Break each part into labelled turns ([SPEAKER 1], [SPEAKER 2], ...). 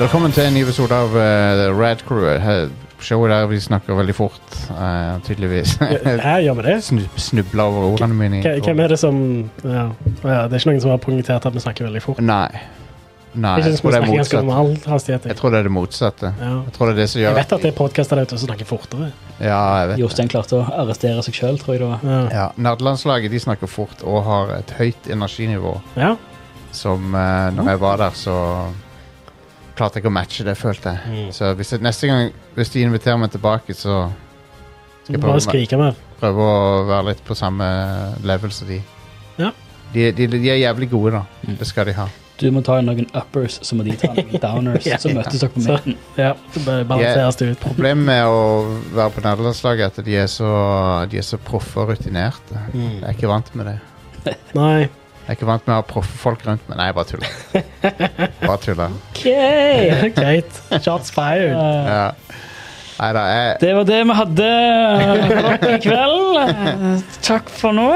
[SPEAKER 1] Velkommen til en ny episode av eh, Rad Crew. Her- Showet der vi snakker veldig fort, eh, tydeligvis.
[SPEAKER 2] Hæ, gjør vi det?
[SPEAKER 1] Snub, Snubla over ordene mine.
[SPEAKER 2] K- Hvem er det som ja. Å ja, Det er ikke noen som har poengtert at vi snakker veldig fort.
[SPEAKER 1] Nei. Nei,
[SPEAKER 2] Ikke
[SPEAKER 1] jeg
[SPEAKER 2] som
[SPEAKER 1] tror det
[SPEAKER 2] vi
[SPEAKER 1] er
[SPEAKER 2] snakker ganske
[SPEAKER 1] motsatt.
[SPEAKER 2] normal hastighet.
[SPEAKER 1] Jeg tror det er det motsatte.
[SPEAKER 2] Ja.
[SPEAKER 1] Jeg tror det er det som
[SPEAKER 2] Jeg
[SPEAKER 1] gjør
[SPEAKER 2] vet at det er podkaster der ute som snakker fortere.
[SPEAKER 1] Ja, jeg vet
[SPEAKER 3] Jostein klarte å arrestere seg sjøl, tror jeg det var.
[SPEAKER 2] Ja.
[SPEAKER 1] Ja, Nerdelandslaget de snakker fort og har et høyt energinivå.
[SPEAKER 2] ja.
[SPEAKER 1] Som eh, når jeg var der, så klarte jeg ikke å matche det, følte jeg.
[SPEAKER 2] Mm.
[SPEAKER 1] Så hvis, jeg- neste gang hvis de inviterer meg tilbake, så skal
[SPEAKER 2] Du
[SPEAKER 1] jeg
[SPEAKER 2] må bare
[SPEAKER 1] prøve,
[SPEAKER 2] skrike mer.
[SPEAKER 1] prøve å være litt på samme level som de.
[SPEAKER 2] Ja.
[SPEAKER 1] De, de, de er jævlig gode, da.
[SPEAKER 3] Mm.
[SPEAKER 1] Det skal de ha.
[SPEAKER 3] Du må ta noen uppers, så må de ta noen downers.
[SPEAKER 2] Ja,
[SPEAKER 3] Så møtes dere på
[SPEAKER 2] Så-
[SPEAKER 3] midten.
[SPEAKER 2] Ja, det bare balanseres det ut.
[SPEAKER 1] Problemet med å være på nederlandslaget er at de er så, de er så proffe og rutinerte. Jeg er ikke vant med det.
[SPEAKER 2] Nei.
[SPEAKER 1] Jeg er ikke vant med å ha proffe folk rundt meg. Nei, jeg bare tuller. Bare tuller.
[SPEAKER 3] OK!
[SPEAKER 2] Greit. Shots fired.
[SPEAKER 3] Eh,
[SPEAKER 1] Ja. Nei da, jeg
[SPEAKER 3] Det var det vi hadde for dere i kveld. Eh, Takk for nå.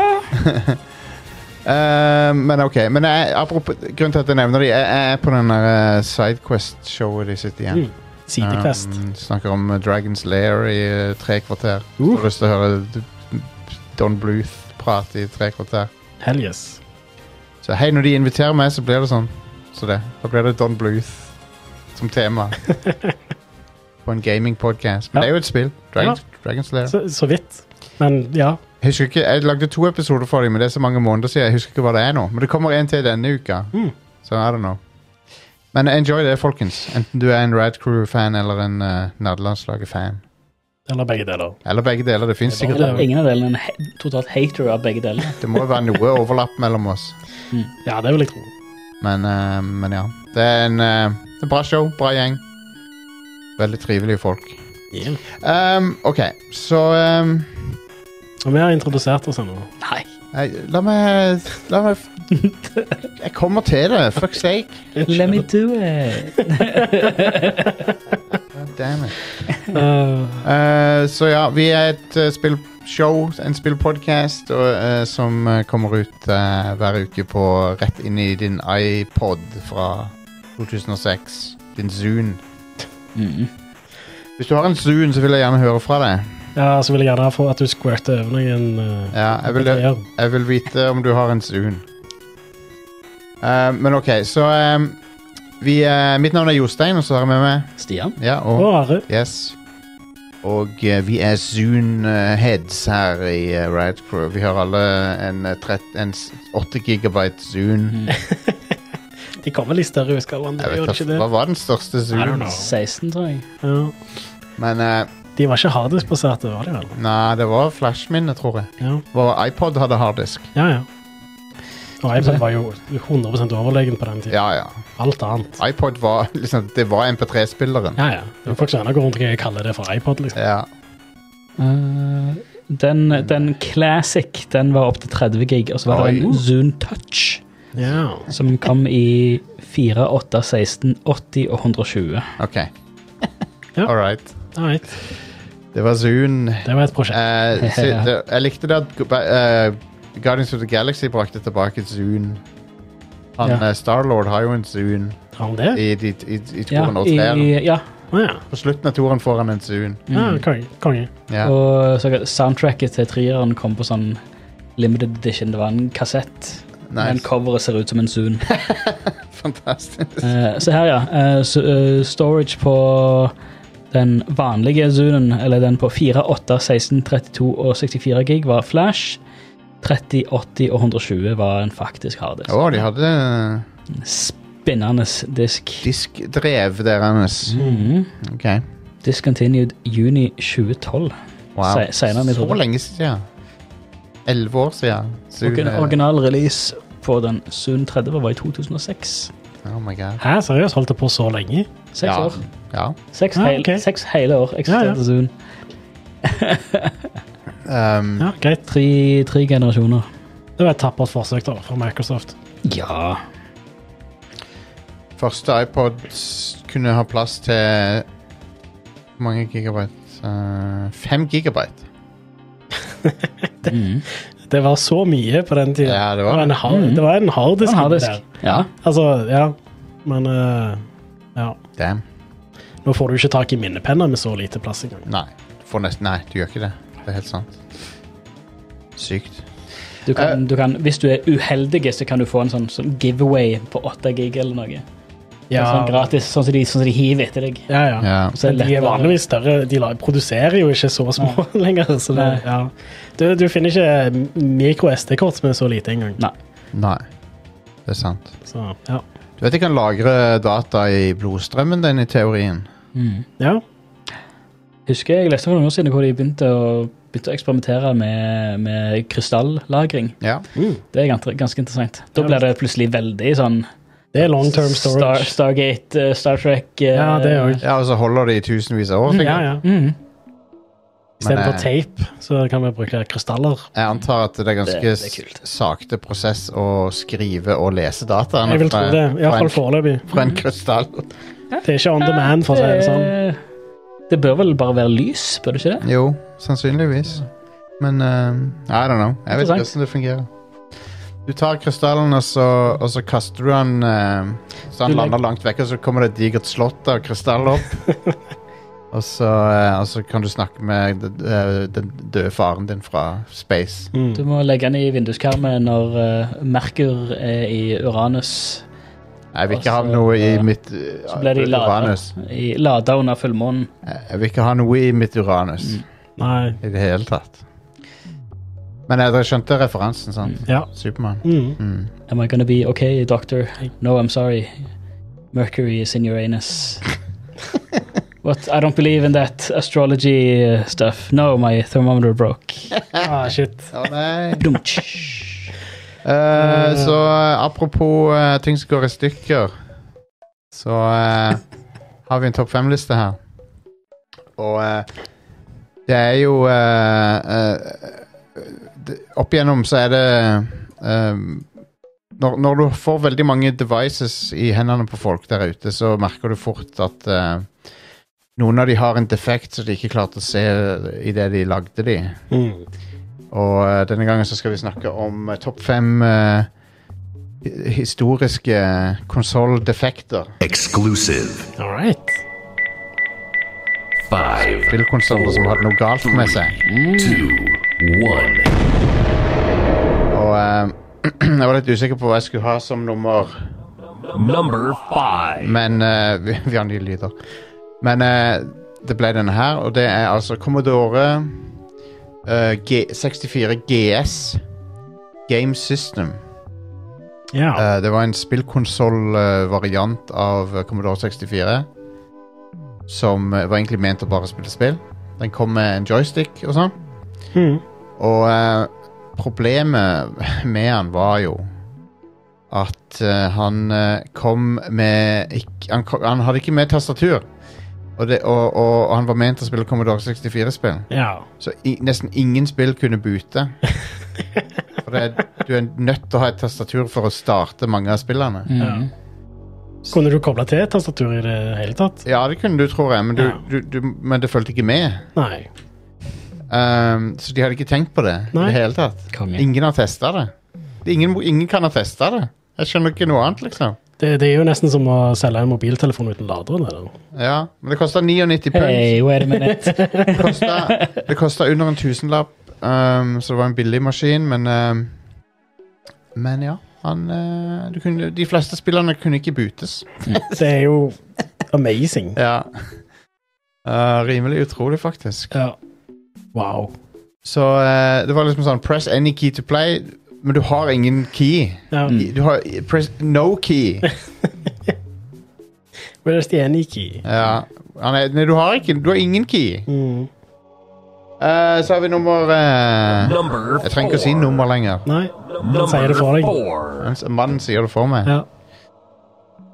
[SPEAKER 1] Eh, men ok, men jeg, apropos, grunnen til at jeg nevner det, jeg, jeg er på den der eh, Sidequest-showet de sitter igjen.
[SPEAKER 2] Mm. Sidekvest.
[SPEAKER 1] Um, snakker om eh, Dragon's Lair i eh, tre kvarter.
[SPEAKER 2] Uh.
[SPEAKER 1] Har lyst til å høre d- Don Bluth-prat i tre kvarter.
[SPEAKER 2] Hell yes.
[SPEAKER 1] Så hei, når de inviterer meg, så blir det sånn. Så det, Da blir det Don Bluth som tema. på en gaming-podcast. Men det
[SPEAKER 2] Ja.
[SPEAKER 1] er jo et spill. Dragon's, Dragon's Lair.
[SPEAKER 2] Så, så vidt. Men ja.
[SPEAKER 1] Jeg husker ikke, jeg lagde to episoder for dem, men det er så mange måneder siden. Jeg husker ikke hva det er nå. Men det kommer en til denne uka.
[SPEAKER 2] Mm.
[SPEAKER 1] Så I don't know. Men enjoy det, folkens. Enten du er en Rad Crew-fan eller en uh, Nerdelandslaget-fan.
[SPEAKER 2] Eller begge deler.
[SPEAKER 1] Eller begge deler. Det fins sikkert
[SPEAKER 2] deler.
[SPEAKER 3] Ingen av delene er en he- totalt hater av begge delene.
[SPEAKER 1] Det må jo være noe overlapp mellom oss.
[SPEAKER 2] Ja, det vil jeg tro.
[SPEAKER 1] Men, eh, men ja. Det er en eh, det er bra show, bra gjeng. Veldig trivelige folk. Ehm, OK, så ehm,
[SPEAKER 2] Og vi har introdusert oss ennå.
[SPEAKER 3] Nei.
[SPEAKER 1] nei, La meg La meg Jeg kommer til det. Fuck's sake.
[SPEAKER 3] Let me do it.
[SPEAKER 1] Damn it.
[SPEAKER 2] Uh,
[SPEAKER 1] Eh, så ja, vi er et eh, spillshow, en spillpodcast, og, eh, som eh, kommer ut eh, hver uke på rett inn i din iPod fra 2006. Din Zoon.
[SPEAKER 3] Mm.
[SPEAKER 1] Hvis du har en Zoon, så vil jeg gjerne høre fra deg.
[SPEAKER 2] ja, så vil jeg gjerne få at du squirter over noen uh,
[SPEAKER 1] Ja, jeg vil,
[SPEAKER 2] ideer.
[SPEAKER 1] jeg vil vite om du har en Zoon. Eh, men OK, så eh, vi, eh, Mitt navn er Jostein, og så har jeg med meg
[SPEAKER 3] Stian?
[SPEAKER 1] ja, og,
[SPEAKER 2] Og Are.
[SPEAKER 1] Yes. Og eh, vi er Zoon-heads her i eh, Riot Crew. Vi har alle en, eh, trett- en s- 8 gigabyte Zoon.
[SPEAKER 3] Mm.
[SPEAKER 2] De kommer litt større i skalaen.
[SPEAKER 1] Jeg
[SPEAKER 2] De
[SPEAKER 1] vet
[SPEAKER 2] gjør
[SPEAKER 1] ikke,
[SPEAKER 2] ikke det.
[SPEAKER 1] hva var den største
[SPEAKER 2] I don't
[SPEAKER 1] Zoonen?
[SPEAKER 2] know.
[SPEAKER 3] 16, tror jeg.
[SPEAKER 2] Ja.
[SPEAKER 1] Men eh,
[SPEAKER 2] De var ikke harddiskbaserte, var de vel?
[SPEAKER 1] nei, det var flashminne, tror jeg.
[SPEAKER 2] Ja,
[SPEAKER 1] Og iPod hadde harddisk.
[SPEAKER 2] ja. ja. Og iPad var jo 100 overlegen på den tiden.
[SPEAKER 1] Ja, ja.
[SPEAKER 2] Alt annet.
[SPEAKER 1] iPod var liksom Det var MP3-spilleren.
[SPEAKER 2] Ja, ja. Det er folk som ennå går rundt og kaller det for iPod, liksom.
[SPEAKER 1] Ja.
[SPEAKER 3] Eh, den, den classic den var opptil 30 gig, og så var det
[SPEAKER 1] Oi.
[SPEAKER 3] en Zoom Touch.
[SPEAKER 2] Ja.
[SPEAKER 3] Som kom i 4, 8, 16, 80 og 120.
[SPEAKER 1] OK.
[SPEAKER 2] Ja.
[SPEAKER 1] All right.
[SPEAKER 2] Alright.
[SPEAKER 1] Det var Zoon.
[SPEAKER 2] Det var et prosjekt.
[SPEAKER 1] Eh, så det, jeg likte det at eh, Guardians of the Galaxy brakte tilbake Zoon. Han
[SPEAKER 3] Ja.
[SPEAKER 1] eh, Starlord har jo en Zoon.
[SPEAKER 2] Har han det?
[SPEAKER 1] I, i, i, i
[SPEAKER 3] Ja,
[SPEAKER 1] toeren og treeren.
[SPEAKER 3] i, ja.
[SPEAKER 2] Å ja.
[SPEAKER 1] På slutten av toeren får han en Zoon.
[SPEAKER 3] Mm.
[SPEAKER 2] ja konge. konge.
[SPEAKER 1] Ja.
[SPEAKER 3] Og så soundtracket til treeren kom på sånn limited edition. Det var en kassett, men
[SPEAKER 1] Nice.
[SPEAKER 3] coveret ser ut som en Zoom.
[SPEAKER 1] Fantastisk.
[SPEAKER 3] Eh, se her, ja. Eh, så, eh, storage på den vanlige Zoomen, eller den på 4, 8, 16, 32 og 64 gig, var flash. 30, 80 og 120 var en faktisk harddisk.
[SPEAKER 1] Å, de hadde eh,
[SPEAKER 3] Spinnende disk.
[SPEAKER 1] diskdrev der hennes.
[SPEAKER 3] Mhm.
[SPEAKER 1] Ok.
[SPEAKER 3] Discontinued juni 2012.
[SPEAKER 1] Wow.
[SPEAKER 3] Se- senere enn jeg
[SPEAKER 1] Så
[SPEAKER 3] trodde.
[SPEAKER 1] lenge siden. Elleve år siden. Zoon
[SPEAKER 3] Orgin
[SPEAKER 1] er-
[SPEAKER 3] original release på den Zoom 30 var i 2006.
[SPEAKER 1] Oh my god.
[SPEAKER 2] Hæ, seriøst? Holdt det på så lenge?
[SPEAKER 3] Seks
[SPEAKER 1] Ja.
[SPEAKER 3] år.
[SPEAKER 1] ja.
[SPEAKER 3] Seks,
[SPEAKER 2] Ah,
[SPEAKER 3] heil,
[SPEAKER 2] ok.
[SPEAKER 3] seks hele år eksisterte
[SPEAKER 2] Ja, ja.
[SPEAKER 3] Zoom.
[SPEAKER 1] Um,
[SPEAKER 2] Ja, greit.
[SPEAKER 3] Tre, tre generasjoner.
[SPEAKER 2] Det var et tappert forsøk da, fra Microsoft.
[SPEAKER 3] Ja.
[SPEAKER 1] Første iPod s- kunne ha plass til Hvor mange gigabyte? Eh, Fem gigabyte.
[SPEAKER 3] Mm.
[SPEAKER 2] Det var så mye på den tiden.
[SPEAKER 1] Ja, det
[SPEAKER 2] Det var
[SPEAKER 1] var
[SPEAKER 2] en hard,
[SPEAKER 3] Mm.
[SPEAKER 2] det var en harddisk.
[SPEAKER 3] En harddisk.
[SPEAKER 2] der.
[SPEAKER 3] ja.
[SPEAKER 2] Altså, ja. Men Altså, eh, Ja.
[SPEAKER 1] Damn.
[SPEAKER 2] Nå får du ikke tak i minnepenner med så lite plass engang.
[SPEAKER 1] Nei. For nesten, nei, du gjør ikke det. Det er helt sant. Sykt.
[SPEAKER 3] Du kan, du kan, hvis du er uheldig, så kan du få en sånn, sånn giveaway på 8 gig eller noe. Sånn gratis, sånn som de, sånn som de hiver etter deg.
[SPEAKER 2] Ja, ja.
[SPEAKER 1] Ja.
[SPEAKER 3] Så
[SPEAKER 2] Men
[SPEAKER 3] det
[SPEAKER 2] de er
[SPEAKER 3] lettere.
[SPEAKER 2] vanligvis større. De la- produserer jo ikke så små lenger. Så det,
[SPEAKER 3] Nei.
[SPEAKER 2] ja. du, du finner ikke mikro-SD-kort som er så lite engang.
[SPEAKER 3] Nei.
[SPEAKER 1] Nei. Det er sant.
[SPEAKER 2] Så, ja.
[SPEAKER 1] Du vet jeg kan lagre data i blodstrømmen din, i teorien.
[SPEAKER 3] Mm.
[SPEAKER 2] ja.
[SPEAKER 3] Husker jeg leste for noen år siden hvor de begynte å, begynte å eksperimentere med, med krystallagring.
[SPEAKER 1] Ja.
[SPEAKER 3] Det er gans- ganske interessant. Da blir det plutselig veldig sånn
[SPEAKER 2] Det er long term
[SPEAKER 3] Star,
[SPEAKER 2] storage.
[SPEAKER 3] Stargate, eh, Star Trek eh,
[SPEAKER 2] Ja, det er òg.
[SPEAKER 1] ja, og så holder det i tusenvis av år. sikkert.
[SPEAKER 2] Ja, ja.
[SPEAKER 3] Mm.
[SPEAKER 2] Istedenfor
[SPEAKER 1] eh,
[SPEAKER 2] tape, så kan vi bruke krystaller.
[SPEAKER 1] Jeg antar at det er ganske
[SPEAKER 3] Det- det er kult.
[SPEAKER 1] s- sakte prosess å skrive og lese dataene
[SPEAKER 2] Jeg vil tro det. Iallfall
[SPEAKER 1] fra, en,
[SPEAKER 2] foreløpig.
[SPEAKER 1] fra en krystall.
[SPEAKER 2] Det er ikke on demand, for å si det sånn.
[SPEAKER 3] Eh, Det bør vel bare være lys, bør det ikke det?
[SPEAKER 1] Jo, sannsynligvis. Men eh, I don't know. Jeg vet ikke
[SPEAKER 3] Interessant.
[SPEAKER 1] hvordan det fungerer. Du tar krystallen, og så, og så kaster du den eh, så han
[SPEAKER 3] Du legger-
[SPEAKER 1] lander langt vekk, og så kommer det et digert slott av krystall opp. og, så, eh, og så kan du snakke med d- d- den døde faren din fra space.
[SPEAKER 2] Mm.
[SPEAKER 3] Du må legge den i vinduskarmen når eh, Merkur er i Uranus.
[SPEAKER 1] Jeg vil ikke ha
[SPEAKER 3] Og så,
[SPEAKER 1] noe i
[SPEAKER 3] eh,
[SPEAKER 1] mitt
[SPEAKER 3] Så blir de
[SPEAKER 1] eh,
[SPEAKER 3] lada
[SPEAKER 1] Uranus.
[SPEAKER 3] i- lada under fullmånen.
[SPEAKER 1] Jeg vil ikke ha noe i mitt Uranus
[SPEAKER 3] Mm.
[SPEAKER 2] Nei.
[SPEAKER 1] i det hele tatt. Men eh, dere skjønte referansen, sant?
[SPEAKER 2] Ja.
[SPEAKER 1] Supermann.
[SPEAKER 2] Mm.
[SPEAKER 1] Mm.
[SPEAKER 3] Am I gonna be okay, doctor? No, I'm sorry. Mercury is in your anus. What? I don't believe in that astrology uh, stuff. No, my thermometer broke.
[SPEAKER 2] Ah, shit.
[SPEAKER 1] Å nei.
[SPEAKER 3] Dumtsch.
[SPEAKER 1] Eh,
[SPEAKER 2] Eh.
[SPEAKER 1] så eh, apropos eh, ting som går i stykker, så eh, har vi en topp fem-liste her. Og eh, det er jo eh, eh, det- Opp igjennom så er det eh, når, når du får veldig mange devices i hendene på folk der ute, så merker du fort at eh, noen av de har en defekt som de ikke klarte å se idet de lagde de.
[SPEAKER 2] Mm.
[SPEAKER 1] Og eh, denne gangen så skal vi snakke om eh, topp fem eh, hi- historiske konsolldefekter.
[SPEAKER 4] Exclusive.
[SPEAKER 2] All right.
[SPEAKER 4] Five,
[SPEAKER 1] Spillkonsoller som hadde noe galt med seg.
[SPEAKER 4] two, one.
[SPEAKER 1] Og eh, jeg var litt usikker på hva jeg skulle ha som nummer,
[SPEAKER 4] Number five.
[SPEAKER 1] men eh, vi, vi har nye lyder. Men eh, det ble denne her, og det er altså Commodore eh, G 64 GS Game System.
[SPEAKER 2] Ja.
[SPEAKER 1] Eh, det var en spillkonsoll-variant av eh, Commodore 64. Som eh, var egentlig ment å bare spille spill. Den kom med en joystick og sånn.
[SPEAKER 2] Mm.
[SPEAKER 1] Og eh, problemet med han var jo at eh, han eh, kom med ikk- han, kom, han hadde ikke med tastatur. Og, det, og, og han var ment å spille Commodore 64-spill.
[SPEAKER 2] Ja.
[SPEAKER 1] Så i, nesten ingen spill kunne boote. For det, er- du er nødt til å ha et tastatur for å starte mange av spillene.
[SPEAKER 3] Mm.
[SPEAKER 2] Kunne du koble til et tastatur i det hele tatt?
[SPEAKER 1] Ja, det kunne du, tror jeg, men, du,
[SPEAKER 2] Ja.
[SPEAKER 1] du, du, men det fulgte ikke med.
[SPEAKER 2] Nei.
[SPEAKER 1] Ehm, så de hadde ikke tenkt på det i
[SPEAKER 2] Nei.
[SPEAKER 1] det hele tatt.
[SPEAKER 3] Konge.
[SPEAKER 1] Ingen har testa det. Det er Ingen, ingen kan ha testa det. Jeg skjønner ikke noe annet, liksom.
[SPEAKER 2] Det, det er jo nesten som å selge en mobiltelefon uten lader. Eller?
[SPEAKER 1] Ja, Men det kosta 99 pund.
[SPEAKER 3] Hey, wait a minute.
[SPEAKER 1] Det kostet- Det kosta under en tusenlapp, ehm, så det var en billig maskin, men ehm, Men ja. Han, eh, du kunne, de fleste spillerne kunne ikke bootes.
[SPEAKER 2] Det er jo amazing.
[SPEAKER 1] Ja. Eh, rimelig utrolig, faktisk.
[SPEAKER 2] Ja. Wow.
[SPEAKER 1] Så eh, det var liksom sånn Press any key to play, men du har ingen key.
[SPEAKER 2] Ja.
[SPEAKER 3] Mm.
[SPEAKER 1] Du har press, no key.
[SPEAKER 2] Where's the any key?
[SPEAKER 1] Ja. Han er, nei, du har ikke Du har ingen key.
[SPEAKER 2] Mm.
[SPEAKER 1] Eh, så har vi nummer eh,
[SPEAKER 4] Number
[SPEAKER 1] Jeg trenger ikke å si nummer lenger.
[SPEAKER 2] Nei.
[SPEAKER 4] Number
[SPEAKER 2] sier det for deg.
[SPEAKER 4] four.
[SPEAKER 1] Mens Mannen sier det for meg.
[SPEAKER 2] Ja.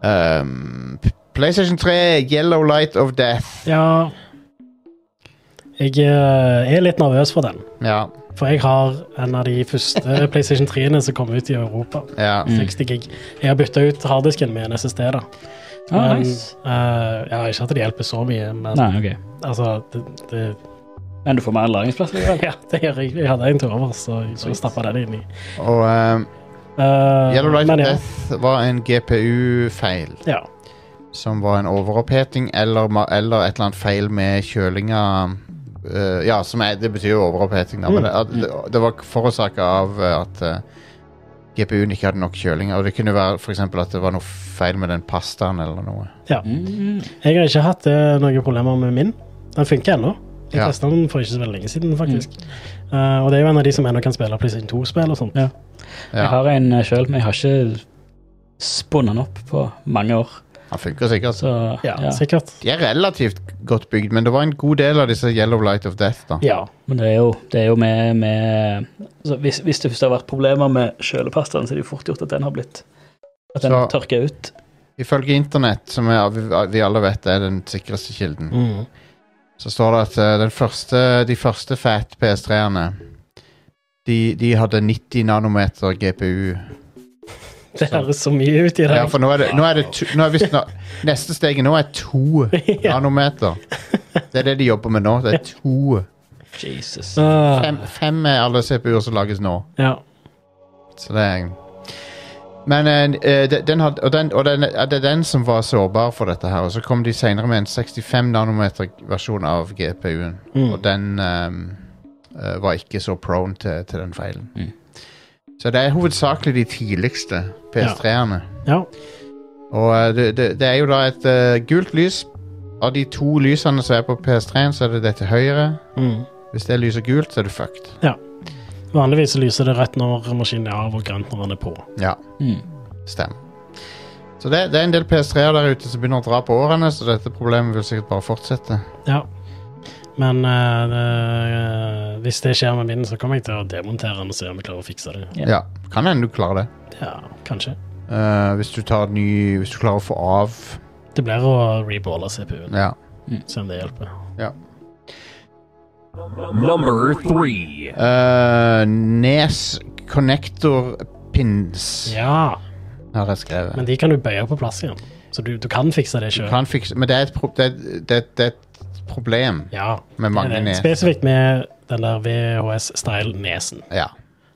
[SPEAKER 1] Ehm, P- PlayStation 3, Yellow Light of Death.
[SPEAKER 2] ja. Jeg eh, er litt nervøs for den.
[SPEAKER 1] Ja.
[SPEAKER 2] For jeg har en av de første PlayStation 3-ene som kom ut i Europa.
[SPEAKER 1] ja.
[SPEAKER 3] Mm.
[SPEAKER 2] 60 gig. Jeg har bytta ut harddisken med en SSD, da.
[SPEAKER 3] Ah,
[SPEAKER 2] Men,
[SPEAKER 3] nice.
[SPEAKER 2] eh, ja, ikke at det hjelper så mye, men
[SPEAKER 3] Nei, ok.
[SPEAKER 2] altså det, det,
[SPEAKER 3] Men du får mer lagringsplass. likevel.
[SPEAKER 2] ja, det gjør jeg. Jeg hadde en til over, så jeg stappa den inn i.
[SPEAKER 1] Og ehm,
[SPEAKER 2] Eh,
[SPEAKER 1] Yellow Light
[SPEAKER 2] men
[SPEAKER 1] of
[SPEAKER 2] ja,
[SPEAKER 1] Death var en GPU-feil.
[SPEAKER 2] ja.
[SPEAKER 1] som var en overoppheting eller, ma- eller et eller annet feil med kjølinga eh, Ja, som er, det betyr jo overoppheting, da, men det, at- det, det var forårsaka av eh, at eh, GPU-en ikke hadde nok kjøling. Og det kunne være for eksempel at det var noe feil med den pastaen eller noe.
[SPEAKER 2] Ja.
[SPEAKER 3] Mm.
[SPEAKER 2] Jeg har ikke hatt eh, noen problemer med min. Den funker ennå. Jeg
[SPEAKER 1] Ja.
[SPEAKER 2] testet den for ikke så veldig lenge siden, faktisk. Eh, og det er jo en av de som ennå kan spille PlayStation 2-spill og sånt.
[SPEAKER 3] Jeg
[SPEAKER 1] Ja,
[SPEAKER 3] har en sjøl, men jeg har ikke spunnet den opp på mange år.
[SPEAKER 1] Han funker sikkert.
[SPEAKER 3] Så
[SPEAKER 2] Ja,
[SPEAKER 3] ja.
[SPEAKER 2] sikkert.
[SPEAKER 1] De er relativt godt bygd, men det var en god del av disse Yellow Light of Death, da.
[SPEAKER 2] Ja.
[SPEAKER 3] Men det er jo, det er jo med, med altså hvis, hvis det først har vært problemer med kjølepastaen, så er det jo fort gjort at den har blitt At den
[SPEAKER 1] Så-
[SPEAKER 3] tørker ut.
[SPEAKER 1] Ifølge internett, som er, vi, vi alle vet er den sikreste kilden,
[SPEAKER 2] Mm.
[SPEAKER 1] så står det at eh, den første, de første fat PS3-ene de, de hadde 90 nanometer GPU.
[SPEAKER 2] Det høres så mye ut i
[SPEAKER 1] Ja,
[SPEAKER 2] dag.
[SPEAKER 1] for nå er det, nå er det, to, nå er vi snak- Neste steget nå er to
[SPEAKER 2] Ja.
[SPEAKER 1] nanometer. Det er det de jobber med nå. Det er to.
[SPEAKER 3] Jesus.
[SPEAKER 2] Ah,
[SPEAKER 1] Fem, fem er alle CPU-er som lages nå.
[SPEAKER 2] ja.
[SPEAKER 1] Så det er Men eh, de- den hadde, og, den, og den, ja, det er den som var sårbar for dette her. Og så kom de senere med en 65 nanometer versjon av GPU-en.
[SPEAKER 2] Mm.
[SPEAKER 1] Og den ehm, eh, var ikke så prone til, til den feilen.
[SPEAKER 3] Mm.
[SPEAKER 1] Så det er hovedsakelig de tidligste PS3-ene.
[SPEAKER 2] ja.
[SPEAKER 1] Og eh, det, det, det er jo da et eh, gult lys. Av de to lysene som er på PS3-en, så er det det til høyre.
[SPEAKER 2] Mm.
[SPEAKER 1] Hvis det lyser gult, så er du fucked.
[SPEAKER 2] Vanligvis så lyser det rødt når maskinen er av og grønt når den er på.
[SPEAKER 1] Ja.
[SPEAKER 3] Mm.
[SPEAKER 1] Stemmer. Så det, det er en del PS3-er der ute som begynner å dra på årene, så dette problemet vil sikkert bare fortsette.
[SPEAKER 2] Ja. Men eh, det, hvis det skjer med min, så kommer jeg til å demontere den og se om jeg klarer å fikse det.
[SPEAKER 3] Ja.
[SPEAKER 1] Ja, Kan hende du klarer det.
[SPEAKER 2] Ja, kanskje.
[SPEAKER 1] Eh, hvis, du tar ny, hvis du klarer å få av
[SPEAKER 2] Det blir å reballe CPU-en,
[SPEAKER 1] Ja.
[SPEAKER 2] se om det hjelper.
[SPEAKER 4] Number three.
[SPEAKER 1] Eh, Nes Connector Pins
[SPEAKER 2] Ja,
[SPEAKER 1] har jeg skrevet.
[SPEAKER 2] men de kan du bøye på plass igjen. Så du, du kan fikse det
[SPEAKER 1] Du
[SPEAKER 2] sjøl.
[SPEAKER 1] kan fikse Men det er et, pro det, er- det, er- det er et problem
[SPEAKER 2] Ja.
[SPEAKER 1] med
[SPEAKER 2] det er
[SPEAKER 1] mange
[SPEAKER 2] det.
[SPEAKER 1] nes.
[SPEAKER 2] Spesifikt med den der VHS-style-nesen.
[SPEAKER 1] Ja.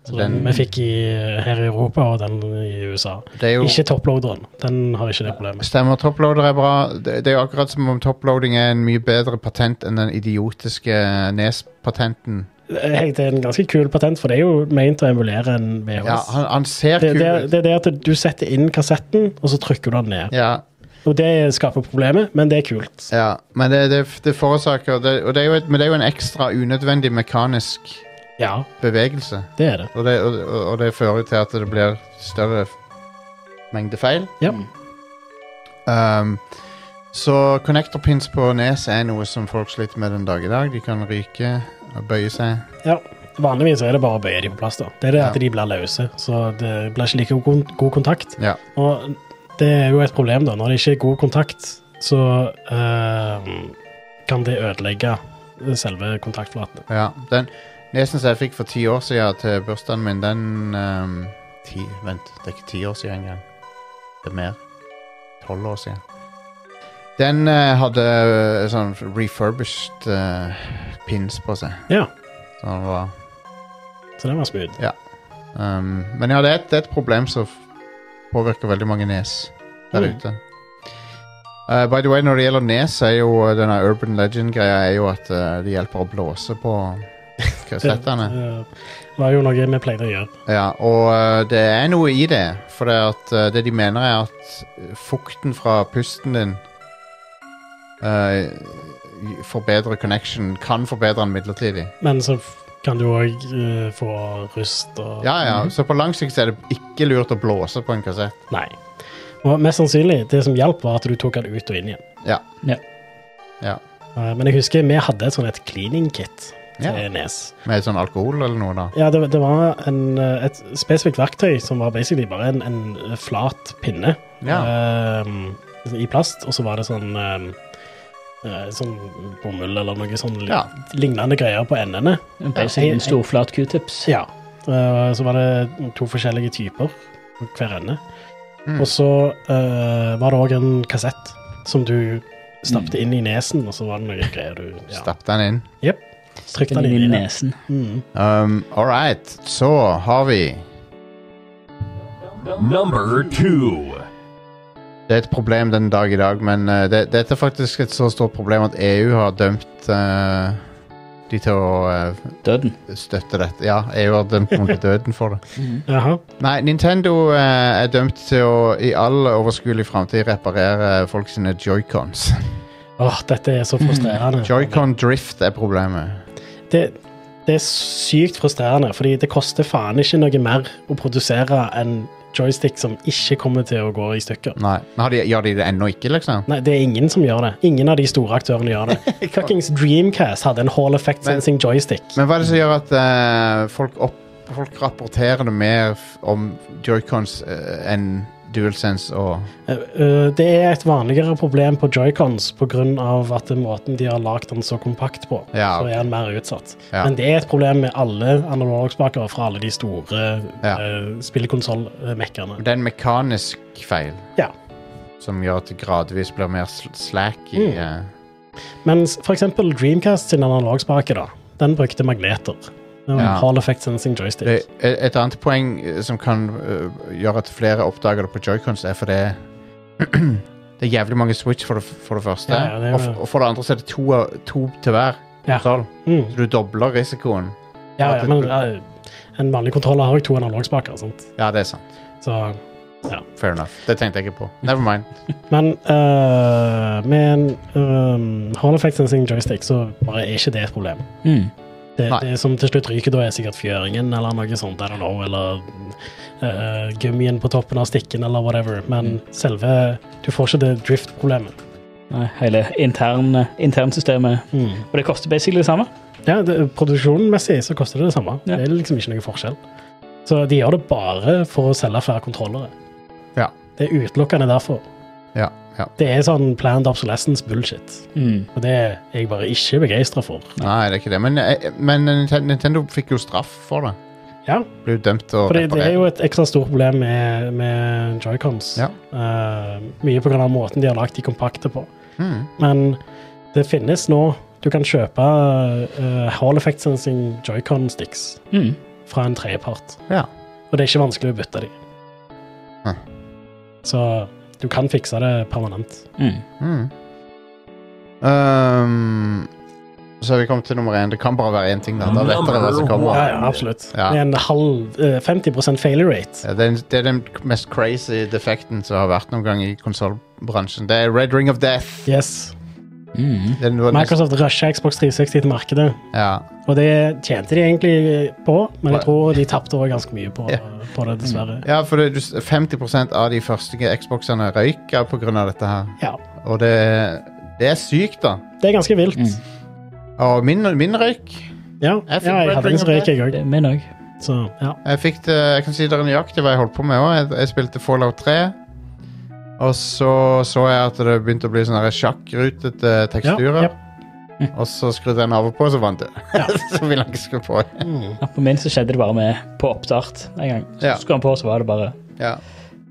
[SPEAKER 2] Som
[SPEAKER 1] Den-
[SPEAKER 2] vi fikk i, her i Europa, og den i USA.
[SPEAKER 1] Det er jo
[SPEAKER 2] Ikke topploaderen. Den har ikke det problemet.
[SPEAKER 1] Stemmer. Toploader er bra. Det, det er jo akkurat som om toploading er en mye bedre patent enn den idiotiske Nes-patenten.
[SPEAKER 2] Eh, Det er en ganske kul patent, for det er jo meint å emulere en VHS.
[SPEAKER 1] Ja, han, han ser
[SPEAKER 2] det,
[SPEAKER 1] kul
[SPEAKER 2] det,
[SPEAKER 1] ut.
[SPEAKER 2] det er det at du setter inn kassetten, og så trykker du den ned.
[SPEAKER 1] Ja,
[SPEAKER 2] Og det skaper problemet, men det er kult.
[SPEAKER 1] ja. Men det, det, det forårsaker det, og det er jo et, Men det er jo en ekstra unødvendig mekanisk
[SPEAKER 2] Ja,
[SPEAKER 1] bevegelse.
[SPEAKER 2] det er det.
[SPEAKER 1] Og det, og, og- og det fører til at det blir større f- mengde feil.
[SPEAKER 2] Ja.
[SPEAKER 1] Um, så connector pins på nes er noe som folk sliter med den dag i dag. De kan ryke og bøye seg.
[SPEAKER 2] ja. Vanligvis er det bare å bøye de på plass, da. Det er det at
[SPEAKER 1] Ja.
[SPEAKER 2] de blir løse, så det blir ikke like god, god kontakt.
[SPEAKER 1] Ja.
[SPEAKER 2] Og det er jo et problem, da. Når det ikke er god kontakt, så eh, kan det ødelegge selve kontaktflaten.
[SPEAKER 1] ja. Den nesen som jeg fikk for ti år siden til bursdagen min, den um, ti, Vent, det er ikke ti år siden engang. Det er mer. Tolv år siden. Den eh, hadde eh, sånn refurbished eh, pins på seg.
[SPEAKER 2] Ja.
[SPEAKER 1] Så den var
[SPEAKER 2] Så det var smooth.
[SPEAKER 1] Um, men ja, det er, et, det er et problem som f- påvirker veldig mange nes der
[SPEAKER 2] Mm.
[SPEAKER 1] ute. Uh, by the way, når det gjelder nes, er jo uh, denne urban legend-greia er jo at uh, det hjelper å blåse på kassettene.
[SPEAKER 2] Det var jo noe vi pleide å gjøre.
[SPEAKER 1] Ja, og uh, det er noe i det. For det, at, uh, det de mener, er at eh, fukten fra pusten din uh, forbedrer connection. Kan forbedre den midlertidig.
[SPEAKER 2] Men så f- kan du òg få rust og
[SPEAKER 1] Ja, ja, Så på lang sikt så er det ikke lurt å blåse på en kassett.
[SPEAKER 2] Nei. Og mest sannsynlig, det som hjalp, var at du tok den ut og inn igjen.
[SPEAKER 1] Ja.
[SPEAKER 3] Ja.
[SPEAKER 1] Ja.
[SPEAKER 2] Eh, Men jeg husker vi hadde et sånn et cleaning kit til
[SPEAKER 1] Ja.
[SPEAKER 2] Nes.
[SPEAKER 1] Med sånn alkohol eller noe, da?
[SPEAKER 2] Ja, det, det var en, eh, et spesifikt verktøy som var basically bare en, en flat pinne
[SPEAKER 1] Ja.
[SPEAKER 2] eh, i plast, og så var det sånn eh, eh, Sånn bomull eller noe sånn li-
[SPEAKER 1] Ja.
[SPEAKER 2] lignende greier på endene.
[SPEAKER 3] En basic, en stor, flat q-tips.
[SPEAKER 2] Ja. Eh, så var det to forskjellige typer på hver ende.
[SPEAKER 1] Mm.
[SPEAKER 2] Og så eh, var det òg en kassett som du
[SPEAKER 3] Mm.
[SPEAKER 2] stappte inn i nesen, og så var det noen greier du ja,
[SPEAKER 1] Stapp den inn.
[SPEAKER 2] trykte
[SPEAKER 3] Den
[SPEAKER 2] den
[SPEAKER 3] inn i
[SPEAKER 2] inn i.
[SPEAKER 3] nesen.
[SPEAKER 2] Mm.
[SPEAKER 1] Um, All right, så har vi
[SPEAKER 4] Number two.
[SPEAKER 1] Det er et problem den dag i dag, men eh, det, dette er faktisk et så stort problem at EU har dømt eh, de til å eh,
[SPEAKER 3] Døden.
[SPEAKER 1] støtte dette. Ja, EU har dømt noen til døden for det.
[SPEAKER 3] Mm.
[SPEAKER 2] Jaha.
[SPEAKER 1] Nei, Nintendo eh, er dømt til å i all overskuelig framtid reparere folk sine joycons.
[SPEAKER 2] Åh, dette er
[SPEAKER 3] Mm.
[SPEAKER 2] så frustrerende.
[SPEAKER 1] Joycon drift er problemet.
[SPEAKER 2] det, det er sykt frustrerende, fordi det koster faen ikke noe mer å produsere en joystick som ikke kommer til å gå i
[SPEAKER 3] Mm.
[SPEAKER 2] stykker.
[SPEAKER 1] Nei. Men har de, gjør de det ennå ikke, liksom?
[SPEAKER 2] Nei, det er ingen som gjør det. Ingen av de store aktørene gjør det. Fuckings Dreamcast hadde en Hall Effect
[SPEAKER 1] Men-
[SPEAKER 2] Sensing joystick.
[SPEAKER 1] Men hva er det som gjør at eh, folk, opp, folk rapporterer mer f- om joycons eh, enn DualSense og
[SPEAKER 2] Eh, eh, Det er et vanligere problem på joycons pga. at måten de har lagd den så kompakt på,
[SPEAKER 1] Ja,
[SPEAKER 2] så er den mer utsatt.
[SPEAKER 1] Ja.
[SPEAKER 2] Men det er et problem med alle analogspaker fra alle de store
[SPEAKER 1] Ja.
[SPEAKER 2] eh, spillekonsollmekkerne.
[SPEAKER 1] Det er en mekanisk feil
[SPEAKER 2] Ja.
[SPEAKER 1] som gjør at det gradvis blir mer sl slack i eh,
[SPEAKER 2] Mens for eksempel Dreamcast sin analogspake, da, den brukte magneter. Det var en
[SPEAKER 1] Ja.
[SPEAKER 2] Hall Effect Sensing Joystick.
[SPEAKER 1] det, et, et annet poeng eh, som kan eh, gjøre at flere oppdager det på joycons, er fordi det er jævlig mange switch for det, f- for det første.
[SPEAKER 2] Ja, ja, det er
[SPEAKER 1] og,
[SPEAKER 2] jo-
[SPEAKER 1] f- og for det andre så er det to, av- to til hver.
[SPEAKER 2] Ja.
[SPEAKER 1] kontroll.
[SPEAKER 2] Mm.
[SPEAKER 1] Så du dobler risikoen.
[SPEAKER 2] Ja,
[SPEAKER 1] at
[SPEAKER 2] ja,
[SPEAKER 1] det-
[SPEAKER 2] men eh, en vanlig kontroller har jo to analogspaker, sant.
[SPEAKER 1] Ja, det er sant.
[SPEAKER 2] Så
[SPEAKER 1] Fair enough. Det tenkte jeg ikke på. Never mind.
[SPEAKER 2] Men eh, med en um, Hall Effect Sensing Joystick så bare er ikke det et problem.
[SPEAKER 3] Mm.
[SPEAKER 2] Det,
[SPEAKER 1] Nei.
[SPEAKER 2] det som til slutt ryker da, er sikkert fjøringen eller noe sånt, I don't know, eller eh, gummien på toppen av stikken eller whatever, men selve Du får ikke det drift-problemet.
[SPEAKER 3] Nei, hele intern- internsystemet.
[SPEAKER 2] Mm.
[SPEAKER 3] og det koster basically det samme.
[SPEAKER 2] Ja, det, produksjonmessig så koster det det samme.
[SPEAKER 3] Ja.
[SPEAKER 2] Det er liksom ikke noe forskjell. Så de gjør det bare for å selge flere kontrollere.
[SPEAKER 1] Ja.
[SPEAKER 2] Det er utelukkende derfor.
[SPEAKER 1] Ja, ja.
[SPEAKER 2] Det er sånn planned obsolescence bullshit.
[SPEAKER 3] Mm.
[SPEAKER 2] Og det er jeg bare ikke begeistra for.
[SPEAKER 1] Nei, det er ikke det. Men, eh, men Ninten- Nintendo fikk jo straff for det.
[SPEAKER 2] Ja,
[SPEAKER 1] Ble jo dømt til å
[SPEAKER 2] for det, det
[SPEAKER 1] reparere.
[SPEAKER 2] er jo et ekstra stort problem med, med joycons.
[SPEAKER 1] Ja.
[SPEAKER 2] Eh, mye på grunn av måten de har lagt de kompakte på.
[SPEAKER 1] Hmm.
[SPEAKER 2] Men det finnes nå Du kan kjøpe eh, Hall Effect Sensing joycon-sticks
[SPEAKER 3] Mm.
[SPEAKER 2] fra en tredjepart.
[SPEAKER 1] Ja.
[SPEAKER 2] Og det er ikke vanskelig å bytte de.
[SPEAKER 1] Hm.
[SPEAKER 2] Så du kan fikse det permanent.
[SPEAKER 3] Mm.
[SPEAKER 1] Mm. Ehm, så er vi kommet til nummer én. Det kan bare være én ting, da. Da vet dere hva som
[SPEAKER 2] Ja,
[SPEAKER 1] kommer.
[SPEAKER 2] ja, absolutt.
[SPEAKER 1] Ja.
[SPEAKER 2] Det er en halv eh, 50 failure rate.
[SPEAKER 1] Ja, Det er, den- det er den mest crazy defekten som har vært noen gang i konsollbransjen. Det er Red Ring of Death.
[SPEAKER 2] Yes.
[SPEAKER 3] Mm.
[SPEAKER 1] Den var nesten-
[SPEAKER 2] Microsoft rusha Xbox 360 til markedet,
[SPEAKER 1] ja.
[SPEAKER 2] og det tjente de egentlig på, men
[SPEAKER 1] Nei.
[SPEAKER 2] jeg tror de tapte også ganske mye på,
[SPEAKER 1] Ja.
[SPEAKER 2] på det, dessverre.
[SPEAKER 1] ja, for det, du s- 50 av de første Xboxene røyka pga. dette her.
[SPEAKER 2] Ja.
[SPEAKER 1] Og det, det er sykt, da.
[SPEAKER 2] Det er ganske vilt.
[SPEAKER 3] Mm.
[SPEAKER 1] Og min, min røyk
[SPEAKER 2] Ja,
[SPEAKER 1] Jeg
[SPEAKER 2] jeg,
[SPEAKER 1] fikk
[SPEAKER 2] ja, jeg
[SPEAKER 1] Red
[SPEAKER 2] hadde
[SPEAKER 1] Ring
[SPEAKER 2] en
[SPEAKER 1] of
[SPEAKER 2] røyk, jeg òg.
[SPEAKER 3] Det er min òg.
[SPEAKER 2] Så ja.
[SPEAKER 1] Jeg fikk det, jeg kan si dere nøyaktig hva jeg holdt på med også. Jeg, jeg spilte Fallout 3. Og så så jeg at det begynte å bli sånne her sjakkrutete teksturer.
[SPEAKER 2] Ja,
[SPEAKER 1] Og så skrudde jeg den av og på, og så vant jeg.
[SPEAKER 2] Ja.
[SPEAKER 1] så ville jeg ikke skru på.
[SPEAKER 2] Mm.
[SPEAKER 3] Ja, På min så skjedde det bare med på oppstart en gang. Så
[SPEAKER 1] Ja.
[SPEAKER 3] skru den på, så var det bare
[SPEAKER 1] Ja.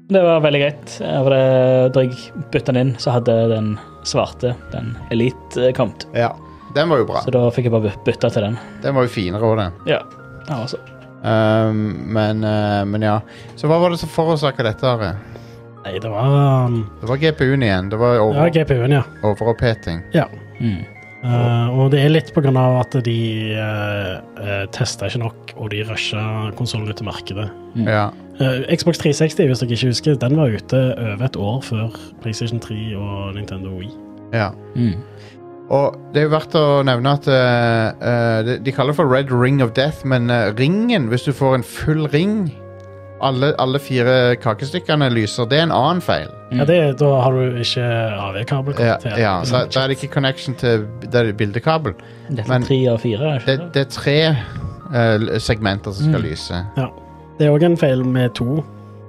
[SPEAKER 3] Det var veldig greit. Eh, For det, da jeg bytta den inn, så hadde den svarte, den Elite, eh, kommet.
[SPEAKER 1] ja. Den var jo bra.
[SPEAKER 3] Så da fikk jeg bare by- bytta til den.
[SPEAKER 1] Den var jo finere òg, den.
[SPEAKER 3] Ja. ja altså.
[SPEAKER 1] Um, men, uh, men ja. Så hva var det som forårsaka dette? Are?
[SPEAKER 2] Nei, det var um,
[SPEAKER 1] Det var GPU-en igjen. Det var
[SPEAKER 2] Ja,
[SPEAKER 1] over,
[SPEAKER 2] GPU-en, ja.
[SPEAKER 1] overoppheting.
[SPEAKER 3] Mm.
[SPEAKER 2] Eh, og det er litt på grunn av at de uh, testa ikke nok, og de rusha konsollen ut til markedet.
[SPEAKER 3] Mm.
[SPEAKER 1] Ja.
[SPEAKER 2] Eh, Xbox 360, hvis dere ikke husker, den var ute over et år før PlayStation 3 og Nintendo Wii.
[SPEAKER 1] ja.
[SPEAKER 3] Mm.
[SPEAKER 1] Og det er jo verdt å nevne at eh, eh, de- De kaller det for Red Ring of Death, men eh, ringen, hvis du får en full ring alle, alle fire kakestykkene lyser. Det er en annen feil.
[SPEAKER 3] Mm.
[SPEAKER 2] Ja, det, da har du ikke AV-kabel.
[SPEAKER 1] Ja, ja, da, da er det ikke connection til det er bildekabel.
[SPEAKER 3] Dette
[SPEAKER 1] men-
[SPEAKER 3] er tre av fire. er
[SPEAKER 1] Det,
[SPEAKER 3] ikke det?
[SPEAKER 1] det er tre eh, segmenter som skal
[SPEAKER 3] Mm.
[SPEAKER 1] lyse.
[SPEAKER 2] Det er òg en feil med to,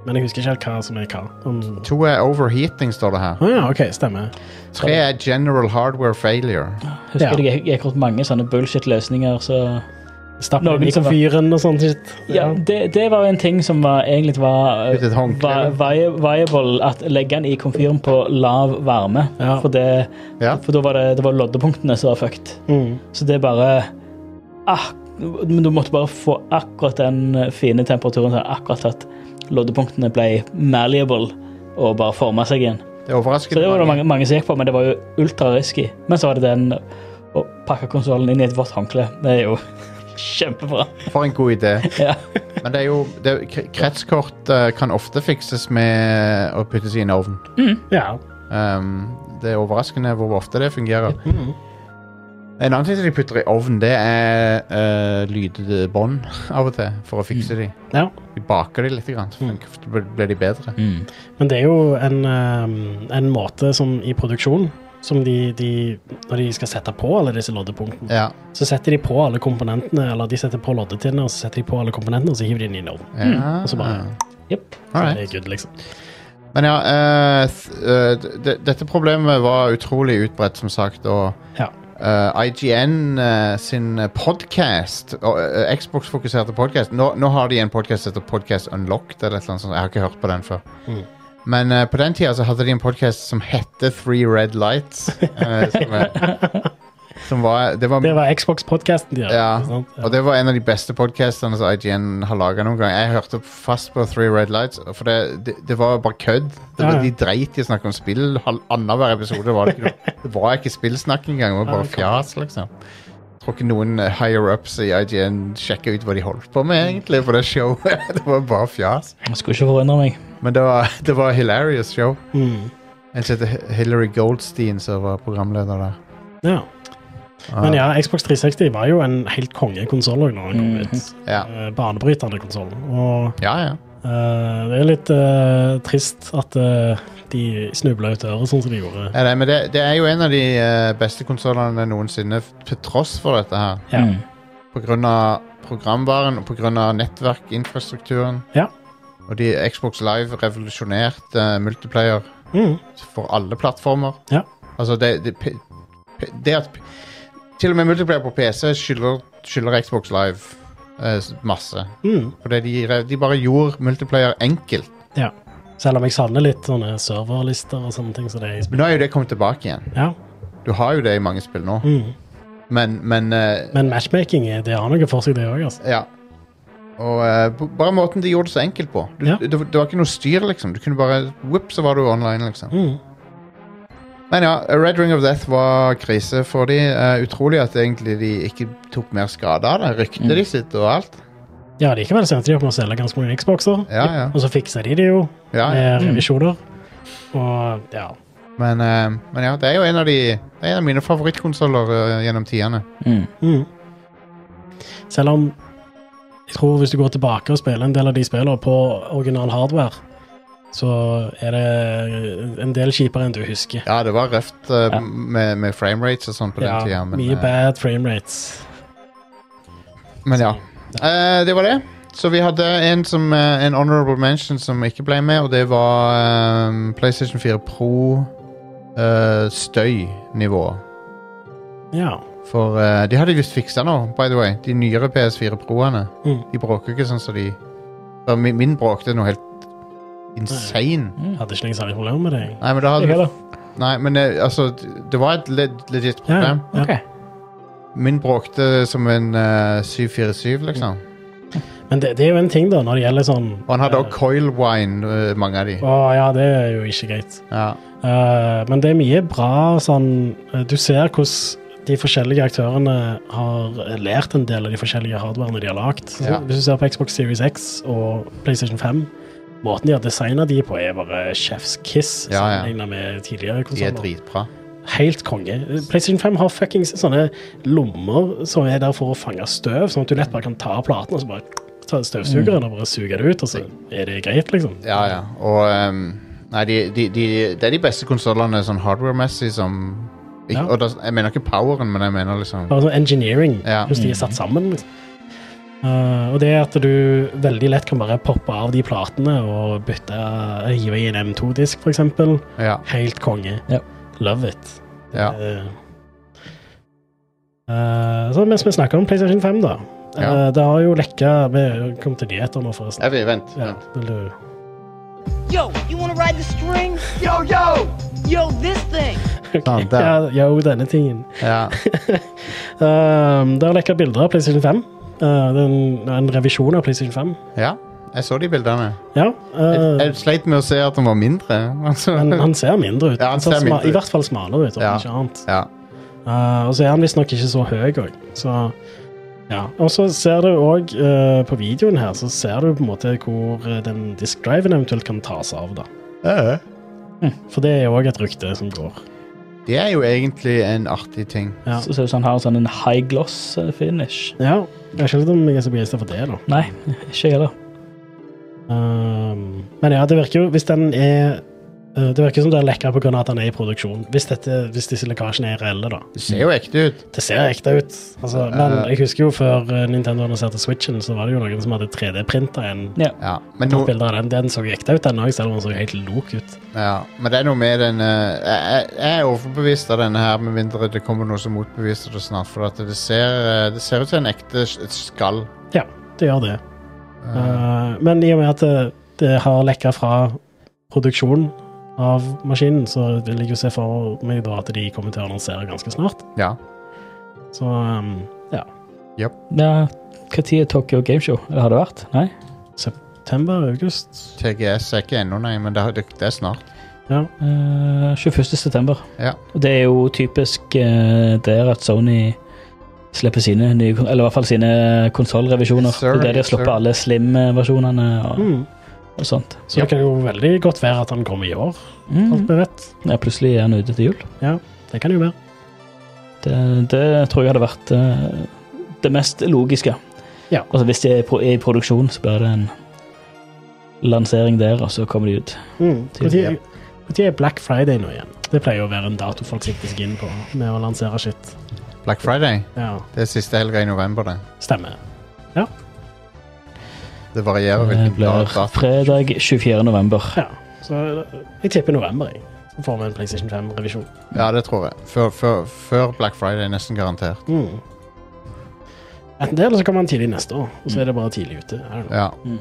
[SPEAKER 2] men jeg husker ikke helt hva som er hva. Om...
[SPEAKER 1] To er overheating, står det her.
[SPEAKER 2] Å ja, OK, stemmer.
[SPEAKER 1] Tre er general hardware failure.
[SPEAKER 3] Husker
[SPEAKER 2] Ja.
[SPEAKER 3] jeg gikk- gikk rundt mange sånne bullshit-løsninger, så
[SPEAKER 2] Stapp
[SPEAKER 3] Noen
[SPEAKER 2] inn i
[SPEAKER 1] sånn
[SPEAKER 3] som var-
[SPEAKER 2] komfyren og sånt. shit.
[SPEAKER 3] Ja, det, det var jo en ting som var, egentlig var, eh,
[SPEAKER 1] Litt et håndkle.
[SPEAKER 3] var vi- viable, at legge den i komfyren på lav varme.
[SPEAKER 2] Ja.
[SPEAKER 3] For, det,
[SPEAKER 1] Ja.
[SPEAKER 3] for da var det, det var loddepunktene som var fucked.
[SPEAKER 2] Mm.
[SPEAKER 3] Så det er bare ah, Men du måtte bare få akkurat den eh, fine temperaturen til akkurat at loddepunktene ble malleable og bare forma seg igjen.
[SPEAKER 1] Det er
[SPEAKER 3] Så det
[SPEAKER 1] overraskende
[SPEAKER 3] var det mange, mange som gikk på, men det var jo ultra-risky. Men så var det den å pakke konsollen inn i et vått håndkle. Det er jo kjempebra.
[SPEAKER 1] For en god idé.
[SPEAKER 3] Ja.
[SPEAKER 1] Men det er jo det, er- kre- Kretskort eh, kan ofte fikses med å puttes i en ovn.
[SPEAKER 2] Ja.
[SPEAKER 1] Um, det er overraskende hvor ofte det fungerer. En annen ting som de putter i ovn, det er uh, lydbånd av og til, for å fikse de.
[SPEAKER 2] ja.
[SPEAKER 1] De baker de litt, grann, så blir- blir de bedre.
[SPEAKER 3] Mm.
[SPEAKER 2] Men det er jo en, ehm, en måte som i produksjon som de, de Når de skal sette på alle disse loddepunktene,
[SPEAKER 1] Ja,
[SPEAKER 2] så setter de på alle komponentene, eller de setter på loddetinnene, og så setter de på alle komponentene, og så hiver de den inn i ovnen.
[SPEAKER 1] ja.
[SPEAKER 2] Og så bare-
[SPEAKER 3] Jepp.
[SPEAKER 2] Så
[SPEAKER 1] Alright.
[SPEAKER 2] Det er good, liksom.
[SPEAKER 1] Men ja, eh, th- eh, d- d- dette problemet var utrolig utbredt, som sagt, og
[SPEAKER 2] Ja.
[SPEAKER 1] eh, IGN eh, sin podcast, og, eh, Xbox-fokuserte podcast, nå, nå har de en podcast som heter Podcast Unlocked, eller et eller annet sånt, jeg har ikke hørt på den før.
[SPEAKER 2] Mm.
[SPEAKER 1] Men eh, på den tida så hadde de en podcast som hette Three Red Lights, eh, som, er- som var, det var
[SPEAKER 2] Det var Xbox-podkasten de hadde.
[SPEAKER 1] Ja,
[SPEAKER 2] ikke sant?
[SPEAKER 1] og det var en av de beste podcastene som IGN har laga noen gang. Jeg hørte fast på Three Red Lights, for det, det, det var bare kødd. Det var,
[SPEAKER 2] Ja, ja.
[SPEAKER 1] De dreit i å snakke om spill. Hal- Annenhver episode var det ikke noe. Det var ikke spillsnakk engang. Det var
[SPEAKER 2] Ja,
[SPEAKER 1] bare
[SPEAKER 2] det kan-
[SPEAKER 1] fjas, liksom. Jeg tror ikke noen eh, higher-ups i IGN sjekka ut hva de holdt på med, egentlig, på det showet. Det var bare fjas.
[SPEAKER 3] Jeg skulle ikke forundre meg.
[SPEAKER 1] Men det var, det var hilarious show.
[SPEAKER 2] Mm.
[SPEAKER 1] En som heter Hilary Goldstein, som var programleder der.
[SPEAKER 2] ja.
[SPEAKER 1] Ah,
[SPEAKER 2] Men ja, Xbox 360 var jo en helt kongekonsoll òg når den kom ut.
[SPEAKER 1] Mhm. ja.
[SPEAKER 2] Eh, Banebrytende konsoll. Og
[SPEAKER 1] Ja, ja.
[SPEAKER 2] eh, det er litt eh, trist at eh, de snubla ut øret sånn som de gjorde.
[SPEAKER 1] Ja, nei, men det, det er jo en av de eh, beste konsollene noensinne, f- til tross for dette her.
[SPEAKER 2] Ja.
[SPEAKER 3] Mm.
[SPEAKER 1] På grunn av programvaren og på grunn av nettverkinfrastrukturen.
[SPEAKER 2] Ja.
[SPEAKER 1] Og de Xbox Live revolusjonerte eh, multiplayer
[SPEAKER 2] Mm.
[SPEAKER 1] for alle plattformer.
[SPEAKER 2] Ja.
[SPEAKER 1] Altså, det, det, p- p- det at p- Til og med multiplayer på PC skylder, skylder Xbox Live eh, s- masse.
[SPEAKER 2] Mm.
[SPEAKER 1] Fordi de, re- de bare gjorde multiplayer enkelt.
[SPEAKER 2] Selv om jeg savner litt sånne serverlister og sånne ting. Så det er i
[SPEAKER 1] Men
[SPEAKER 2] spill.
[SPEAKER 1] nå er jo det kommet tilbake igjen.
[SPEAKER 2] Ja.
[SPEAKER 1] Du har jo det i mange spill nå,
[SPEAKER 2] Mm.
[SPEAKER 1] men, men eh,
[SPEAKER 2] Men matchmaking er- det har noe for seg, det òg. Altså.
[SPEAKER 1] Ja. Og eh, b- bare måten de gjorde det så enkelt på. Du,
[SPEAKER 2] Ja.
[SPEAKER 1] det, det var ikke noe styr, liksom. Du kunne bare Whip, så var du online, liksom.
[SPEAKER 2] Mm.
[SPEAKER 1] Men ja, Red Ring of Death var krise for de. Eh, utrolig at egentlig de ikke tok mer skade av det. Ryktet
[SPEAKER 3] Mm.
[SPEAKER 1] de sitt og alt.
[SPEAKER 2] Ja, likevel sendte de opp med å selge ganske mange Xboxer.
[SPEAKER 1] Ja, ja.
[SPEAKER 2] Og så fiksa de det jo
[SPEAKER 1] Ja, Mm. ja.
[SPEAKER 2] med revisjoner. Og ja.
[SPEAKER 1] Men, eh, men ja, det er jo en av de Det er en av mine favorittkonsoller eh, gjennom tidene.
[SPEAKER 3] Mm.
[SPEAKER 2] Mm. Selv om jeg tror hvis du går tilbake og spiller en del av de spillene på original hardware, så er det en del kjipere enn du husker.
[SPEAKER 1] Ja, det var røft eh,
[SPEAKER 3] Ja.
[SPEAKER 1] med, med framerates og sånn på den tida, men,
[SPEAKER 2] mye
[SPEAKER 1] eh,
[SPEAKER 2] bad frame rates.
[SPEAKER 1] men ja. Eh, det var det. Så vi hadde en, som, eh, en honorable mention som ikke ble med, og det var eh, PlayStation 4 Pro eh, støynivå.
[SPEAKER 2] Ja.
[SPEAKER 1] For eh, de hadde visst fiksa nå, by the way. De nyere PS4 Pro-ene.
[SPEAKER 2] Mm.
[SPEAKER 1] De bråker ikke sånn som de Ja, mi- Min bråkte noe helt insane.
[SPEAKER 2] Jeg hadde ikke noe særlig problem med det. jeg.
[SPEAKER 1] Nei, men da
[SPEAKER 3] Jeg
[SPEAKER 1] hadde
[SPEAKER 3] heller.
[SPEAKER 1] Nei, men eh, altså d- Det var et le- legit
[SPEAKER 2] Ja,
[SPEAKER 1] problem.
[SPEAKER 2] ja.
[SPEAKER 3] Ok.
[SPEAKER 1] Min bråkte som en eh, 747, liksom.
[SPEAKER 2] Mm. Men det, det er jo en ting, da, når det gjelder sånn
[SPEAKER 1] Og han hadde òg coil wine, eh, mange av de.
[SPEAKER 2] Å ja, det er jo ikke greit.
[SPEAKER 1] Ja.
[SPEAKER 2] Eh, men det er mye bra sånn eh, Du ser hvordan de forskjellige aktørene har lært en del av de forskjellige hardwarene de har lagd.
[SPEAKER 1] Ja.
[SPEAKER 2] Hvis du ser på Xbox Series X og PlayStation 5, måten de har designa de på, er bare chef's kiss
[SPEAKER 1] Ja, ja.
[SPEAKER 2] sammenlignet med tidligere
[SPEAKER 1] De er
[SPEAKER 2] konsoller.
[SPEAKER 1] dritbra.
[SPEAKER 2] Helt konge. PlayStation 5 har fuckings sånne lommer som er der for å fange støv, sånn at du lett bare kan ta av platen og så bare ta støvsugeren og bare suge det ut, og så er det greit, liksom.
[SPEAKER 1] Ja, ja. Og ehm, Nei, de, de, de, det er de beste konsollene sånn hardware-messig som ikke,
[SPEAKER 2] Ja.
[SPEAKER 1] Og da, jeg mener ikke poweren, men jeg mener liksom
[SPEAKER 2] Bare sånn engineering,
[SPEAKER 1] Ja.
[SPEAKER 2] hvordan de er satt sammen. Liksom. Eh, og det at du veldig lett kan bare poppe av de platene og bytte eh, hive i en M2-disk, for eksempel.
[SPEAKER 1] Ja.
[SPEAKER 2] Helt konge.
[SPEAKER 3] Ja.
[SPEAKER 2] Love it.
[SPEAKER 1] ja.
[SPEAKER 2] Eh, eh, så mens vi snakker om PlayStation 5, da. eh,
[SPEAKER 1] Ja.
[SPEAKER 2] det har jo lekka Vi kom til nyheter nå, forresten.
[SPEAKER 1] Jeg vil, vent.
[SPEAKER 2] Ja,
[SPEAKER 1] vent.
[SPEAKER 2] vil du
[SPEAKER 5] Yo, you wanna ride the string?
[SPEAKER 4] Yo, yo!
[SPEAKER 5] Yo, this thing.
[SPEAKER 1] Sånn, der.
[SPEAKER 2] ja, ja, jo, denne tingen.
[SPEAKER 1] Ja.
[SPEAKER 2] Eh, det har lekka bilder av PlayStation 5. Eh, det er en, en revisjon av PlayStation 5.
[SPEAKER 1] ja. Jeg så de bildene.
[SPEAKER 2] Ja,
[SPEAKER 1] Jeg,
[SPEAKER 2] eh,
[SPEAKER 1] jeg sleit med å se at den var mindre. Altså.
[SPEAKER 2] men han ser mindre ut.
[SPEAKER 1] Ja, han
[SPEAKER 2] ser
[SPEAKER 1] ser
[SPEAKER 2] sma-
[SPEAKER 1] mindre ut.
[SPEAKER 2] I hvert fall smalere ut, om
[SPEAKER 1] Ja.
[SPEAKER 2] ikke annet.
[SPEAKER 1] Ja.
[SPEAKER 2] Eh, og så er han visstnok ikke så høy òg, så ja. Og så ser du òg på videoen her, så ser du på en måte hvor eh, den diskdriven eventuelt kan tas av, da. For det er jo òg et rykte som går.
[SPEAKER 1] Det er jo egentlig en artig ting.
[SPEAKER 2] Ja.
[SPEAKER 3] Så ser ut som han har sånn en high gloss eh, finish.
[SPEAKER 2] ja. Jeg vet ikke helt om jeg er så begeistra for det, da.
[SPEAKER 3] Nei, ikke jeg heller.
[SPEAKER 2] Um, men ja, det virker jo Hvis den er eh, Det virker som det er lekka pga. at den er i produksjon. Hvis, dette, hvis disse lekkasjene er reelle, da.
[SPEAKER 1] Det ser jo ekte ut.
[SPEAKER 2] Det ser ekte ut. Altså, men jeg husker jo før eh, Nintendo annonserte Switchen, så var det jo noen som hadde 3D-printa en
[SPEAKER 1] Ja. Men,
[SPEAKER 2] Tatt
[SPEAKER 1] no,
[SPEAKER 2] bilder av den. Den så ekte ut, den òg, selv om den så helt lok ut.
[SPEAKER 1] ja. Men det er noe med den eh, Jeg, jeg er overbevist av denne her, med mindre det kommer noe som motbeviser det snart. For at det ser, eh, det ser ut som en ekte s- et skall.
[SPEAKER 2] Ja, det gjør det.
[SPEAKER 1] Eh,
[SPEAKER 2] Eh, men i og med at det, det har lekka fra produksjon av maskinen, så vil jeg jo se for meg da at de kommer til å annonsere ganske snart.
[SPEAKER 1] ja.
[SPEAKER 2] Så um, ja.
[SPEAKER 3] Ja, Når er Tokyo Gameshow? Eller har det vært? Nei?
[SPEAKER 2] September, august
[SPEAKER 1] TGS er ikke ennå, nei, men det, er- det er snart.
[SPEAKER 3] Eh, 21. september.
[SPEAKER 1] Ja.
[SPEAKER 3] Og det er jo typisk eh, der at Sony slipper sine nye, kon- eller i hvert fall sine konsollrevisjoner.
[SPEAKER 1] Yes, sir,
[SPEAKER 3] det er der de har
[SPEAKER 1] yes, sir.
[SPEAKER 3] sluppet alle Slim-versjonene og,
[SPEAKER 2] Mm.
[SPEAKER 3] og sånt.
[SPEAKER 2] Så det kan jo veldig godt være at han kommer i år, alt
[SPEAKER 3] Mm.
[SPEAKER 2] vi vet.
[SPEAKER 3] Ja, plutselig er han ute til jul.
[SPEAKER 2] Det kan jo være.
[SPEAKER 3] Det, det tror jeg hadde vært eh, det mest logiske.
[SPEAKER 2] Ja.
[SPEAKER 3] Altså Hvis de er i pro- er i produksjon, så blir det en lansering der, og så kommer de ut.
[SPEAKER 2] Mm. Hvor tid-
[SPEAKER 3] Tidlig,
[SPEAKER 2] hvor tid er Black Friday nå igjen? Det pleier jo å være en dato folk sikter seg inn på med å lansere shit.
[SPEAKER 1] Black Friday.
[SPEAKER 2] Ja,
[SPEAKER 1] Det er siste helga i november, det.
[SPEAKER 2] stemmer.
[SPEAKER 1] Det varierer
[SPEAKER 3] Det
[SPEAKER 1] hvilken dag.
[SPEAKER 3] blir
[SPEAKER 1] da.
[SPEAKER 3] fredag 24. november.
[SPEAKER 2] Ja, så jeg tipper november, jeg. Så får vi en PlayStation 5-revisjon.
[SPEAKER 1] Ja, det tror jeg. Før, før, før Black Friday, nesten garantert.
[SPEAKER 2] Mm. Enten det, eller så kommer den tidlig neste år. Og så er det bare tidlig ute. I don't know.
[SPEAKER 1] Ja,
[SPEAKER 3] Mm.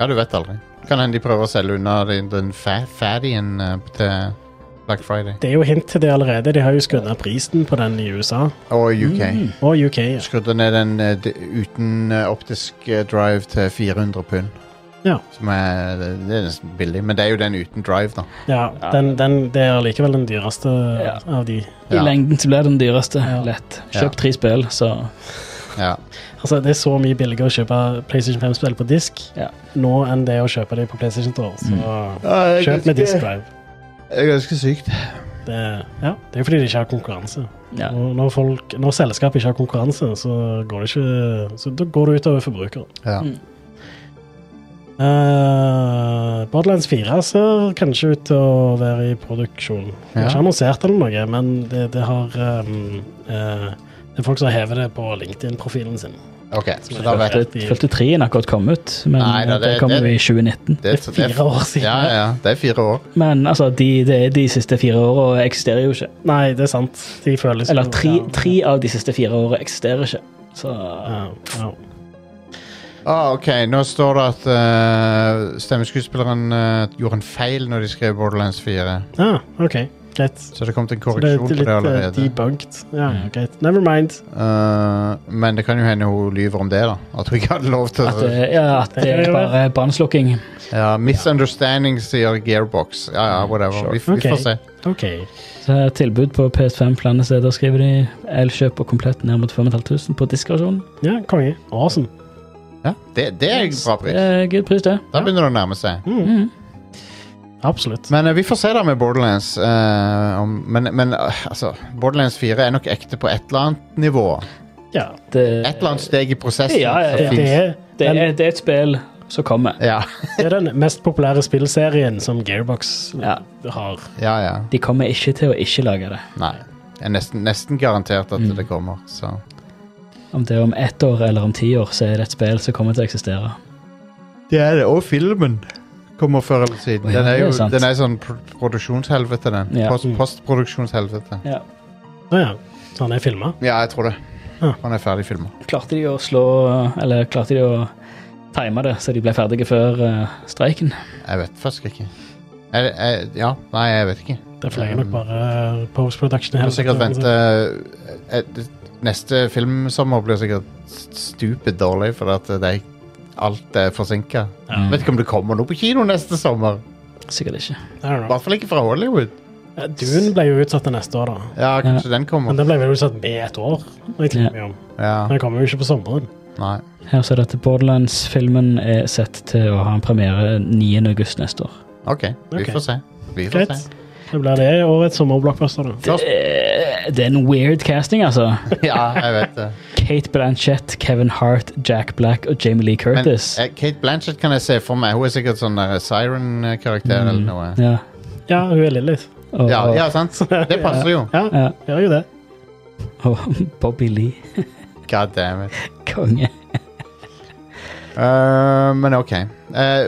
[SPEAKER 1] ja du vet aldri. Kan hende de prøver å selge unna den, den fa faddien eh, til Black Friday.
[SPEAKER 2] Det er jo hint til det allerede. De har jo skutt ned prisen på den i USA
[SPEAKER 1] Og UK.
[SPEAKER 3] Mm.
[SPEAKER 2] og UK. ja.
[SPEAKER 1] Skrudde ned den eh, d- uten eh, optisk eh, drive til 400 pund.
[SPEAKER 2] Ja.
[SPEAKER 1] Som er, det er nesten billig, men det er jo den uten drive, da.
[SPEAKER 2] Ja, den, den, det er likevel den dyreste
[SPEAKER 3] Ja.
[SPEAKER 2] av de.
[SPEAKER 3] I
[SPEAKER 1] Ja.
[SPEAKER 3] lengden så blir det den dyreste.
[SPEAKER 2] Ja.
[SPEAKER 3] Lett.
[SPEAKER 1] Ja.
[SPEAKER 3] Kjøp tre spill, så
[SPEAKER 1] Ja.
[SPEAKER 2] Altså, det er så mye billigere å kjøpe PlayStation 5-spill på disk
[SPEAKER 3] Ja. Mm.
[SPEAKER 2] nå enn det å kjøpe dem på PlayStation Store. Så kjøp med disk drive.
[SPEAKER 1] Det er ganske sykt.
[SPEAKER 2] Det, ja, det er jo fordi de ikke har konkurranse.
[SPEAKER 3] ja.
[SPEAKER 2] Og når, folk, når selskap ikke har konkurranse, så går det ikke Så da går det utover forbrukeren.
[SPEAKER 1] Ja.
[SPEAKER 3] Mm.
[SPEAKER 2] Eh, Borderlands 4 ser kanskje ut til å være i produksjon. Jeg har
[SPEAKER 1] Ja.
[SPEAKER 2] ikke annonsert eller noe, men det, det har ehm, eh, Det er folk som hever det på LinkedIn-profilen sin.
[SPEAKER 1] OK, så da vet jeg.
[SPEAKER 3] Følte, følte treen akkurat kom ut, men
[SPEAKER 1] Nei, da,
[SPEAKER 3] det,
[SPEAKER 1] det-
[SPEAKER 3] kom
[SPEAKER 1] det-
[SPEAKER 3] jo i 2019.
[SPEAKER 1] Det
[SPEAKER 2] Det er fire år siden.
[SPEAKER 1] Ja, ja. Det er fire år.
[SPEAKER 3] Men altså, de, de, de siste fire åra eksisterer jo ikke.
[SPEAKER 2] Nei, det er sant. De føles
[SPEAKER 3] Eller
[SPEAKER 2] jo-
[SPEAKER 3] tre,
[SPEAKER 2] ja.
[SPEAKER 3] tre av de siste fire åra eksisterer ikke. Så
[SPEAKER 2] Ja, ja.
[SPEAKER 1] Ah, ok, nå står det at eh, stemmeskuespilleren eh, gjorde en feil når de skrev Borderlands 4.
[SPEAKER 2] Ah, OK. Greit.
[SPEAKER 1] Så det kom til en
[SPEAKER 2] Så det er
[SPEAKER 1] korreksjon på
[SPEAKER 2] litt
[SPEAKER 1] det
[SPEAKER 2] eh,
[SPEAKER 1] allerede.
[SPEAKER 2] debunked. Ja,
[SPEAKER 3] Mm.
[SPEAKER 2] greit. Never mind.
[SPEAKER 1] Eh, men det kan jo hende hun lyver om det, da. At hun ikke hadde lov til
[SPEAKER 3] at,
[SPEAKER 1] det.
[SPEAKER 3] det- ja, at det
[SPEAKER 2] Det kan
[SPEAKER 3] er
[SPEAKER 2] jo
[SPEAKER 3] bare brannslukking.
[SPEAKER 1] Ja, misunderstanding, sier Gearbox. Ja, ja, whatever.
[SPEAKER 3] Sure.
[SPEAKER 1] Vi, vi
[SPEAKER 2] Ok.
[SPEAKER 1] får se.
[SPEAKER 2] OK.
[SPEAKER 3] Så er Tilbud på PS5 flere steder, skriver de. Elkjøp og komplett ned mot 5500 på diskversjonen.
[SPEAKER 2] Ja, konge. Awesome.
[SPEAKER 1] Ja, det, det er en bra
[SPEAKER 3] Det
[SPEAKER 1] pris.
[SPEAKER 3] er good Eh, pris, det.
[SPEAKER 1] Da begynner det å nærme seg.
[SPEAKER 2] Mm,
[SPEAKER 3] Mm.
[SPEAKER 2] absolutt.
[SPEAKER 1] Men eh, vi får se da med Borderlands. eh, om, men men eh, altså, Borderlands 4 er nok ekte på et eller annet nivå.
[SPEAKER 2] Ja.
[SPEAKER 3] Det,
[SPEAKER 1] Et eller annet steg i prosessen.
[SPEAKER 3] Ja, ja,
[SPEAKER 1] som
[SPEAKER 3] ja.
[SPEAKER 2] Det
[SPEAKER 1] finnes.
[SPEAKER 2] er,
[SPEAKER 3] det, er, det er et spill som kommer.
[SPEAKER 1] Ja,
[SPEAKER 2] det er den mest populære spillserien som Gearbox
[SPEAKER 3] Ja.
[SPEAKER 2] har.
[SPEAKER 1] ja, ja.
[SPEAKER 3] De kommer ikke til å ikke lage det.
[SPEAKER 1] Nei. Det er nesten, nesten garantert at det kommer. Så.
[SPEAKER 3] Om det er om ett år eller om ti år, så er det et spill som kommer til å eksistere.
[SPEAKER 1] Det er det. Og filmen kommer før eller siden.
[SPEAKER 3] Ja,
[SPEAKER 1] Den er Mm.
[SPEAKER 3] det er
[SPEAKER 1] jo
[SPEAKER 3] sant.
[SPEAKER 1] den er sånn pr produksjonshelvete, den.
[SPEAKER 3] Ja.
[SPEAKER 1] Post, postproduksjonshelvete.
[SPEAKER 3] Ja.
[SPEAKER 2] Å ja. Så han er filma?
[SPEAKER 1] Ja, jeg tror det.
[SPEAKER 2] Ja.
[SPEAKER 1] Han er ferdig filma.
[SPEAKER 3] Klarte de å slå Eller klarte de å time det, så de ble ferdige før eh, streiken?
[SPEAKER 1] Jeg vet faktisk ikke. Jeg, jeg, ja, nei, jeg vet ikke.
[SPEAKER 2] Det fleier nok
[SPEAKER 1] Um,
[SPEAKER 2] bare eh, post-production.
[SPEAKER 1] Jeg må
[SPEAKER 2] hele
[SPEAKER 1] sikkert
[SPEAKER 2] tiden,
[SPEAKER 1] vente eh, eh, Neste filmsommer blir sikkert stupid dårlig, for at det er alt er forsinka.
[SPEAKER 3] Mm.
[SPEAKER 2] Ja.
[SPEAKER 1] Vet ikke om det kommer noe på kino neste sommer.
[SPEAKER 3] Sikkert ikke.
[SPEAKER 2] I don't
[SPEAKER 1] I
[SPEAKER 2] know.
[SPEAKER 1] hvert fall ikke fra Hollywood.
[SPEAKER 2] Ja, Dune ble jo utsatt til neste år, da.
[SPEAKER 1] Ja, kanskje den
[SPEAKER 2] Men
[SPEAKER 1] kommer.
[SPEAKER 2] den ble vel utsatt med et år. Jeg
[SPEAKER 3] Ja.
[SPEAKER 2] tenker meg om.
[SPEAKER 1] Ja,
[SPEAKER 2] Den kommer jo ikke på sommeren.
[SPEAKER 1] nei.
[SPEAKER 3] Her ser det at Borderlands-filmen er sett til å ha en premiere 9. august neste år.
[SPEAKER 1] OK, vi
[SPEAKER 2] Ok.
[SPEAKER 1] får se. Vi får
[SPEAKER 2] Greit.
[SPEAKER 1] se.
[SPEAKER 2] Det blir det og et sommerblockbuster, da.
[SPEAKER 1] Først,
[SPEAKER 3] Eh, Det er en weird casting, altså.
[SPEAKER 1] ja, jeg vet det.
[SPEAKER 3] Kate Blanchett, Kevin Hart, Jack Black og Jamie Lee
[SPEAKER 1] Men
[SPEAKER 3] Curtis.
[SPEAKER 1] eh, Kate Blanchett kan jeg se for meg. Hun er sikkert sånn der Siren-karakter
[SPEAKER 2] Mm.
[SPEAKER 1] eller noe.
[SPEAKER 3] Mm. Ja,
[SPEAKER 2] Ja, hun er Lilith.
[SPEAKER 3] og,
[SPEAKER 1] Ja, ja, sant? Det passer jo.
[SPEAKER 2] Ja,
[SPEAKER 3] Ja.
[SPEAKER 2] gjør jo det.
[SPEAKER 3] og Bobby Lee.
[SPEAKER 1] God damn it.
[SPEAKER 3] Konge.
[SPEAKER 1] Eh, men OK. Eh,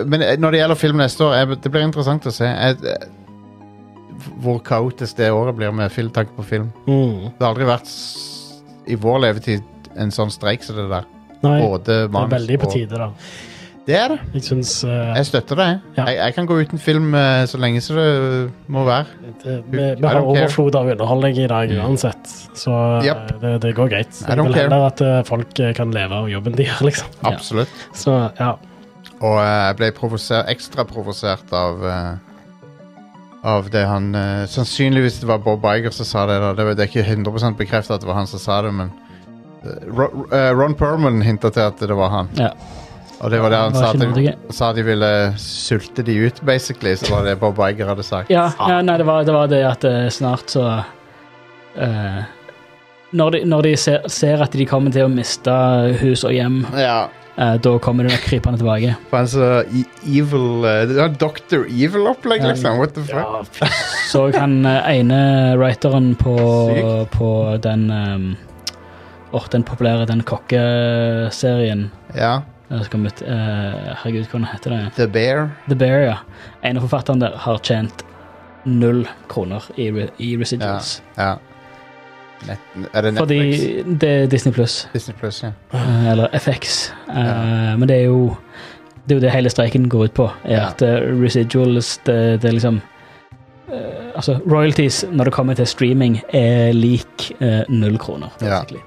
[SPEAKER 1] men eh, når det gjelder film neste år, jeg, det blir interessant å se jeg, eh, hvor kaotisk det året blir med film, tanke på film.
[SPEAKER 2] Mm.
[SPEAKER 1] Det har aldri vært s- i vår levetid en sånn streik som det der.
[SPEAKER 2] Nei,
[SPEAKER 1] Både
[SPEAKER 2] det er
[SPEAKER 1] manus
[SPEAKER 2] veldig på
[SPEAKER 1] og
[SPEAKER 2] tide, da.
[SPEAKER 1] Det er det.
[SPEAKER 2] Jeg syns eh,
[SPEAKER 1] Jeg støtter det.
[SPEAKER 2] Ja.
[SPEAKER 1] Jeg, jeg kan gå uten film eh, så lenge som det må være.
[SPEAKER 2] det, vi, vi
[SPEAKER 1] I don't care.
[SPEAKER 2] har
[SPEAKER 1] Mm.
[SPEAKER 2] overflod av underholdning i dag uansett, så eh,
[SPEAKER 1] Yep.
[SPEAKER 2] det, det går greit.
[SPEAKER 1] I
[SPEAKER 2] Jeg
[SPEAKER 1] don't
[SPEAKER 2] vil
[SPEAKER 1] care.
[SPEAKER 2] heller at eh, folk eh, kan leve av jobben de gjør, liksom.
[SPEAKER 3] Ja.
[SPEAKER 1] Absolutt.
[SPEAKER 2] Så ja.
[SPEAKER 1] Og eh, jeg ble provoser- ekstra provosert av eh, Av det han eh, Sannsynligvis det var Bob Iger som sa det. Da. Det, var, det er ikke 100 bekreftet at det var han som sa det, men eh, Ro, eh, Ron Perman hinta til at det var han.
[SPEAKER 3] Ja.
[SPEAKER 1] Og det var det han
[SPEAKER 3] Det
[SPEAKER 1] sa
[SPEAKER 3] var
[SPEAKER 1] at,
[SPEAKER 3] ikke
[SPEAKER 1] de,
[SPEAKER 3] nødvendig.
[SPEAKER 1] sa de ville sulte de ut, basically. Så var det Bob Iger hadde sagt.
[SPEAKER 3] Ja, ja nei, det var, det var det at eh, snart så eh, Når de, når de ser, ser at de kommer til å miste hus og hjem,
[SPEAKER 1] Ja,
[SPEAKER 3] eh, da kommer de nok krypende tilbake.
[SPEAKER 1] for han så e- evil eh, Det var Dr. Evil-opplegg,
[SPEAKER 3] Ja.
[SPEAKER 1] liksom. What the fuck?
[SPEAKER 2] ja fy-
[SPEAKER 3] Så han eh, ene writeren på,
[SPEAKER 1] Sykt.
[SPEAKER 3] på den um, den populære den kokkeserien
[SPEAKER 1] Ja.
[SPEAKER 3] eh, som kom ut eh, Herregud, hva heter det?
[SPEAKER 1] The Bear.
[SPEAKER 3] The Bear, ja. En av forfatterne der har tjent null kroner i, re i residuals.
[SPEAKER 1] Ja. Net, er det
[SPEAKER 3] Fordi
[SPEAKER 1] Netflix?
[SPEAKER 3] det er Disney pluss.
[SPEAKER 1] Disney Plus, ja.
[SPEAKER 3] Eh, Eller FX. Eh,
[SPEAKER 1] Ja.
[SPEAKER 3] Men det er jo det er jo det hele streiken går ut på. Er
[SPEAKER 1] Ja.
[SPEAKER 3] At eh, residuals, det, det er liksom eh, Altså, royalties når det kommer til streaming, er lik eh, null kroner.
[SPEAKER 1] Ja.
[SPEAKER 3] basically.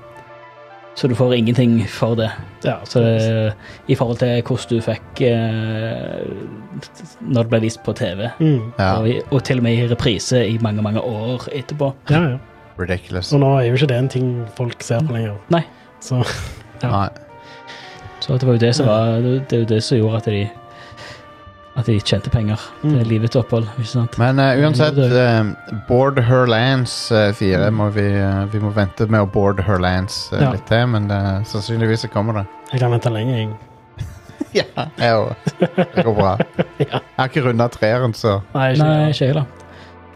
[SPEAKER 3] Så du får ingenting for det.
[SPEAKER 2] ja, eh,
[SPEAKER 3] Så det, I forhold til hvordan du fikk eh, når det ble vist på TV.
[SPEAKER 2] mm.
[SPEAKER 1] ja.
[SPEAKER 3] Og, i- og til og med i reprise i mange, mange år etterpå.
[SPEAKER 2] ja, ja.
[SPEAKER 1] Ridiculous.
[SPEAKER 2] Så nå er jo ikke det en ting folk ser på lenger.
[SPEAKER 3] Nei.
[SPEAKER 2] Så ja.
[SPEAKER 1] Nei.
[SPEAKER 3] Så det var jo det som, var, det, det, er jo det som gjorde at de At de tjente penger
[SPEAKER 2] Mm.
[SPEAKER 3] til eh, livets opphold. ikke sant?
[SPEAKER 1] Men eh, uansett,
[SPEAKER 3] Det- Mm.
[SPEAKER 1] uh, Board Her Lands 4 må vi, eh, vi må vente med å board Her Lands eh,
[SPEAKER 2] Ja.
[SPEAKER 1] litt til, men eh, sannsynligvis så kommer det.
[SPEAKER 2] jeg kan vente lenge, jeg.
[SPEAKER 1] Ja, jeg òg. Det går bra.
[SPEAKER 2] Ja.
[SPEAKER 1] Jeg har ikke runda treeren, så
[SPEAKER 2] Nei, ikke
[SPEAKER 3] Nei, ikke jeg heller.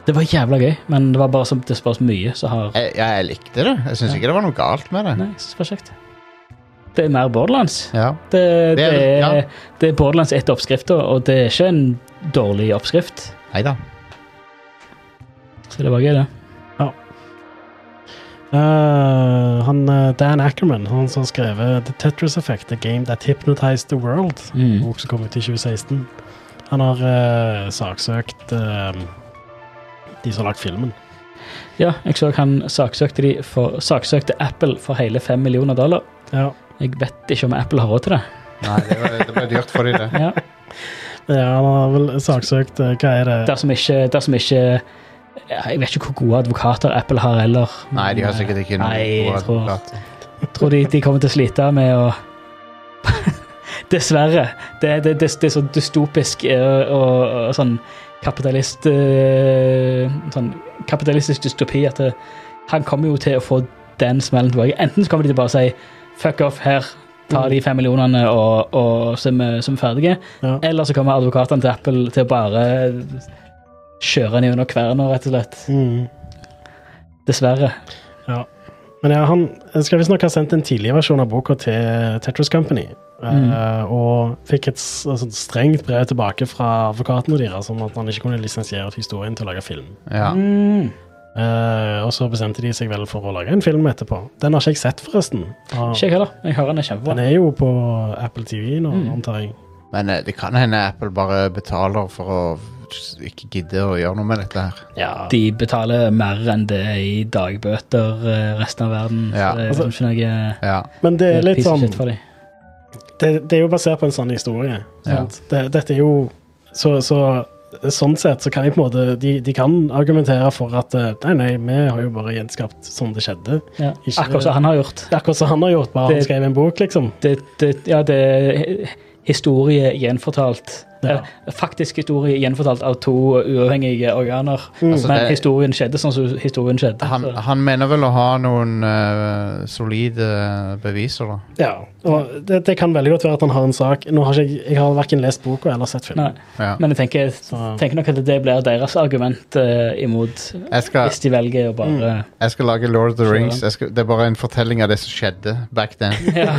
[SPEAKER 3] Det var jævla gøy, men det var bare så, det var så mye som har
[SPEAKER 1] jeg, ja, jeg likte det. Jeg syns
[SPEAKER 3] Ja.
[SPEAKER 1] ikke det var noe galt med det.
[SPEAKER 3] Nei, jeg synes det var kjekt. Det er mer Borderlands.
[SPEAKER 1] Ja.
[SPEAKER 3] Det, det,
[SPEAKER 1] Det er det,
[SPEAKER 3] er,
[SPEAKER 1] ja.
[SPEAKER 3] det er Borderlands etter oppskrifta, og det er ikke en dårlig oppskrift.
[SPEAKER 1] Nei da.
[SPEAKER 3] Så det var gøy, det.
[SPEAKER 2] Eh, han, eh, Dan Ackerman, han som har skrevet The Tetris Effect, The Game That Hypnotized The World, en
[SPEAKER 3] Mm.
[SPEAKER 2] bok som kom ut i 2016. Han har eh, saksøkt eh, de som har lagt filmen.
[SPEAKER 3] Ja, jeg så han saksøkte, de for, saksøkte Apple for hele fem millioner dollar.
[SPEAKER 2] Ja,
[SPEAKER 3] Jeg vet ikke om Apple har råd til det.
[SPEAKER 1] Nei, det, var, det ble dyrt for de det.
[SPEAKER 3] Ja.
[SPEAKER 2] ja han har vel saksøkt eh, Hva er det?
[SPEAKER 3] Dersom ikke, dersom ikke Jeg vet ikke hvor gode advokater Apple har heller.
[SPEAKER 1] Nei, de har sikkert ikke noe
[SPEAKER 3] Nei, jeg tror,
[SPEAKER 1] advokat.
[SPEAKER 3] tror de, de kommer til å slite med å Dessverre. Det, det, det, det er så dystopisk eh, og, og sånn kapitalist eh, Sånn kapitalistisk dystopi at det, han kommer jo til å få den smellen tilbake. Enten så kommer de til å bare si fuck off, her, ta de fem millionene og, og så er vi- så er vi ferdige.
[SPEAKER 2] Ja.
[SPEAKER 3] Eller så kommer advokatene til Apple til å bare kjøre den gjennom kverna, rett og slett.
[SPEAKER 2] Mm.
[SPEAKER 3] Dessverre.
[SPEAKER 2] Men ja, han skal visstnok ha sendt en tidlig versjon av boka til Tetris Company. eh,
[SPEAKER 3] Mm.
[SPEAKER 2] og fikk et s- altså, et strengt brev tilbake fra advokatene deres om at han ikke kunne lisensiere ut historien til å lage film.
[SPEAKER 1] Ja.
[SPEAKER 3] Mm.
[SPEAKER 2] Eh, og så bestemte de seg vel for å lage en film etterpå. Den har ikke jeg sett, forresten. Og
[SPEAKER 3] Ikke jeg heller. Mm. Jeg hører den er
[SPEAKER 2] den
[SPEAKER 3] kjempebra.
[SPEAKER 2] er jo på Apple TV nå, antar jeg.
[SPEAKER 1] Men eh, det kan hende Apple bare betaler for å ikke gidde å gjøre noe med dette her.
[SPEAKER 2] Ja,
[SPEAKER 3] De betaler mer enn det er i dagbøter eh, resten av verden.
[SPEAKER 1] Ja.
[SPEAKER 3] Så det er liksom ikke noe
[SPEAKER 1] Ja.
[SPEAKER 2] Men Altså, det er litt
[SPEAKER 3] piece of
[SPEAKER 2] sånn
[SPEAKER 3] shit for dem.
[SPEAKER 2] det, det er jo basert på en sann historie. Sant? Det, dette er jo så, så Sånn sett så kan jeg på en måte De, de kan argumentere for at eh, nei, nei, vi har jo bare gjenskapt sånn det skjedde.
[SPEAKER 3] Ja.
[SPEAKER 2] Ikke-
[SPEAKER 3] Akkurat som han har gjort.
[SPEAKER 2] Det er akkurat som han har gjort, bare
[SPEAKER 3] Det-
[SPEAKER 2] han skrev en bok, liksom.
[SPEAKER 3] Det, det, ja, det er historie gjenfortalt.
[SPEAKER 2] Ja.
[SPEAKER 3] Eh, Faktisk historie gjenfortalt av to uavhengige organer.
[SPEAKER 2] Mm.
[SPEAKER 1] Altså,
[SPEAKER 3] Men
[SPEAKER 1] det-
[SPEAKER 3] historien skjedde sånn som historien skjedde.
[SPEAKER 1] Han,
[SPEAKER 3] så-
[SPEAKER 1] han mener vel å ha noen eh, solide eh, beviser, da.
[SPEAKER 2] Ja, og det, det kan veldig godt være at han har en sak. Nå har ikke jeg, jeg har verken lest boka eller sett
[SPEAKER 3] Nei.
[SPEAKER 2] filmen.
[SPEAKER 1] Ja.
[SPEAKER 3] Men jeg tenker,
[SPEAKER 2] Så-
[SPEAKER 3] tenker nok at det blir deres argument eh, imot,
[SPEAKER 1] Jeg skal,
[SPEAKER 3] hvis de velger å bare
[SPEAKER 1] jeg skal lage Lord of the
[SPEAKER 3] Så
[SPEAKER 1] Rings.
[SPEAKER 3] langt.
[SPEAKER 1] Jeg skal, det er bare en fortelling av det som skjedde back then.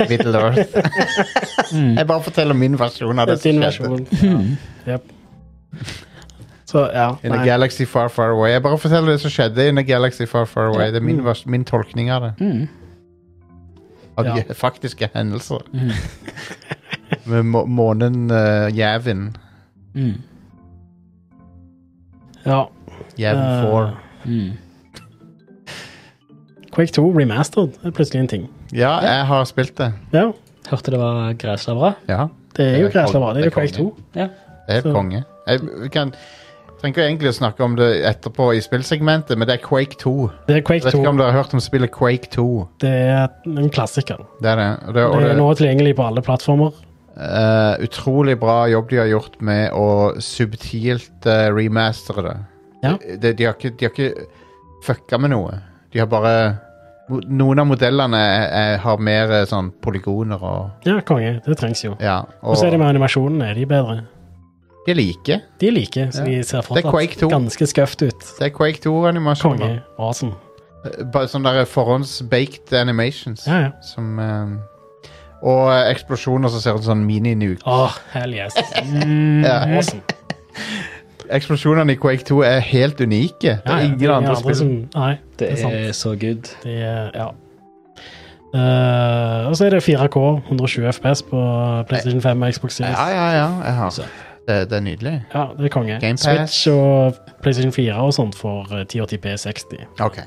[SPEAKER 1] Middle Earth.
[SPEAKER 2] Mm.
[SPEAKER 1] jeg bare forteller min versjon av det
[SPEAKER 2] Din
[SPEAKER 1] som skjedde.
[SPEAKER 2] versjon. Ja.
[SPEAKER 3] Mm.
[SPEAKER 2] Jep. Så ja.
[SPEAKER 1] In a
[SPEAKER 2] nei.
[SPEAKER 1] galaxy far, far away. Jeg bare forteller det som skjedde in a galaxy far, far away. Det er min, vers, min tolkning av det.
[SPEAKER 3] Mm.
[SPEAKER 1] Av
[SPEAKER 2] Ja.
[SPEAKER 1] de faktiske hendelser.
[SPEAKER 3] Mm.
[SPEAKER 1] Med må månen uh, Jævin.
[SPEAKER 3] Mm.
[SPEAKER 2] Ja.
[SPEAKER 1] Jævin
[SPEAKER 2] Eh,
[SPEAKER 1] 4.
[SPEAKER 3] Mm.
[SPEAKER 2] Quake 2 Remastered er plutselig en ting.
[SPEAKER 1] Ja, jeg har spilt det.
[SPEAKER 2] Ja,
[SPEAKER 3] Hørte det var græslavere.
[SPEAKER 1] Ja,
[SPEAKER 2] det er jo
[SPEAKER 1] Det er
[SPEAKER 2] Græsla bra. Det er jo
[SPEAKER 1] konge.
[SPEAKER 2] Quake 2.
[SPEAKER 3] Ja.
[SPEAKER 1] det er
[SPEAKER 2] Så-
[SPEAKER 1] konge. Jeg vi kan trenger egentlig å snakke om det etterpå i spillsegmentet, men det er Quake 2.
[SPEAKER 2] Det er
[SPEAKER 1] Jeg
[SPEAKER 2] Quake
[SPEAKER 1] vet
[SPEAKER 2] 2.
[SPEAKER 1] ikke om dere har hørt om spillet Quake 2.
[SPEAKER 2] Det er en klassiker.
[SPEAKER 1] Det er det. Og det, og
[SPEAKER 2] Det
[SPEAKER 1] det,
[SPEAKER 2] er nå tilgjengelig på alle plattformer.
[SPEAKER 1] eh, utrolig bra jobb de har gjort med å subtilt eh, remastere det.
[SPEAKER 2] Ja.
[SPEAKER 1] De, de, har ikke, de har ikke fucka med noe. De har bare mo- Noen av modellene er, er, har mer eh, sånn polygoner og
[SPEAKER 2] Ja, konge. Det trengs jo.
[SPEAKER 1] Ja.
[SPEAKER 2] Og så er det
[SPEAKER 1] Og
[SPEAKER 2] med animasjonene. Er de bedre?
[SPEAKER 1] de liker.
[SPEAKER 2] De er like, så
[SPEAKER 1] Ja.
[SPEAKER 2] de ser
[SPEAKER 1] Det er Quake 2.
[SPEAKER 2] fortsatt ganske skøft ut.
[SPEAKER 1] Det er Quake 2-animasjoner.
[SPEAKER 2] Konge. Awesome.
[SPEAKER 1] Bare sånne der forhåndsbaked animations.
[SPEAKER 2] Ja, ja.
[SPEAKER 1] Som eh, Og eh, eksplosjoner som ser ut som sånn mini-nuke.
[SPEAKER 2] Åh, hell yes.
[SPEAKER 1] Ja.
[SPEAKER 2] Mm. Awesome.
[SPEAKER 1] Eksplosjonene i Quake 2 er helt unike. Det
[SPEAKER 2] Ja,
[SPEAKER 1] er
[SPEAKER 2] ja,
[SPEAKER 1] ingen andre spill.
[SPEAKER 2] som Nei,
[SPEAKER 3] Det
[SPEAKER 2] er sant.
[SPEAKER 3] er så good.
[SPEAKER 2] det er Ja. Eh, og så er det 4K, 120 FPS på PlayStation 5 og Xbox Series.
[SPEAKER 1] Ja, ja, ja. Jeg har.
[SPEAKER 3] Så.
[SPEAKER 1] Det, det er nydelig.
[SPEAKER 2] Ja, det er konge.
[SPEAKER 1] Game Pass.
[SPEAKER 2] Switch og PlayStation 4 og sånt for eh, 1080p60.
[SPEAKER 1] Ok.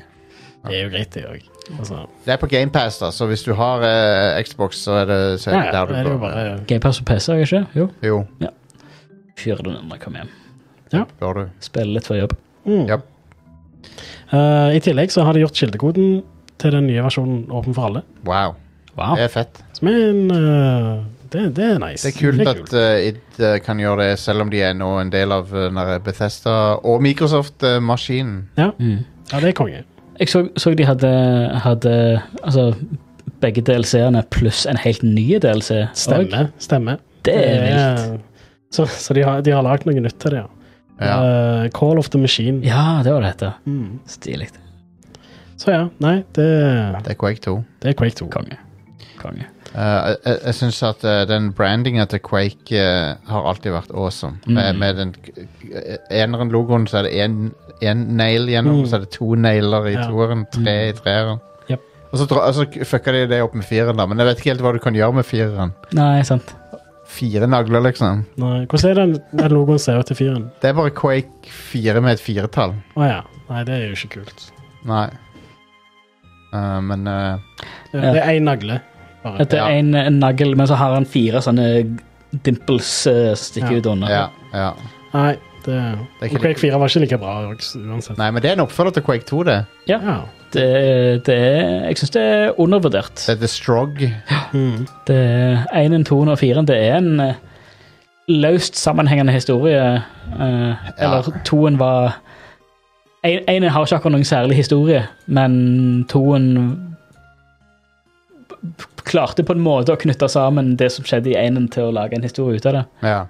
[SPEAKER 2] Det er jo greit, det òg. Altså,
[SPEAKER 1] Det er på GamePass, da, så hvis du har eh, Xbox, så er det, så er
[SPEAKER 2] ja,
[SPEAKER 1] det
[SPEAKER 2] ja,
[SPEAKER 1] der
[SPEAKER 2] det er
[SPEAKER 1] du
[SPEAKER 2] jo
[SPEAKER 1] bør
[SPEAKER 2] bare
[SPEAKER 3] Gamepass og PC, ikke? Jo.
[SPEAKER 1] Jo,
[SPEAKER 3] Fyr den når jeg kommer hjem.
[SPEAKER 1] bør du.
[SPEAKER 3] Spille litt før jobb.
[SPEAKER 2] mm.
[SPEAKER 1] Japp.
[SPEAKER 2] Eh, I tillegg så har de gjort kildekoden til den nye versjonen åpen for alle.
[SPEAKER 1] Wow.
[SPEAKER 3] Wow.
[SPEAKER 1] Det er fett.
[SPEAKER 2] Som er en eh, det, det er nice.
[SPEAKER 1] Det er kult at eh, id eh, kan gjøre det, selv om de er nå en del av eh, den der Bethesda og eh, Microsoft-maskinen.
[SPEAKER 3] Mm.
[SPEAKER 1] eh,
[SPEAKER 2] Ja, det er konge.
[SPEAKER 3] Jeg så, så de hadde, hadde altså, begge DLC-ene pluss en helt ny DLC. og
[SPEAKER 2] Stemme. stemme. Eh,
[SPEAKER 3] Det er vilt.
[SPEAKER 2] Så, så de har, de har lagd noe nytt til det, ja.
[SPEAKER 1] ja.
[SPEAKER 2] Eh, Call of the Machine.
[SPEAKER 3] Ja, det var det hette.
[SPEAKER 2] Mm.
[SPEAKER 3] Stilig.
[SPEAKER 2] Så ja, nei, det,
[SPEAKER 1] Det er Quake 2.
[SPEAKER 2] det er Quake 2.
[SPEAKER 3] Konge. Konge.
[SPEAKER 1] Eh, jeg jeg- jeg syns at eh, den brandinga til Quake eh, har alltid vært awesome. Med,
[SPEAKER 3] Mm.
[SPEAKER 1] med den eh, eneren-logoen, så er det én nail gjennom,
[SPEAKER 2] Mm.
[SPEAKER 1] så er det to nailer i
[SPEAKER 2] Ja.
[SPEAKER 1] toeren, tre i treeren.
[SPEAKER 2] Jep.
[SPEAKER 1] Og så, dra- og så fucka de det opp med fireren, da, men jeg vet ikke helt hva du kan gjøre med fireren.
[SPEAKER 3] Nei, sant.
[SPEAKER 1] Fire nagler, liksom.
[SPEAKER 2] Nei, hvordan er den, den logoen ser ut til fyren?
[SPEAKER 1] Det er bare Quake 4 med et firetall.
[SPEAKER 2] Å ja. Nei, det er jo ikke kult.
[SPEAKER 1] Nei. Eh, men eh,
[SPEAKER 2] Det,
[SPEAKER 3] Ja.
[SPEAKER 2] det er én nagle. bare.
[SPEAKER 3] Etter
[SPEAKER 1] Ja.
[SPEAKER 3] en, en nagel, men så har han fire sånne dimples uh, stikker
[SPEAKER 2] Ja.
[SPEAKER 3] ut under.
[SPEAKER 1] ja, ja.
[SPEAKER 2] Nei, det,
[SPEAKER 1] Det er ikke
[SPEAKER 2] Og Quake 4 var ikke like bra uansett.
[SPEAKER 1] Nei, men det er en oppfølger til Quake 2, det.
[SPEAKER 2] Ja.
[SPEAKER 3] Det, det er Jeg syns det er undervurdert.
[SPEAKER 1] Det er The Strog.
[SPEAKER 2] Mm.
[SPEAKER 3] Det er Én, toen og firen. Det er en eh, løst sammenhengende historie. eh, Eller toen var en- Én har ikke akkurat noen særlig historie, men toen b- b- klarte på en måte å knytte sammen det som skjedde i énen, til å lage en historie ut av det.
[SPEAKER 1] Ja.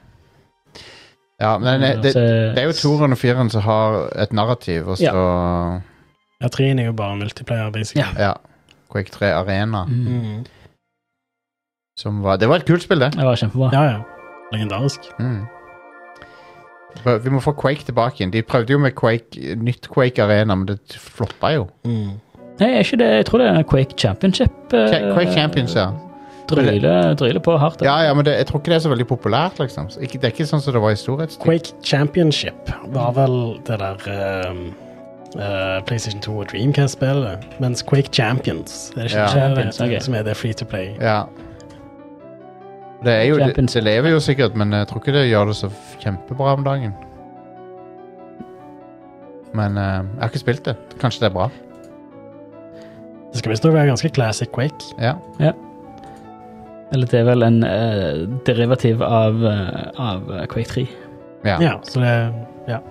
[SPEAKER 1] ja men eh, det, det, Det er jo toeren og fireren som har et narrativ, og så
[SPEAKER 2] Ja, treen er jo bare multiplayer, basically.
[SPEAKER 3] Ja.
[SPEAKER 1] ja. Quake 3 Arena.
[SPEAKER 3] Mm.
[SPEAKER 2] Mm.
[SPEAKER 1] Som var, det var et kult spill, det.
[SPEAKER 3] Det var kjempebra.
[SPEAKER 2] ja, ja. Legendarisk.
[SPEAKER 1] Mm. Bra, Vi må få Quake tilbake igjen. De prøvde jo med Quake, nytt Quake Arena, men det floppa jo.
[SPEAKER 2] Mm.
[SPEAKER 3] Nei, er ikke det, jeg tror det er Quake Championship. eh,
[SPEAKER 1] Qua- Quake Champions, ja.
[SPEAKER 3] Dryle, dryle på hardt. altså.
[SPEAKER 1] Ja, ja, men det, jeg tror ikke det er så veldig populært, liksom. Så Ikke, det er ikke sånn som det var i storhetstid.
[SPEAKER 2] Quake Championship var vel det der ehm, eh, PlayStation 2 og Dreamcast-spillet. Mens Quake Champions det er ikke
[SPEAKER 1] Ja.
[SPEAKER 2] det,
[SPEAKER 3] Champions,
[SPEAKER 2] det,
[SPEAKER 3] ok.
[SPEAKER 2] som er det free to play.
[SPEAKER 1] Ja. Det, er jo, det,
[SPEAKER 3] Champions.
[SPEAKER 1] det lever jo sikkert, men jeg tror ikke det gjør det så f- kjempebra om dagen. Men eh, jeg har ikke spilt det. Kanskje det er bra.
[SPEAKER 2] Det skal visstnok være ganske classic Quake.
[SPEAKER 1] Ja.
[SPEAKER 3] Eller det er vel en eh, derivativ av, eh, av eh, Quake 3.
[SPEAKER 1] ja.
[SPEAKER 2] Ja, så det ja.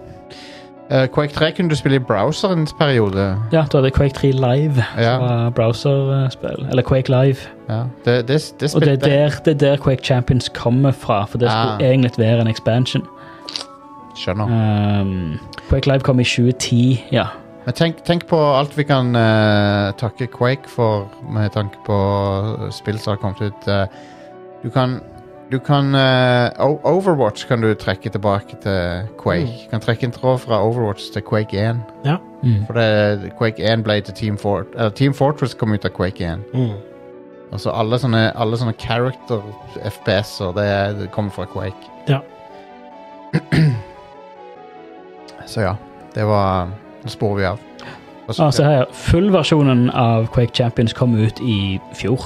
[SPEAKER 1] Eh, Quake 3 kunne du spille i browser en periode.
[SPEAKER 3] Ja, da er det Quake 3 Live.
[SPEAKER 1] Ja.
[SPEAKER 3] Ja. Browserspill. Eller Quake Live.
[SPEAKER 1] Ja. Det, det, det
[SPEAKER 3] Og det er,
[SPEAKER 1] spilte
[SPEAKER 3] der, det er der Quake Champions kommer fra, for det skulle
[SPEAKER 1] Ah.
[SPEAKER 3] egentlig være en expansion.
[SPEAKER 1] Skjønner.
[SPEAKER 3] Um, Quake Live kom i 2010, ja.
[SPEAKER 1] Men tenk, tenk på alt vi kan eh, takke Quake for, med tanke på spill som har kommet ut. eh. du kan du kan eh, O- Overwatch kan du trekke tilbake til Quake. Du kan trekke en tråd fra Overwatch til Quake 1.
[SPEAKER 3] Mm.
[SPEAKER 1] For det, Quake 1 ble til Team Fort eller Team Fortress kom ut av Quake 1.
[SPEAKER 2] Mm.
[SPEAKER 1] Og så Altså, alle sånne, alle sånne character FPS-er, det, er- det kommer fra Quake.
[SPEAKER 2] Ja.
[SPEAKER 1] så ja, det var Nå sporer vi av. Og så-
[SPEAKER 2] Ah,
[SPEAKER 3] Altså her, Fullversjonen av Quake Champions kom ut i fjor.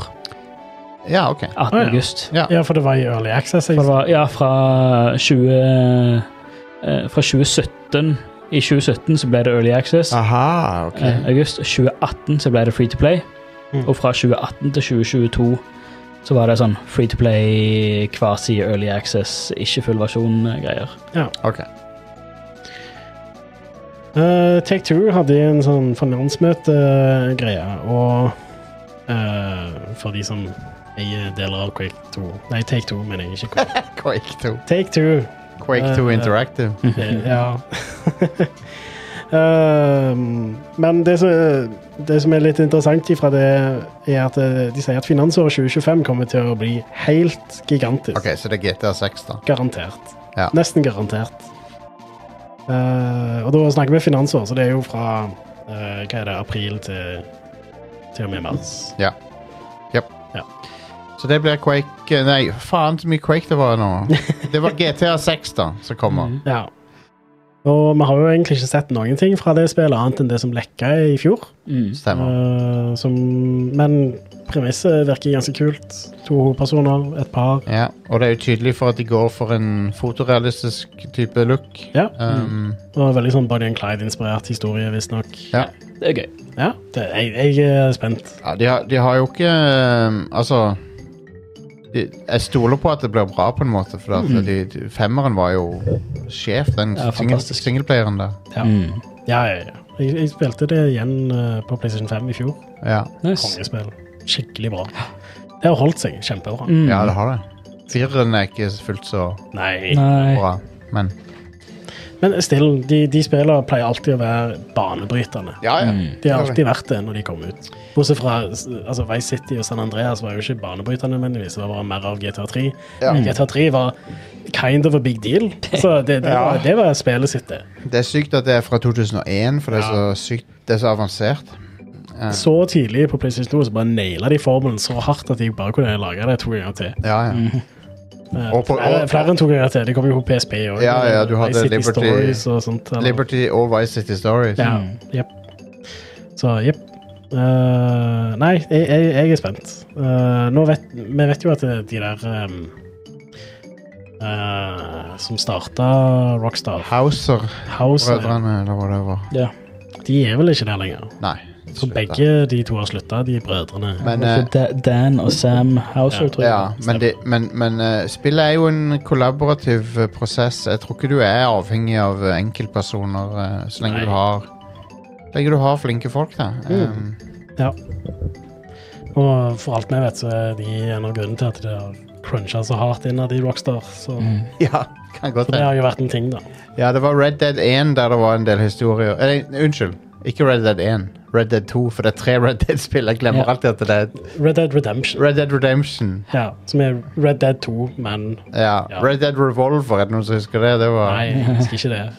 [SPEAKER 1] Ja, ok.
[SPEAKER 3] 18.
[SPEAKER 2] Å, ja.
[SPEAKER 3] august.
[SPEAKER 1] Ja.
[SPEAKER 2] ja, for det var i Early Access.
[SPEAKER 3] For
[SPEAKER 2] Jeg,
[SPEAKER 3] det var, ja, fra 20... eh, fra 2017 I 2017 så ble det Early Access.
[SPEAKER 1] Aha, ok.
[SPEAKER 3] eh, august. 2018 så ble det Free to Play.
[SPEAKER 2] Mm.
[SPEAKER 3] Og fra 2018 til 2022 så var det sånn Free to Play, kvasi Early Access, ikke full eh, versjon-greier.
[SPEAKER 1] ok.
[SPEAKER 2] Eh, Take Two hadde en sånn finansmøtegreie, og eh, for de som eier deler av Quake 2 Nei, Take Two, mener jeg ikke. Quake.
[SPEAKER 1] Quake 2.
[SPEAKER 2] Take Two.
[SPEAKER 1] Quake 2
[SPEAKER 2] Eh,
[SPEAKER 1] Interactive.
[SPEAKER 2] Eh, ja. Ehm, men det som, det som er litt interessant ifra det, er at eh, de sier at finansåret 2025 kommer til å bli helt gigantisk.
[SPEAKER 1] Ok, så det er GTA 6, da.
[SPEAKER 2] Garantert.
[SPEAKER 1] Ja.
[SPEAKER 2] Nesten garantert. Eh, og da snakker vi finansår, så det er jo fra eh, hva er det, april til til og med mars.
[SPEAKER 1] Så det blir Quake eh, Nei, faen så mye Quake det var nå. Det var GTA 6, da, som kommer.
[SPEAKER 3] Mhm.
[SPEAKER 2] Ja. Og vi har jo egentlig ikke sett noen ting fra det spillet, annet enn det som lekka i fjor.
[SPEAKER 3] Mm.
[SPEAKER 1] Stemmer.
[SPEAKER 2] Eh, som, men premisset virker ganske kult. To hovedpersoner, et par.
[SPEAKER 1] Ja, og det er jo tydelig for at de går for en fotorealistisk type look.
[SPEAKER 2] Ja.
[SPEAKER 1] Um,
[SPEAKER 3] Mm.
[SPEAKER 2] Og veldig sånn Bonnie and Clyde-inspirert historie, visstnok.
[SPEAKER 1] ja.
[SPEAKER 3] Det er gøy.
[SPEAKER 2] Ja, det, jeg, jeg er spent.
[SPEAKER 1] Ja, de har, de har jo ikke um, Altså de, Jeg stoler på at det blir bra, på en måte. For at de, de, femmeren var jo sjef, den
[SPEAKER 3] Mm. Ja,
[SPEAKER 1] single,
[SPEAKER 3] fantastisk.
[SPEAKER 1] singleplayeren der.
[SPEAKER 2] Ja.
[SPEAKER 3] Mm.
[SPEAKER 2] Ja, ja, ja. Jeg, jeg spilte det igjen eh, på PlayStation 5 i fjor.
[SPEAKER 1] Ja.
[SPEAKER 3] Nice.
[SPEAKER 2] Kongespill. Skikkelig bra. Det har holdt seg kjempebra.
[SPEAKER 3] Mm.
[SPEAKER 1] ja, det har det. Fireren er ikke fullt så
[SPEAKER 2] Nei.
[SPEAKER 3] Nei.
[SPEAKER 1] bra, men
[SPEAKER 2] Men still, de, de spillene pleier alltid å være banebrytende.
[SPEAKER 1] Ja, ja.
[SPEAKER 3] Mm.
[SPEAKER 2] De har alltid vært det når de kom ut. Bortsett fra altså, Vice City og San Andreas var jo ikke banebrytende, men det var bare mer av GTA3.
[SPEAKER 1] Ja.
[SPEAKER 2] GTA3 var kind of a big deal, så det, det, var, det var spillet sitt, det.
[SPEAKER 1] Det er sykt at det er fra 2001, for det er så sykt Det er så avansert. Ja.
[SPEAKER 2] Så tidlig på PlayStation 2 så bare naila de formelen så hardt at de bare kunne lage det to ganger til.
[SPEAKER 1] Ja,
[SPEAKER 3] Mm.
[SPEAKER 1] ja.
[SPEAKER 3] Mhm.
[SPEAKER 2] Eh,
[SPEAKER 1] Og på-
[SPEAKER 2] flere,
[SPEAKER 1] og-
[SPEAKER 2] flere enn to ganger til. Det kom jo på PSP og
[SPEAKER 1] Ja, ja, du
[SPEAKER 2] eh,
[SPEAKER 1] hadde
[SPEAKER 2] Vice City
[SPEAKER 1] Liberty-
[SPEAKER 2] Stories og sånt. eller-
[SPEAKER 1] Liberty og Vice City Stories.
[SPEAKER 2] Ja, jepp. Så jepp. Eh, nei, jeg, jeg, jeg er spent. Eh, nå vet, vi vet jo at de der em, eh, som starta Rockstar
[SPEAKER 1] Hauser-brødrene,
[SPEAKER 2] House, eh,
[SPEAKER 1] eller whatever.
[SPEAKER 2] de er vel ikke der lenger.
[SPEAKER 1] Nei.
[SPEAKER 2] Så
[SPEAKER 1] slutt da.
[SPEAKER 2] begge de to har slutta, de brødrene.
[SPEAKER 1] Men eh,
[SPEAKER 3] Så Da- Dan og Sam Houser,
[SPEAKER 2] Ja.
[SPEAKER 3] tror jeg.
[SPEAKER 1] Ja, men, det, men, men eh, spillet er jo en kollaborativ eh, prosess. Jeg tror ikke du er avhengig av eh, enkeltpersoner eh, så lenge
[SPEAKER 2] Nei. Mm.
[SPEAKER 1] du har Så lenge du har flinke folk, da. Um,
[SPEAKER 2] Og for alt vi vet, så er de en av grunnene til at de har cruncha så hardt innad i Rockstar. Så
[SPEAKER 3] Mm.
[SPEAKER 1] ja, kan godt
[SPEAKER 2] for det
[SPEAKER 1] hende.
[SPEAKER 2] har jo vært en ting, da.
[SPEAKER 1] Ja, det var Red Dead 1 der det var en del historier. Eh, unnskyld, ikke Red Dead 1. Red Dead 2, for det er tre Red Dead-spill. Jeg glemmer
[SPEAKER 3] Ja.
[SPEAKER 1] alltid at det er
[SPEAKER 2] Red Dead Redemption,
[SPEAKER 1] Red Dead Redemption.
[SPEAKER 2] ja, som er Red Dead 2, men
[SPEAKER 1] Ja.
[SPEAKER 2] Ja.
[SPEAKER 1] Red Dead Revolver, er det noen som husker det? Det var
[SPEAKER 2] nei, jeg husker ikke det.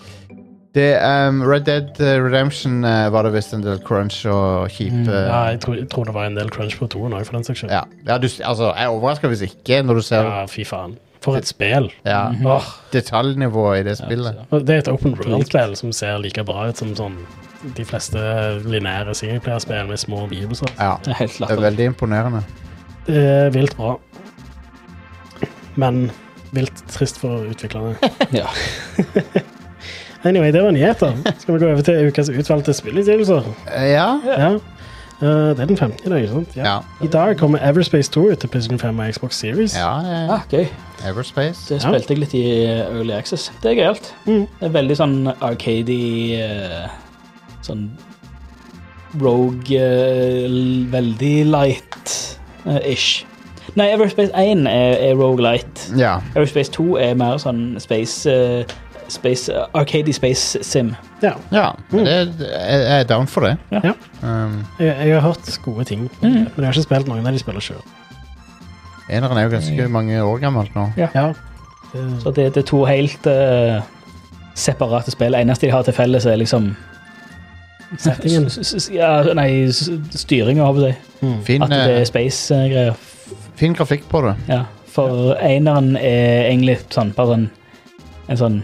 [SPEAKER 1] det, um, Red Dead eh, Redemption eh, var det visst en del crunch og kjipe
[SPEAKER 2] Mm. Ja, jeg tror, jeg tror det var en del crunch på toen òg, for den saks skyld.
[SPEAKER 1] Ja, ja du, altså, jeg overrasker hvis ikke, når du ser ja.
[SPEAKER 2] Ja, Mm-hmm. fy faen. For et spill.
[SPEAKER 1] Mhm.
[SPEAKER 2] Åh,
[SPEAKER 1] detaljnivået i det spillet.
[SPEAKER 2] og det er et open world-spill som ser like bra ut som sånn de fleste lineære singleplayer-spill med små omgivelser.
[SPEAKER 1] Ja,
[SPEAKER 3] Det er helt
[SPEAKER 1] det er
[SPEAKER 3] latterlig.
[SPEAKER 1] veldig imponerende.
[SPEAKER 2] Det er vilt bra. men vilt trist for utviklerne.
[SPEAKER 3] Ja.
[SPEAKER 2] Anyway, det var nyheter. Skal vi gå over til ukas utvalgte spillutgivelser?
[SPEAKER 1] Eh, ja?
[SPEAKER 2] Ja. Eh, det er den 15. i dag, ikke sant?
[SPEAKER 1] Ja.
[SPEAKER 2] I dag kommer Everspace 2 ut til PlayStation 5 og Xbox Series.
[SPEAKER 1] ja eh,
[SPEAKER 3] Ah, gøy.
[SPEAKER 1] Everspace.
[SPEAKER 3] Det spilte jeg litt i eh, Early Access. Det er gøyalt.
[SPEAKER 2] Mm.
[SPEAKER 3] Det er veldig sånn arcadey eh, Sånn rogue eh, l- Veldig light-ish. Nei, Everspace 1 er, er rogue light.
[SPEAKER 2] Mm.
[SPEAKER 1] Ja.
[SPEAKER 3] Everspace 2 er mer sånn space, eh, space Arcadey space sim.
[SPEAKER 2] Ja.
[SPEAKER 1] ja. men Det, det- jeg jeg er down for det.
[SPEAKER 2] Ja.
[SPEAKER 1] Um,
[SPEAKER 2] Jeg, jeg har hørt gode ting,
[SPEAKER 1] Mm.
[SPEAKER 2] men jeg har ikke spilt noen av de spiller sjøl.
[SPEAKER 1] eneren er jo ganske mange år gammelt nå.
[SPEAKER 2] Ja. Det-
[SPEAKER 3] Så det, det er to helt eh, separate spill. Det eneste de har til felles, er liksom
[SPEAKER 2] Settingen.
[SPEAKER 3] S- s- s- Ja, nei, s- styringen, håper jeg. å si.
[SPEAKER 1] Fin,
[SPEAKER 3] At det
[SPEAKER 1] eh,
[SPEAKER 3] er space-greier.
[SPEAKER 1] fin grafikk på det.
[SPEAKER 3] Ja, for eneren er egentlig sånn, bare sånn, en sånn eh,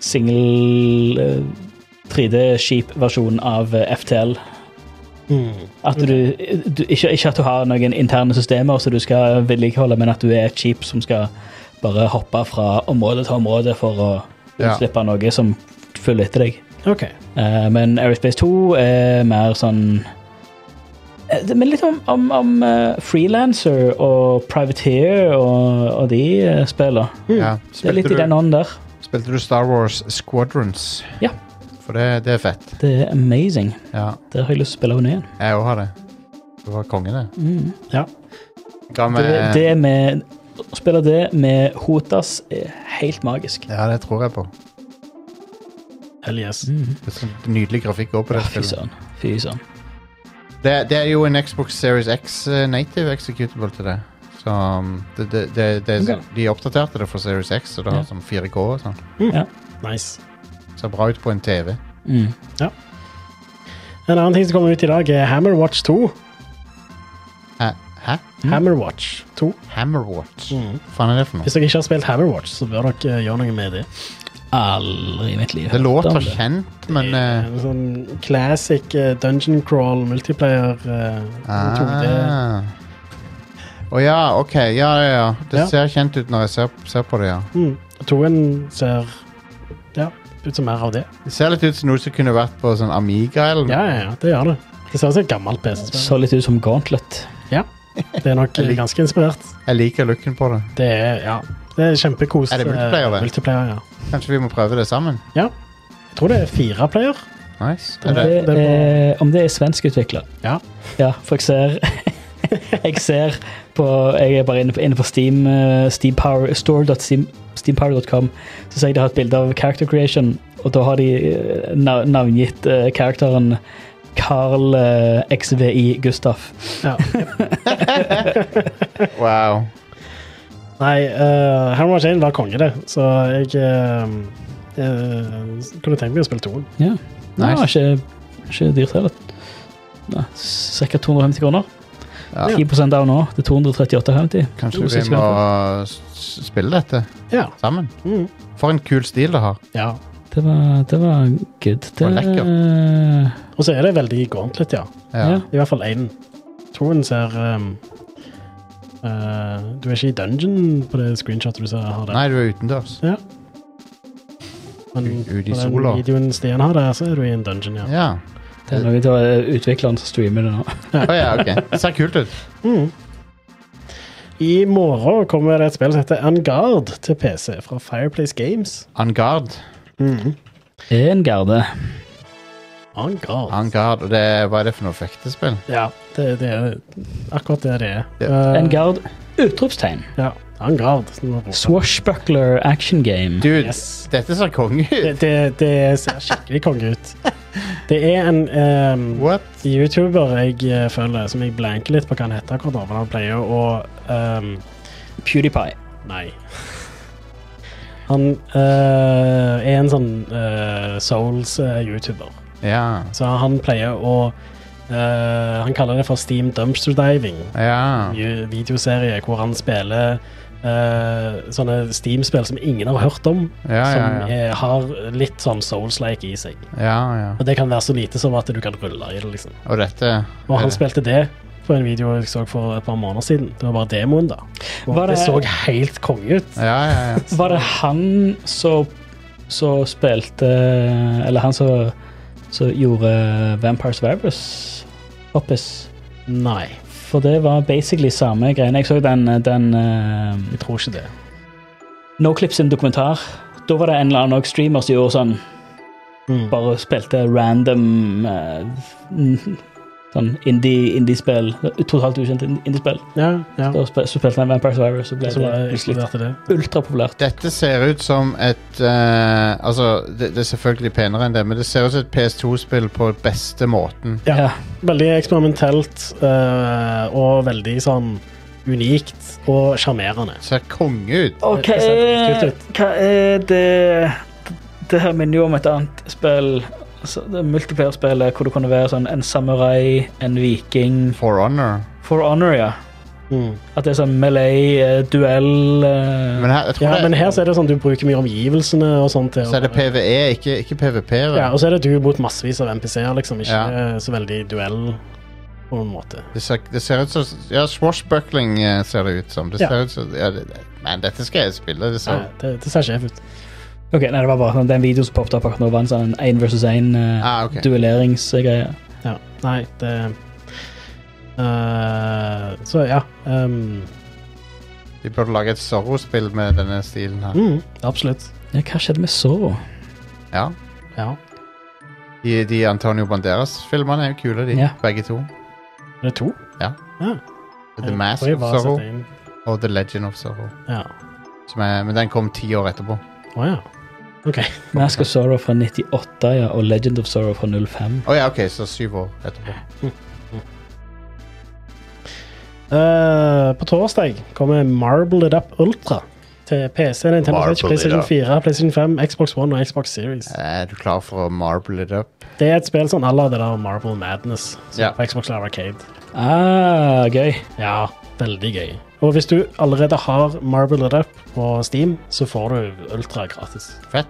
[SPEAKER 3] singel 3D-skip-versjon av eh, FTL.
[SPEAKER 2] Mm.
[SPEAKER 3] At du, du ikke, ikke at du har noen interne systemer som du skal vedlikeholde, men at du er et skip som skal bare hoppe fra område til område for å
[SPEAKER 1] Ja.
[SPEAKER 3] utslippe noe som følger etter deg.
[SPEAKER 2] OK.
[SPEAKER 3] Eh, men Aerospace 2 er mer sånn Eh, det- Men litt om, om, om eh, freelancer og privateer og, og de eh, spiller.
[SPEAKER 1] Ja.
[SPEAKER 3] Det er litt i
[SPEAKER 1] du,
[SPEAKER 3] den ånden der.
[SPEAKER 1] spilte du Star Wars Squadrons?
[SPEAKER 3] Ja.
[SPEAKER 1] For det, det er fett.
[SPEAKER 3] Det er amazing.
[SPEAKER 1] Ja,
[SPEAKER 3] Der har jeg lyst til å spille henne igjen.
[SPEAKER 1] jeg òg har det. Det var konge, det.
[SPEAKER 3] Mm.
[SPEAKER 2] Ja.
[SPEAKER 1] Ga meg-
[SPEAKER 3] Det, det med Å spille det med Hotas er helt magisk.
[SPEAKER 1] Ja, det tror jeg på.
[SPEAKER 2] Hell yes.
[SPEAKER 3] Mm.
[SPEAKER 1] Det er så nydelig grafikk òg på det
[SPEAKER 3] Fy
[SPEAKER 1] spillet.
[SPEAKER 3] søren. Fy søren.
[SPEAKER 1] Det, det er jo en Xbox Series X eh, native executable til det. Så um, det, det, det, det,
[SPEAKER 3] Ok.
[SPEAKER 1] De oppdaterte det for Series X, så det
[SPEAKER 3] Ja.
[SPEAKER 1] har sånn 4K og sånn.
[SPEAKER 2] Nice.
[SPEAKER 1] Ser bra ut på en TV.
[SPEAKER 3] Mm.
[SPEAKER 2] En annen ting som kommer ut i dag, er Hammerwatch 2.
[SPEAKER 1] Hæ? Hæ?
[SPEAKER 2] Hammerwatch 2.
[SPEAKER 1] Hammerwatch?
[SPEAKER 3] Mm.
[SPEAKER 1] Hva faen er det for noe?
[SPEAKER 2] Hvis dere ikke har spilt Hammerwatch, så bør dere eh, gjøre noe med det.
[SPEAKER 3] Aldri i mitt liv.
[SPEAKER 1] Det
[SPEAKER 3] hørt om
[SPEAKER 1] låter
[SPEAKER 3] det.
[SPEAKER 1] kjent, men eh,
[SPEAKER 2] En sånn classic eh, dungeon crawl multiplayer eh, 2D.
[SPEAKER 1] ah. Å ja, OK. Ja, ja, ja. Det
[SPEAKER 2] Ja.
[SPEAKER 1] ser kjent ut når jeg ser, ser på det, ja.
[SPEAKER 2] Mm. Toen ser ja, ut som mer av det.
[SPEAKER 1] Det ser litt ut som noe som kunne vært på sånn Amiga eller
[SPEAKER 2] Ja, ja, ja, det gjør det. Det ser ut som et gammelt PC-spill.
[SPEAKER 3] Så litt ut som Gauntlet.
[SPEAKER 2] Det er nok eh,
[SPEAKER 1] Jeg lik-
[SPEAKER 2] ganske inspirert.
[SPEAKER 1] Jeg liker looken på det.
[SPEAKER 2] Det er, ja, det er kjempekos.
[SPEAKER 1] Er det multiplayer,
[SPEAKER 2] eh,
[SPEAKER 1] det?
[SPEAKER 2] multiplayer, ja.
[SPEAKER 1] Kanskje vi må prøve det sammen?
[SPEAKER 2] Jeg tror det er fire player.
[SPEAKER 1] Nice.
[SPEAKER 3] Om
[SPEAKER 1] Er det,
[SPEAKER 3] det,
[SPEAKER 2] det
[SPEAKER 3] er, eh, om det er svensk utvikla?
[SPEAKER 2] Ja.
[SPEAKER 3] ja. For jeg ser Jeg ser på Jeg er bare inne på, inne på Steam, eh, steampower- store.steam- steampower.com, så ser jeg de har et bilde av character creation, og da har de eh, nav- navngitt eh, karakteren Carl eh, XVI Gustaf.
[SPEAKER 2] Ja.
[SPEAKER 1] wow.
[SPEAKER 2] Nei, uh, Hammerwatch 1 var konge, det. Så jeg eh, eh, kunne tenkt meg å spille toen.
[SPEAKER 3] Ja. Nei,
[SPEAKER 1] Nice.
[SPEAKER 3] ikke, ikke dyrt heller. Nei, Ca. 250 kroner.
[SPEAKER 1] Ja.
[SPEAKER 3] 10 av nå. Det er 238,50.
[SPEAKER 1] Kanskje
[SPEAKER 3] Jo,
[SPEAKER 1] vi
[SPEAKER 3] seks
[SPEAKER 1] må
[SPEAKER 3] minutter.
[SPEAKER 1] s- spille dette
[SPEAKER 2] Ja.
[SPEAKER 1] sammen?
[SPEAKER 2] Mm.
[SPEAKER 1] For en kul stil det har.
[SPEAKER 2] ja.
[SPEAKER 3] Det var, det var good. Det,
[SPEAKER 1] var lekkert.
[SPEAKER 2] Og så er det veldig gauntlet, ja.
[SPEAKER 1] Ja.
[SPEAKER 3] Ja.
[SPEAKER 2] I hvert fall én. Toen ser um, eh, Du er ikke i dungeon på det screenshotet du ser har der.
[SPEAKER 1] Nei, du er utendørs.
[SPEAKER 2] Men
[SPEAKER 1] u- ut i
[SPEAKER 2] på den
[SPEAKER 1] sola.
[SPEAKER 2] videoen Stian har der, så er du i en dungeon, ja.
[SPEAKER 1] Ja.
[SPEAKER 3] Det er noe det var utvikleren som streamer det nå.
[SPEAKER 1] Å ja, ok. Det ser kult ut.
[SPEAKER 2] Mm. I morgen kommer det et spill som heter Angard til PC fra Fireplace Games.
[SPEAKER 1] Angard.
[SPEAKER 2] Mm.
[SPEAKER 3] En garde.
[SPEAKER 2] Angard.
[SPEAKER 1] Angard. Og det, hva er det for noe fektespill?
[SPEAKER 2] Ja, det, det er akkurat det det er.
[SPEAKER 1] Ja.
[SPEAKER 2] Eh,
[SPEAKER 3] En gard utropstegn.
[SPEAKER 2] Ja, Angard. som det var.
[SPEAKER 3] Swashbuckler action game.
[SPEAKER 1] Dude,
[SPEAKER 2] Yes.
[SPEAKER 1] dette ser konge ut.
[SPEAKER 2] Det, det, det ser skikkelig konge ut. Det er en eh,
[SPEAKER 1] What?
[SPEAKER 2] YouTuber jeg eh, følger, som jeg blanker litt på hva han heter akkurat nå, men han pleier å eh,
[SPEAKER 3] PewDiePie.
[SPEAKER 2] Nei. Han eh, er en sånn eh, Souls-YouTuber.
[SPEAKER 1] Ja.
[SPEAKER 2] Så han pleier å eh, Han kaller det for Steam Dumpster Diving.
[SPEAKER 1] Ja.
[SPEAKER 2] Nye videoserie hvor han spiller eh, sånne Steam-spill som ingen har hørt om,
[SPEAKER 1] Ja, ja,
[SPEAKER 2] som
[SPEAKER 1] ja.
[SPEAKER 2] eh, har litt sånn Souls-like i seg.
[SPEAKER 1] ja, ja.
[SPEAKER 2] Og det kan være så lite som at du kan rulle i det, liksom.
[SPEAKER 1] Og dette
[SPEAKER 2] Og han
[SPEAKER 1] er,
[SPEAKER 2] spilte det på en video jeg så for et par måneder siden. Det var bare demoen, da. Og
[SPEAKER 3] Var
[SPEAKER 2] det...
[SPEAKER 3] det-
[SPEAKER 2] så helt konge ut.
[SPEAKER 1] Ja, ja, ja.
[SPEAKER 3] Var det han som som spilte Eller han som som gjorde Vampires Virus? Hoppes.
[SPEAKER 2] Nei,
[SPEAKER 3] For det var basically samme greiene. Jeg så den, den eh,
[SPEAKER 2] jeg tror ikke det.
[SPEAKER 3] No Clips sin dokumentar. Da var det en eller annen også streamer som gjorde sånn
[SPEAKER 2] Mm.
[SPEAKER 3] Bare spilte random eh, n- Sånn indie- indie-spill. Totalt ukjent in- indie-spill.
[SPEAKER 2] Ja, ja.
[SPEAKER 3] Da spil- så spilte han Vampires Virus, og ble
[SPEAKER 2] Så
[SPEAKER 3] det
[SPEAKER 2] bare
[SPEAKER 3] plutselig
[SPEAKER 2] eksploderte det.
[SPEAKER 3] ultrapopulært.
[SPEAKER 1] Dette ser ut som et eh, Altså, det, det er selvfølgelig penere enn det, men det ser ut som et PS2-spill på beste måten.
[SPEAKER 2] Ja.
[SPEAKER 3] Ja.
[SPEAKER 2] Veldig eksperimentelt eh, og veldig sånn unikt og sjarmerende.
[SPEAKER 1] Ser konge ut.
[SPEAKER 3] Og
[SPEAKER 2] Det
[SPEAKER 3] hva
[SPEAKER 2] ser
[SPEAKER 3] er,
[SPEAKER 2] dritkult
[SPEAKER 3] eh, hva er det Det her minner jo om et annet spill. Altså, det Multiplayer-spillet hvor det kunne være sånn en samurai, en viking
[SPEAKER 1] For honor.
[SPEAKER 3] For honor, ja.
[SPEAKER 2] Mm.
[SPEAKER 3] At det er sånn melee-duell eh.
[SPEAKER 1] Men her, jeg tror
[SPEAKER 2] Ja,
[SPEAKER 1] det,
[SPEAKER 2] men her så er det sånn du bruker mye omgivelsene og sånt. til å
[SPEAKER 1] så er det
[SPEAKER 2] bare-
[SPEAKER 1] PVE, ikke, ikke PVP-ere.
[SPEAKER 2] Ja, og så er det du mot massevis av NPC-er, liksom. Ikke
[SPEAKER 1] Ja.
[SPEAKER 2] eh, så veldig duell på en måte.
[SPEAKER 1] Det ser, det ser ut som Ja, swashbuckling eh, ser det ut som. Det
[SPEAKER 2] Ja.
[SPEAKER 1] ser ut som ja, det, det- Men dette skal jeg spille. Det ser,
[SPEAKER 2] Nei, Eh, det, det ser sjef ut.
[SPEAKER 3] Ok, nei, det var bare sånn, Den videoen som poppet opp akkurat nå, var en sånn én versus eh, én-duelleringsgreie.
[SPEAKER 1] ah, ok.
[SPEAKER 2] Ja. Nei, det eh, Så ja. ehm,
[SPEAKER 1] De burde lage et Zorro-spill med denne stilen her.
[SPEAKER 2] mm, absolutt.
[SPEAKER 3] Ja, hva skjedde med Zorro?
[SPEAKER 1] Ja.
[SPEAKER 2] Ja.
[SPEAKER 1] De, de Antonio Banderas-filmene er jo kule, de.
[SPEAKER 3] Ja.
[SPEAKER 1] Begge to.
[SPEAKER 2] Er det to?
[SPEAKER 1] The
[SPEAKER 2] Jeg
[SPEAKER 1] Mask
[SPEAKER 2] tror jeg
[SPEAKER 1] of
[SPEAKER 2] bare
[SPEAKER 1] Zorro
[SPEAKER 2] setter inn-
[SPEAKER 1] og The Legend of Zorro.
[SPEAKER 2] Ja.
[SPEAKER 1] Som er, men den kom ti år etterpå.
[SPEAKER 2] Å ja. OK.
[SPEAKER 3] Mask of Zorro fra 98 ja, og Legend of Zorro fra 05.
[SPEAKER 1] Å ja, OK, så syv år etterpå.
[SPEAKER 2] Eh, på torsdag kommer Marble It Up Ultra til PC, Nintendo Switch,
[SPEAKER 1] Marble It
[SPEAKER 2] PlayStation
[SPEAKER 1] Up.
[SPEAKER 2] 4, PlayStation 5, Xbox One og Xbox Series.
[SPEAKER 1] Eh, Er du klar for å marble it up?
[SPEAKER 2] Det er et spill sånn à la det der Marble Madness som
[SPEAKER 1] Ja.
[SPEAKER 2] er på Xbox Live Arcade.
[SPEAKER 3] Ah, gøy.
[SPEAKER 2] Ja, veldig gøy. Og hvis du allerede har Marble It Up på Steam, så får du Ultra gratis.
[SPEAKER 1] Fett.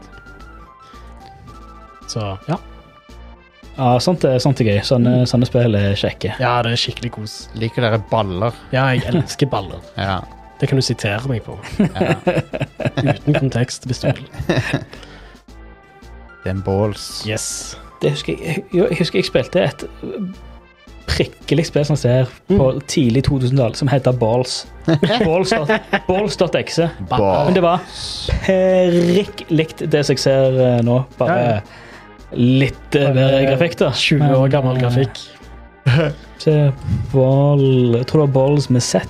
[SPEAKER 2] Så ja.
[SPEAKER 3] Ja, Ah, sånt er, sånt er gøy.
[SPEAKER 2] Mm.
[SPEAKER 3] Sånne, sånne spill er kjekke.
[SPEAKER 2] ja, det er skikkelig kos.
[SPEAKER 1] Liker dere baller?
[SPEAKER 2] Ja, jeg elsker baller.
[SPEAKER 1] Ja.
[SPEAKER 2] Det kan du sitere meg på.
[SPEAKER 1] ja.
[SPEAKER 2] Uten kontekst, hvis du vil.
[SPEAKER 1] Den balls.
[SPEAKER 2] Yes.
[SPEAKER 3] Det husker jeg, jo, jeg husker jeg spilte et prikkelig spill som ser på
[SPEAKER 2] Mm.
[SPEAKER 3] tidlig 2000-tall, som heter Balls. Balls dot- Balls.exe. Men
[SPEAKER 1] Balls.
[SPEAKER 3] det var prikk likt det som jeg ser eh, nå,
[SPEAKER 2] Ja, ja.
[SPEAKER 3] bare litt eh, bedre grafikk, da.
[SPEAKER 2] 20 år gammel grafikk.
[SPEAKER 3] Se, ball Jeg tror det var balls med Z.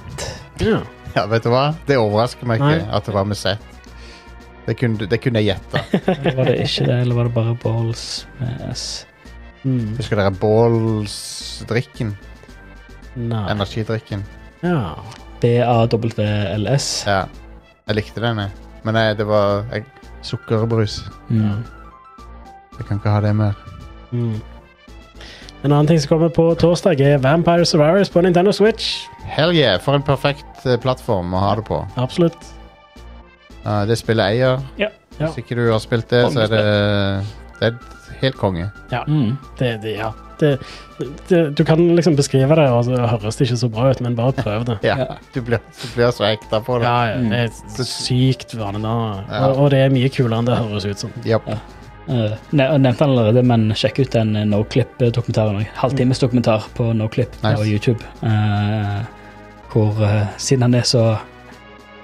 [SPEAKER 2] Ja.
[SPEAKER 1] Ja, vet du hva? Det overrasker meg ikke
[SPEAKER 2] Nei.
[SPEAKER 1] at det var med Z. Det kunne, det kunne jeg gjette.
[SPEAKER 3] Eller var det ikke det, eller var det bare balls med S?
[SPEAKER 2] Mm.
[SPEAKER 1] Husker dere balls-drikken?
[SPEAKER 2] Nei.
[SPEAKER 1] Energidrikken.
[SPEAKER 2] Ja.
[SPEAKER 3] B-A-W-L-S.
[SPEAKER 1] Ja. Jeg likte den, jeg. Men nei, det var jeg, sukkerbrus.
[SPEAKER 3] Mm.
[SPEAKER 1] Jeg kan ikke ha det mer.
[SPEAKER 2] Mm. En annen ting som kommer på torsdag, er Vampire Survivors på Nintendo Switch.
[SPEAKER 1] Hell yeah, for en perfekt eh, plattform å ha det på.
[SPEAKER 2] Absolutt.
[SPEAKER 1] Eh, det spillet eier.
[SPEAKER 3] Ja.
[SPEAKER 2] Ja.
[SPEAKER 1] Hvis ikke du har spilt det, så er det, det er helt konge.
[SPEAKER 3] Mm.
[SPEAKER 2] Det, det, ja. det, det, du kan liksom beskrive det, og så høres det ikke så bra ut, men bare prøv det.
[SPEAKER 1] Ja,
[SPEAKER 3] Ja.
[SPEAKER 1] Du, blir, du blir så hekta på det.
[SPEAKER 2] Ja, ja, det er
[SPEAKER 1] Mm.
[SPEAKER 2] sykt vanedannende,
[SPEAKER 1] Ja.
[SPEAKER 2] og, og det er mye kulere enn det høres ut som.
[SPEAKER 1] Japp.
[SPEAKER 3] Ja. Eh, ne- jeg nevnte den allerede, men sjekk ut den eh, Noclip-dokumentaren. også. Halvtimes dokumentar på Noclip
[SPEAKER 1] Nice.
[SPEAKER 3] på YouTube. Eh, hvor, eh, siden han er så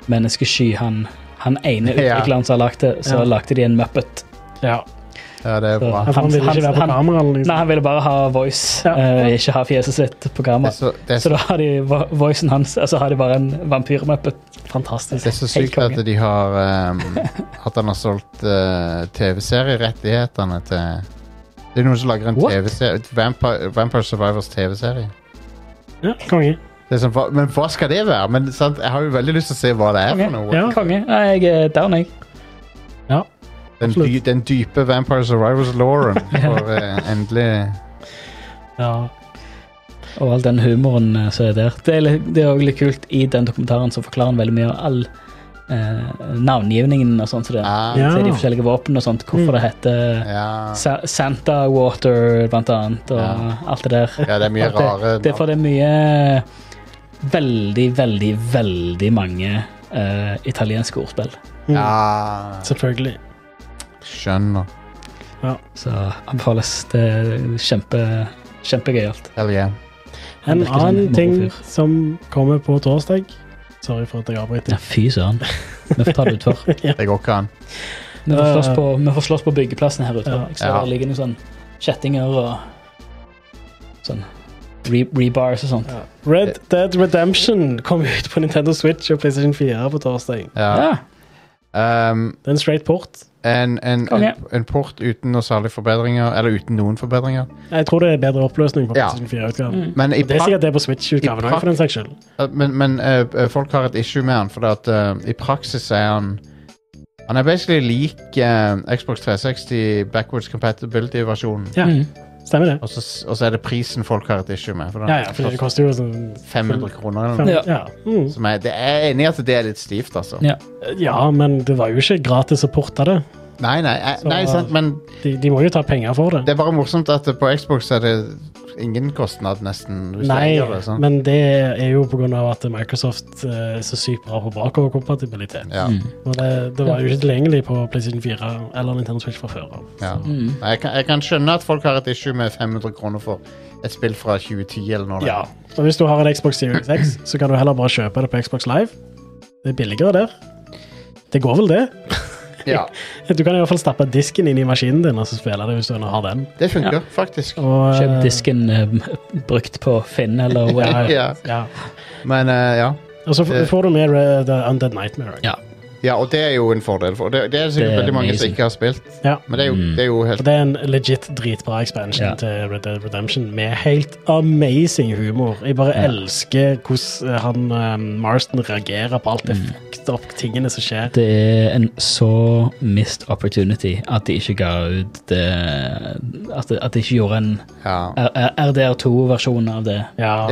[SPEAKER 3] menneskesky, han, han ene
[SPEAKER 1] Ja.
[SPEAKER 3] utvikleren som har lagt det, så
[SPEAKER 2] Ja.
[SPEAKER 3] lagde de en muppet.
[SPEAKER 2] Ja.
[SPEAKER 1] Ja, det er bra.
[SPEAKER 2] Ja, for han
[SPEAKER 3] Hans-
[SPEAKER 2] ville ikke
[SPEAKER 3] Hans-
[SPEAKER 2] være på
[SPEAKER 3] han-
[SPEAKER 2] kamera. Liksom.
[SPEAKER 3] Nei, han ville bare ha voice,
[SPEAKER 2] Ja.
[SPEAKER 3] eh, ikke ha fjeset sitt på
[SPEAKER 1] Det
[SPEAKER 3] kamera.
[SPEAKER 1] er så, det er så,
[SPEAKER 3] Så da har de vo- voicen hans, og så har de bare en vampyrmuppet. Fantastisk.
[SPEAKER 1] det er så sykt at de har ehm, At han har solgt eh, TV-serierettighetene til Det er noen som lager en
[SPEAKER 3] What?
[SPEAKER 1] TV-serie Vampire, Vampire Survivors TV-serie.
[SPEAKER 2] Ja, konge.
[SPEAKER 1] Det er sånn, hva- Men hva skal det være? Men sant, Jeg har jo veldig lyst til å se hva det er for noe.
[SPEAKER 2] Ja.
[SPEAKER 3] Konge. Nei, jeg er down, jeg.
[SPEAKER 2] Ja.
[SPEAKER 1] Den,
[SPEAKER 2] absolutt.
[SPEAKER 1] dy, den dype Vampire Survivors-lauren får eh, endelig
[SPEAKER 2] Ja.
[SPEAKER 3] Og all den humoren eh, som er der. Det er, litt- det er også litt kult i den dokumentaren som forklarer han veldig mye om all eh, navngivningen og sånn som det er.
[SPEAKER 1] Ah,
[SPEAKER 2] Ja.
[SPEAKER 3] Til de forskjellige våpnene og sånt. Hvorfor det heter
[SPEAKER 1] ja.
[SPEAKER 3] Sa Santa Water, blant annet, og
[SPEAKER 1] Ja.
[SPEAKER 3] alt det der.
[SPEAKER 1] ja, det er mye
[SPEAKER 3] At det-
[SPEAKER 1] rare
[SPEAKER 3] Det er for det er mye Veldig, veldig, veldig mange eh, italienske ordspill.
[SPEAKER 2] Mm,
[SPEAKER 1] Ja,
[SPEAKER 2] Selvfølgelig.
[SPEAKER 1] skjønner.
[SPEAKER 3] Så anbefales. Det er kjempe, kjempegøyalt.
[SPEAKER 1] Hell yeah.
[SPEAKER 2] En
[SPEAKER 3] Han virker som en
[SPEAKER 2] annen ting
[SPEAKER 3] morofyr.
[SPEAKER 2] som kommer på torsdag Sorry for at jeg avbryter.
[SPEAKER 3] Ja, fy søren. Vi får ta det utfor.
[SPEAKER 1] Det går ikke an.
[SPEAKER 3] Vi får slåss på, vi får slåss på byggeplassen her ute.
[SPEAKER 2] Ja.
[SPEAKER 3] Jeg ser
[SPEAKER 1] Ja.
[SPEAKER 3] det ligger noen sånn kjettinger og sånn re rebars og sånt.
[SPEAKER 2] Red Dead Redemption kom ut på Nintendo Switch og PlayStation 4 på torsdag.
[SPEAKER 1] Ja.
[SPEAKER 3] Ja.
[SPEAKER 1] Um,
[SPEAKER 2] Det er en straight port.
[SPEAKER 1] en, en,
[SPEAKER 3] Konge.
[SPEAKER 1] en, en port uten noe særlig forbedringer, eller uten noen forbedringer.
[SPEAKER 2] Jeg tror det er bedre oppløsning på
[SPEAKER 1] Ja.
[SPEAKER 2] PlayStation 4-utgaven.
[SPEAKER 3] Mm.
[SPEAKER 1] Men, i
[SPEAKER 2] Det er
[SPEAKER 1] pra-
[SPEAKER 2] sikkert det på Switch-utgaven
[SPEAKER 1] I
[SPEAKER 2] òg, for den saks skyld.
[SPEAKER 1] men, men eh, folk har et issue med han, for at, eh, i praksis er han Han er basically lik eh, Xbox 360 backwards compatibility-versjonen.
[SPEAKER 2] Ja.
[SPEAKER 3] Mm.
[SPEAKER 2] Stemmer det?
[SPEAKER 1] Og så s- og så er det prisen folk har et issue med. For den
[SPEAKER 2] Ja, ja, for det koster jo sånn
[SPEAKER 1] 500 kroner. Eller
[SPEAKER 2] fem,
[SPEAKER 1] noe.
[SPEAKER 2] ja.
[SPEAKER 3] Ja.
[SPEAKER 2] Mm.
[SPEAKER 1] Som er, det er enig i at det er litt stivt, altså.
[SPEAKER 3] Ja.
[SPEAKER 2] ja, men det var jo ikke gratis å porte det.
[SPEAKER 1] Nei, nei, eh,
[SPEAKER 2] Så-
[SPEAKER 1] nei sant, men
[SPEAKER 2] De, de må jo ta penger for det.
[SPEAKER 1] det er bare morsomt at på Xbox er det ingen kostnad, nesten. Hvis
[SPEAKER 2] Nei,
[SPEAKER 1] du eier det, sånn. sant?
[SPEAKER 2] men det er jo pga. at Microsoft eh, er så sykt bra på bakoverkompatibilitet.
[SPEAKER 1] Ja,
[SPEAKER 3] Mm.
[SPEAKER 2] Og det, det var jo ikke tilgjengelig på PlayStation 4 eller Nintendo Switch fra før av.
[SPEAKER 1] ja.
[SPEAKER 3] Mm.
[SPEAKER 1] Nei, Jeg, kan, jeg kan skjønne at folk har et issue med 500 kroner for et spill fra 2010 eller noe.
[SPEAKER 2] Ja. Og hvis du har en Xbox Series X, så kan du heller bare kjøpe det på Xbox Live. Det er billigere der. Det går vel, det?
[SPEAKER 1] Ja,
[SPEAKER 2] Du kan i hvert fall stappe disken inn i maskinen din og så spille det hvis du har den.
[SPEAKER 1] det funker faktisk.
[SPEAKER 2] Og, eh,
[SPEAKER 3] Kjøp disken eh, brukt på Finn eller
[SPEAKER 2] Ja,
[SPEAKER 3] whatever.
[SPEAKER 2] ja.
[SPEAKER 1] Ja.
[SPEAKER 2] Ja.
[SPEAKER 1] Men eh, ja.
[SPEAKER 2] Og så f-
[SPEAKER 1] Det-
[SPEAKER 2] får du med eh, The Undead Nightmare.
[SPEAKER 3] Ja.
[SPEAKER 1] ja, og det er jo en fordel. For det, det er sikkert
[SPEAKER 3] Det er
[SPEAKER 1] veldig mange som
[SPEAKER 3] amazing.
[SPEAKER 1] ikke har spilt,
[SPEAKER 2] Ja.
[SPEAKER 1] men det er jo,
[SPEAKER 3] Mm.
[SPEAKER 1] det er jo
[SPEAKER 2] Og
[SPEAKER 1] helt
[SPEAKER 2] det er en legit dritbra expansion
[SPEAKER 3] Ja.
[SPEAKER 2] til Red Dead Redemption med helt amazing humor. Jeg bare
[SPEAKER 3] Ja.
[SPEAKER 2] elsker hvordan eh, han eh, Marston reagerer på alt det fucked up tingene som skjer.
[SPEAKER 3] Mm. Det er en så missed opportunity at de ikke ga ut det At de, at de ikke gjorde en
[SPEAKER 1] ja.
[SPEAKER 3] R- R- RDR2-versjon av det.
[SPEAKER 2] Ja.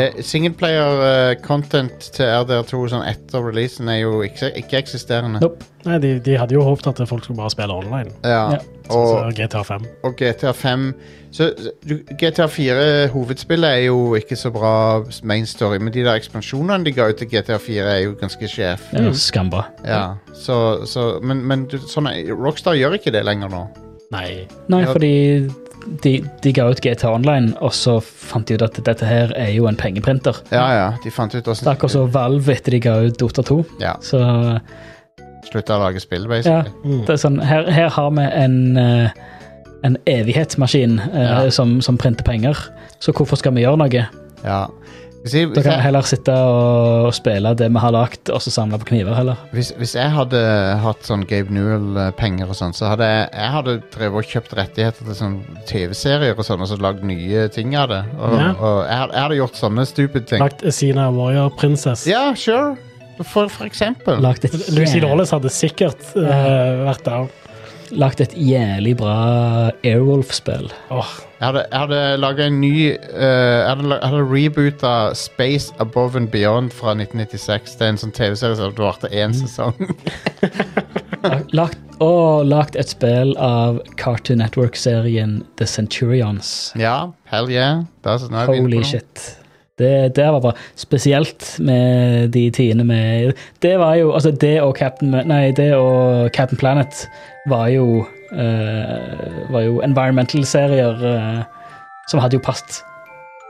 [SPEAKER 1] Singleplayer-content eh, til RDR2 sånn etter releasen er jo ikke- ikke-eksisterende.
[SPEAKER 3] Nope.
[SPEAKER 2] Nei, de, de hadde jo håpet at folk skulle bare spille online.
[SPEAKER 1] ja.
[SPEAKER 3] Ja.
[SPEAKER 1] Og,
[SPEAKER 2] Så GTA 5.
[SPEAKER 1] og GTA 5 så, så- du, GTA 4, hovedspillet, er jo ikke så bra main story, men de der ekspansjonene de ga ut til GTA 4, er jo ganske sjef.
[SPEAKER 3] Det er Skambra.
[SPEAKER 1] Ja, så, så, men men du, sånn, er- Rockstar gjør ikke det lenger nå.
[SPEAKER 2] Nei.
[SPEAKER 3] Nei,
[SPEAKER 1] Ja.
[SPEAKER 3] fordi de, de ga ut GTA Online, og så fant de ut at dette her er jo en pengeprinter.
[SPEAKER 1] Ja, ja, de fant ut
[SPEAKER 3] Det er akkurat som Valve etter de ga ut Dota 2.
[SPEAKER 1] Ja.
[SPEAKER 3] Så
[SPEAKER 1] slutta å lage spill,
[SPEAKER 3] ja,
[SPEAKER 1] basically.
[SPEAKER 2] Mm.
[SPEAKER 3] det er sånn Her, her har vi en eh, en evighetsmaskin eh,
[SPEAKER 1] Ja.
[SPEAKER 3] som, som printer penger, så hvorfor skal vi gjøre noe?
[SPEAKER 1] Ja. Hvis, jeg,
[SPEAKER 3] Da
[SPEAKER 1] hvis,
[SPEAKER 3] kan vi
[SPEAKER 1] jeg,
[SPEAKER 3] heller sitte og, og spille det vi har lagd, og så samle på kniver, heller.
[SPEAKER 1] hvis, hvis jeg hadde hatt sånn Gabe Newell-penger og sånn, så hadde jeg, jeg hadde drevet og kjøpt rettigheter til sånn TV-serier og sånn, og så lagd nye ting av det. Og,
[SPEAKER 2] Ja.
[SPEAKER 1] og jeg, hadde- jeg hadde gjort sånne stupid ting.
[SPEAKER 2] Lagt Sina Warrior Princess.
[SPEAKER 1] Ja, sure. For, for eksempel.
[SPEAKER 3] Lagd et,
[SPEAKER 2] Lucy
[SPEAKER 3] jæv-
[SPEAKER 2] Lawless hadde sikkert eh, vært der.
[SPEAKER 3] lagt et jævlig bra Airwolf-spill.
[SPEAKER 2] Åh,
[SPEAKER 1] Jeg hadde, jeg hadde laga en ny eh, Jeg hadde, la- jeg hadde reboota Space Above and Beyond fra 1996. Det er en sånn TV-serie som varte
[SPEAKER 2] Mm.
[SPEAKER 1] én sesong.
[SPEAKER 3] Lagt, og lagt et spill av Cartoon Network-serien The Centurions.
[SPEAKER 1] ja, hell yeah. Da, så nå er vi inne på
[SPEAKER 3] Holy
[SPEAKER 1] noe.
[SPEAKER 3] shit. Det, det var bra. Spesielt med de tidene med Det var jo Altså, det og Captain Ma- Nei, det og Captain Planet var jo eh, Var jo environmental-serier eh, som hadde jo passet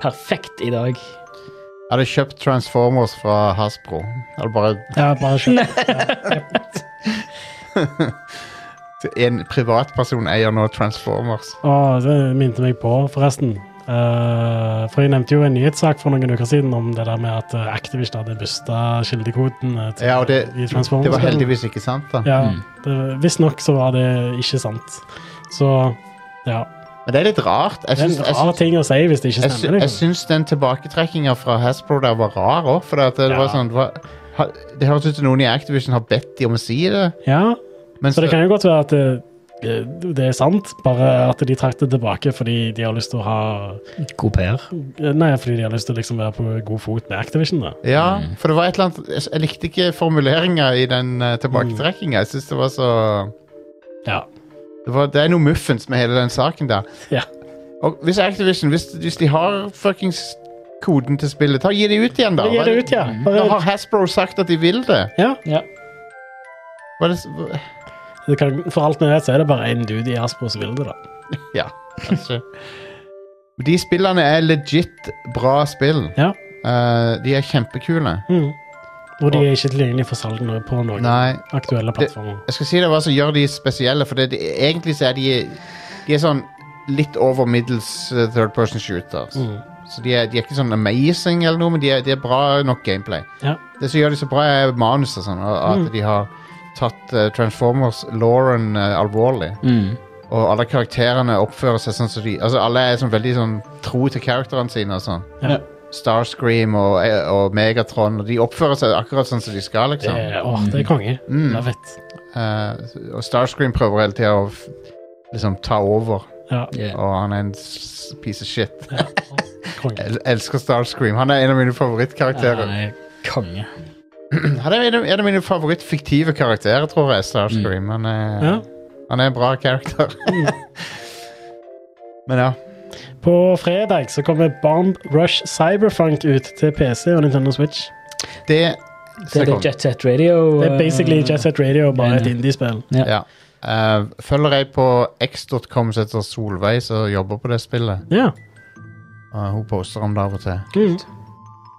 [SPEAKER 3] perfekt i dag.
[SPEAKER 1] Jeg hadde kjøpt Transformers fra Hasbro. Jeg hadde bare
[SPEAKER 2] ja, bare skjønt.
[SPEAKER 1] En privatperson eier nå Transformers.
[SPEAKER 2] Åh, det minte meg på, forresten. Eh, for jeg nevnte jo en nyhetssak for noen uker siden om det der med at eh, Activision hadde busta kildekoden eh, til
[SPEAKER 1] Ja, og det-
[SPEAKER 2] i Transformers.
[SPEAKER 1] Det var heldigvis ikke sant, da.
[SPEAKER 2] Ja,
[SPEAKER 3] Mm.
[SPEAKER 2] det- Visstnok så var det ikke sant. Så ja.
[SPEAKER 1] Men det er litt rart. Jeg
[SPEAKER 2] Det er
[SPEAKER 1] syns,
[SPEAKER 2] en
[SPEAKER 1] jeg
[SPEAKER 2] rar
[SPEAKER 1] syns,
[SPEAKER 2] ting å si hvis det ikke
[SPEAKER 1] jeg syns,
[SPEAKER 2] stemmer.
[SPEAKER 1] jeg
[SPEAKER 2] Liksom.
[SPEAKER 1] syns den tilbaketrekkinga fra Hasbro der var rar òg, for det, at det
[SPEAKER 2] Ja.
[SPEAKER 1] var sånn hva, ha, Det høres ut som noen i Activision har bedt de om å si det,
[SPEAKER 2] Ja,
[SPEAKER 1] men
[SPEAKER 2] så
[SPEAKER 1] så,
[SPEAKER 2] det kan jo godt være at eh, eh, det er sant, bare at de trakk det tilbake fordi de har lyst til å ha eh,
[SPEAKER 3] Kopier.
[SPEAKER 2] Nei, fordi de har lyst til å liksom være på god fot med Activision. da.
[SPEAKER 1] Ja, for det var et eller annet Jeg, jeg likte ikke formuleringa i den uh, tilbaketrekkinga. Jeg syns det var så
[SPEAKER 2] Ja.
[SPEAKER 1] det, var, det er noe muffens med hele den saken der.
[SPEAKER 2] Ja.
[SPEAKER 1] Og hvis Activision Hvis, hvis de har fuckings koden til spillet, ta gi det ut igjen, da.
[SPEAKER 2] Gi det ut, ja.
[SPEAKER 1] Da
[SPEAKER 2] Bare,
[SPEAKER 1] har Hasbro sagt at de vil det.
[SPEAKER 2] ja.
[SPEAKER 3] Ja.
[SPEAKER 1] Hva er det s-
[SPEAKER 2] Det kan, for alt vi vet, så er det bare én dude i Hasbro som vil det, da.
[SPEAKER 1] Ja, kanskje. De spillene er legit bra spill.
[SPEAKER 2] Ja.
[SPEAKER 1] Eh, de er kjempekule.
[SPEAKER 2] Mm. Og de er ikke tilgjengelige for salg nå på noen
[SPEAKER 1] Nei,
[SPEAKER 2] aktuelle plattformer.
[SPEAKER 1] jeg skal si det hva som gjør de spesielle, for det, det, egentlig så er de De er sånn litt over middels eh, third person shooters.
[SPEAKER 2] Mm.
[SPEAKER 1] Så de er, de er ikke sånn amazing eller noe, men de er, de er bra nok gameplay.
[SPEAKER 2] Ja.
[SPEAKER 1] Det som gjør de så bra, er manus og sånn, og at
[SPEAKER 2] Mm.
[SPEAKER 1] de har tatt eh, Transformers-Lauren alvorlig.
[SPEAKER 3] Mm.
[SPEAKER 1] Og alle karakterene oppfører seg sånn som de Altså alle er sånn veldig sånn tro til karakterene sine og sånn.
[SPEAKER 2] Ja.
[SPEAKER 1] Starscream og, eh, og Megatron, og de oppfører seg akkurat sånn som de skal,
[SPEAKER 2] Det,
[SPEAKER 1] liksom.
[SPEAKER 2] er- Eh, åh, det er konge.
[SPEAKER 1] Mm.
[SPEAKER 2] Love it.
[SPEAKER 1] Eh, og Starscream prøver hele tida å f- liksom ta over,
[SPEAKER 2] Ja.
[SPEAKER 3] Yeah.
[SPEAKER 1] og han er en s- piece of shit.
[SPEAKER 2] ja. Konge.
[SPEAKER 1] El elsker Starscream. Han er en av mine favorittkarakterer.
[SPEAKER 3] Han er konge.
[SPEAKER 1] Han er en av, en av mine favorittfiktive karakterer, tror jeg, Starscream. Han er,
[SPEAKER 2] Ja.
[SPEAKER 1] han er en bra karakter. Men ja.
[SPEAKER 2] På fredag så kommer Bomb Rush Cyberfunk ut til PC og Nintendo Switch.
[SPEAKER 1] Det
[SPEAKER 3] Det er det Jet Set Radio.
[SPEAKER 2] Det er
[SPEAKER 3] eh,
[SPEAKER 2] basically Jet Set Radio, bare et
[SPEAKER 3] enig.
[SPEAKER 2] indie-spill.
[SPEAKER 1] Ja. Eh, følger jeg på x.com som heter Solveig, som jobber på det spillet.
[SPEAKER 2] Ja.
[SPEAKER 1] Eh, hun poster om det av og til.
[SPEAKER 2] Mm.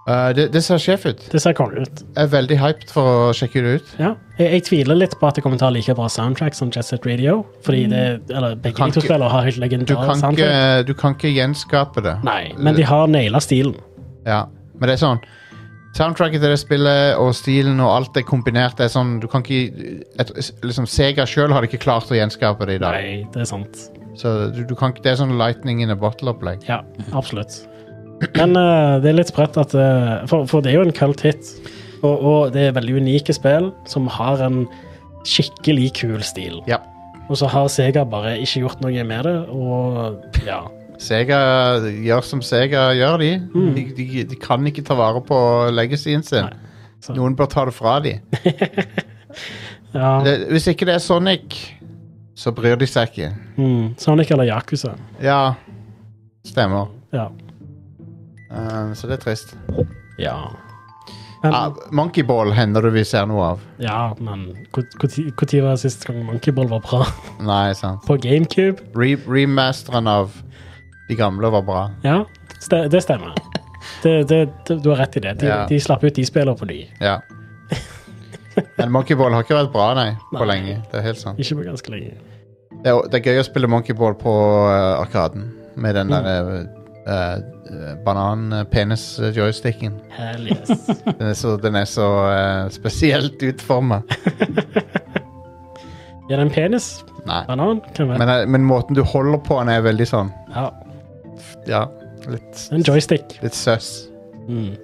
[SPEAKER 1] Eh, det, det ser sjef ut.
[SPEAKER 2] Det ser konge ut.
[SPEAKER 1] Jeg er veldig hyped for å sjekke det ut.
[SPEAKER 2] Ja. Jeg, jeg tviler litt på at det kommer til å ha like bra soundtrack som Jet Set Radio. Fordi det, eller begge
[SPEAKER 1] Mm. kan
[SPEAKER 2] de to
[SPEAKER 1] ikke-
[SPEAKER 2] spillene har helt
[SPEAKER 1] Du kan,
[SPEAKER 2] legendarisk
[SPEAKER 1] ikke,
[SPEAKER 2] soundtrack.
[SPEAKER 1] du kan ikke gjenskape det.
[SPEAKER 2] Nei, men de har naila stilen.
[SPEAKER 1] Ja. Men det er sånn Soundtracket til det spillet og stilen og alt er kombinert. Det er sånn, du kan ikke et, liksom, Sega sjøl har ikke klart å gjenskape det i dag.
[SPEAKER 2] Nei, det er sant.
[SPEAKER 1] Så du, du kan ikke, Det er sånn lightning in a bottle-opplegg.
[SPEAKER 2] Ja, absolutt. Men eh, det er litt sprøtt at eh, for, for det er jo en cult hit. Og, og det er veldig unike spill som har en skikkelig kul stil.
[SPEAKER 1] Ja.
[SPEAKER 2] Og så har Sega bare ikke gjort noe med det, og ja.
[SPEAKER 1] Sega gjør som Sega gjør, de.
[SPEAKER 2] Mm.
[SPEAKER 1] De, de, de kan ikke ta vare på legacyen sin.
[SPEAKER 2] Så-
[SPEAKER 1] Noen bør ta det fra dem.
[SPEAKER 2] ja.
[SPEAKER 1] Hvis ikke det er Sonic, så bryr de seg ikke.
[SPEAKER 2] Mm, Sonic eller Yakuza.
[SPEAKER 1] Ja, stemmer.
[SPEAKER 2] Ja.
[SPEAKER 1] Eh, så det er trist.
[SPEAKER 2] Ja. Men,
[SPEAKER 1] Ah, Monkeyball hender det vi ser noe av.
[SPEAKER 2] ja, men når var sist gang Monkeyball var bra?
[SPEAKER 1] Nei, sant.
[SPEAKER 2] På GameCube?
[SPEAKER 1] Re remasteren av de gamle var bra.
[SPEAKER 2] Ja, ste- det stemmer. Det, det, det, du har rett i det. De,
[SPEAKER 1] Ja.
[SPEAKER 2] de slapp ut de spillene på ny.
[SPEAKER 1] Ja. Men Monkeyball har ikke vært bra, nei, på
[SPEAKER 2] Nei.
[SPEAKER 1] lenge. Det er helt sant.
[SPEAKER 2] Ikke på ganske lenge.
[SPEAKER 1] Det er, det er gøy å spille Monkeyball på eh, Arkaden med den der eh, eh, banan-penis-joysticken.
[SPEAKER 2] Hell yes.
[SPEAKER 1] Den er så, den er så eh, spesielt utforma.
[SPEAKER 2] Er det en penis?
[SPEAKER 1] Nei.
[SPEAKER 2] Banan? Hvem vet?
[SPEAKER 1] Men, eh, men måten du holder på den, er veldig sånn
[SPEAKER 2] Ja,
[SPEAKER 1] Ja, litt,
[SPEAKER 2] en joystick.
[SPEAKER 1] litt søss,
[SPEAKER 2] Mm.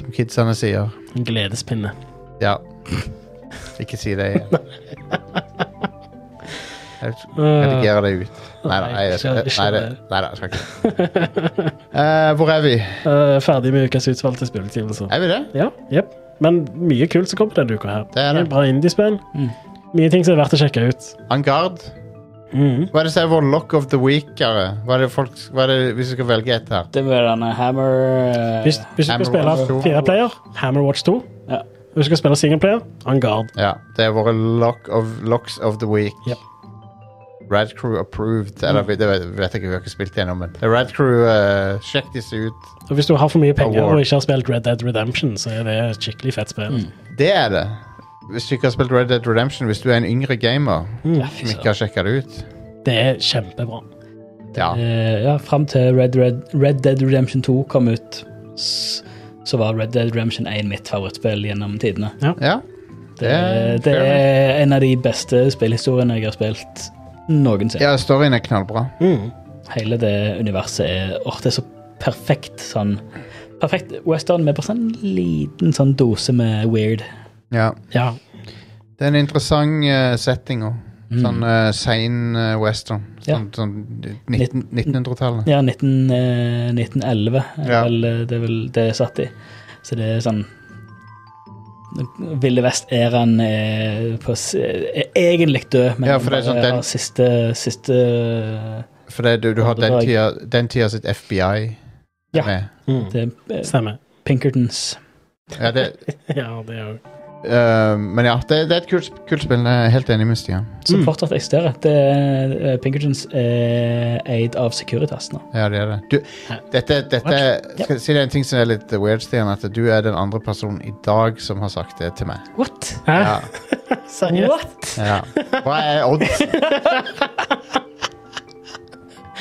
[SPEAKER 1] som kidsene sier.
[SPEAKER 2] En gledespinne.
[SPEAKER 1] Ja. Ikke si det igjen. Jeg
[SPEAKER 2] Eh,
[SPEAKER 1] redigerer det ut. Nei da,
[SPEAKER 2] Nei,
[SPEAKER 1] jeg, jeg, skal-
[SPEAKER 2] ikke- ikke
[SPEAKER 1] nei, det- nei da, jeg skal ikke Eh, Hvor er vi?
[SPEAKER 2] Eh, ferdig med ukas utvalgte spilletimelser.
[SPEAKER 1] Er vi det?
[SPEAKER 2] Ja, jep. Men mye kult som kommer denne uka her.
[SPEAKER 1] Det er det.
[SPEAKER 2] Bra indiespill.
[SPEAKER 3] Mm.
[SPEAKER 2] Mye ting som er verdt å sjekke ut.
[SPEAKER 1] Angard?
[SPEAKER 2] Mm.
[SPEAKER 1] Hva er det som er vår lock of the week? Are? Hva er det folk, hva er det, hvis vi skal velge et her?
[SPEAKER 3] Det var denne Hammer eh,
[SPEAKER 2] Hvis, hvis du skal
[SPEAKER 1] Hammer
[SPEAKER 2] spille
[SPEAKER 1] Watch 2.
[SPEAKER 2] fire player, Hammerwatch 2.
[SPEAKER 3] Ja.
[SPEAKER 2] Hvis du skal spille singleplayer, Angard.
[SPEAKER 1] Ja, det er våre lock of, locks of the week.
[SPEAKER 2] Yep.
[SPEAKER 1] Rad Crew approved. Eller vi- det vet- vet jeg ikke, vi har ikke spilt gjennom, men det er Rad Crew, eh, sjekk disse ut.
[SPEAKER 2] Og hvis du har for mye penger
[SPEAKER 1] Award.
[SPEAKER 2] og ikke har spilt Red Dead Redemption, så er det et skikkelig fett spill.
[SPEAKER 1] Det er det. Hvis du ikke har spilt Red Dead Redemption, hvis du er en yngre gamer som ikke har sjekka det ut.
[SPEAKER 2] Det er kjempebra.
[SPEAKER 1] Ja.
[SPEAKER 3] Eh, ja, Fram til Red, Red, Red Dead Redemption 2 kom ut, s- så var Red Dead Redemption 1 mitt favorittspill gjennom tidene.
[SPEAKER 1] ja.
[SPEAKER 3] Det,
[SPEAKER 1] er-
[SPEAKER 3] det er en av de beste spillhistoriene jeg har spilt noensinne.
[SPEAKER 1] Ja, storyen er knallbra.
[SPEAKER 2] Mm.
[SPEAKER 3] Hele det universet er åh, det er så perfekt sånn Perfekt western med bare sånn liten sånn dose med weird.
[SPEAKER 1] Ja.
[SPEAKER 2] Ja.
[SPEAKER 1] Det er en interessant eh, setting òg. Sånn eh, sein eh, western.
[SPEAKER 3] Ja.
[SPEAKER 1] Sånn, sånn 19, 1900-tallet.
[SPEAKER 3] Ja, 19, eh, 1911 er
[SPEAKER 1] Ja.
[SPEAKER 3] vel, eh, det er vel det er satt i. Så det er sånn Ville Vest-æraen er, på s- er egentlig død, men
[SPEAKER 1] Ja, for det er
[SPEAKER 3] den
[SPEAKER 1] sånn
[SPEAKER 3] bare
[SPEAKER 1] den-
[SPEAKER 3] har siste, siste
[SPEAKER 1] For det, du, du har den tida, den tida sitt FBI
[SPEAKER 3] Ja.
[SPEAKER 1] med.
[SPEAKER 2] Mm.
[SPEAKER 3] det er eh,
[SPEAKER 2] Stemmer.
[SPEAKER 3] Pinkertons.
[SPEAKER 1] Ja, det,
[SPEAKER 2] Ja, det er jo
[SPEAKER 1] eh, men ja, det, det er et kult, kult spill. Jeg er helt enig med Stian.
[SPEAKER 3] Som
[SPEAKER 2] Mm.
[SPEAKER 3] fortsatt eksisterer. Det er, eh, Pinkertons er eid av Securitas nå.
[SPEAKER 1] Ja, det er det. Du, dette, dette skal jeg si det er en ting som er litt weird, Stian. At du er den andre personen i dag som har sagt det til meg.
[SPEAKER 3] What?
[SPEAKER 2] Hæ?
[SPEAKER 1] Ja,
[SPEAKER 2] Seriøst?
[SPEAKER 3] What?
[SPEAKER 1] ja. Hva er oddsen?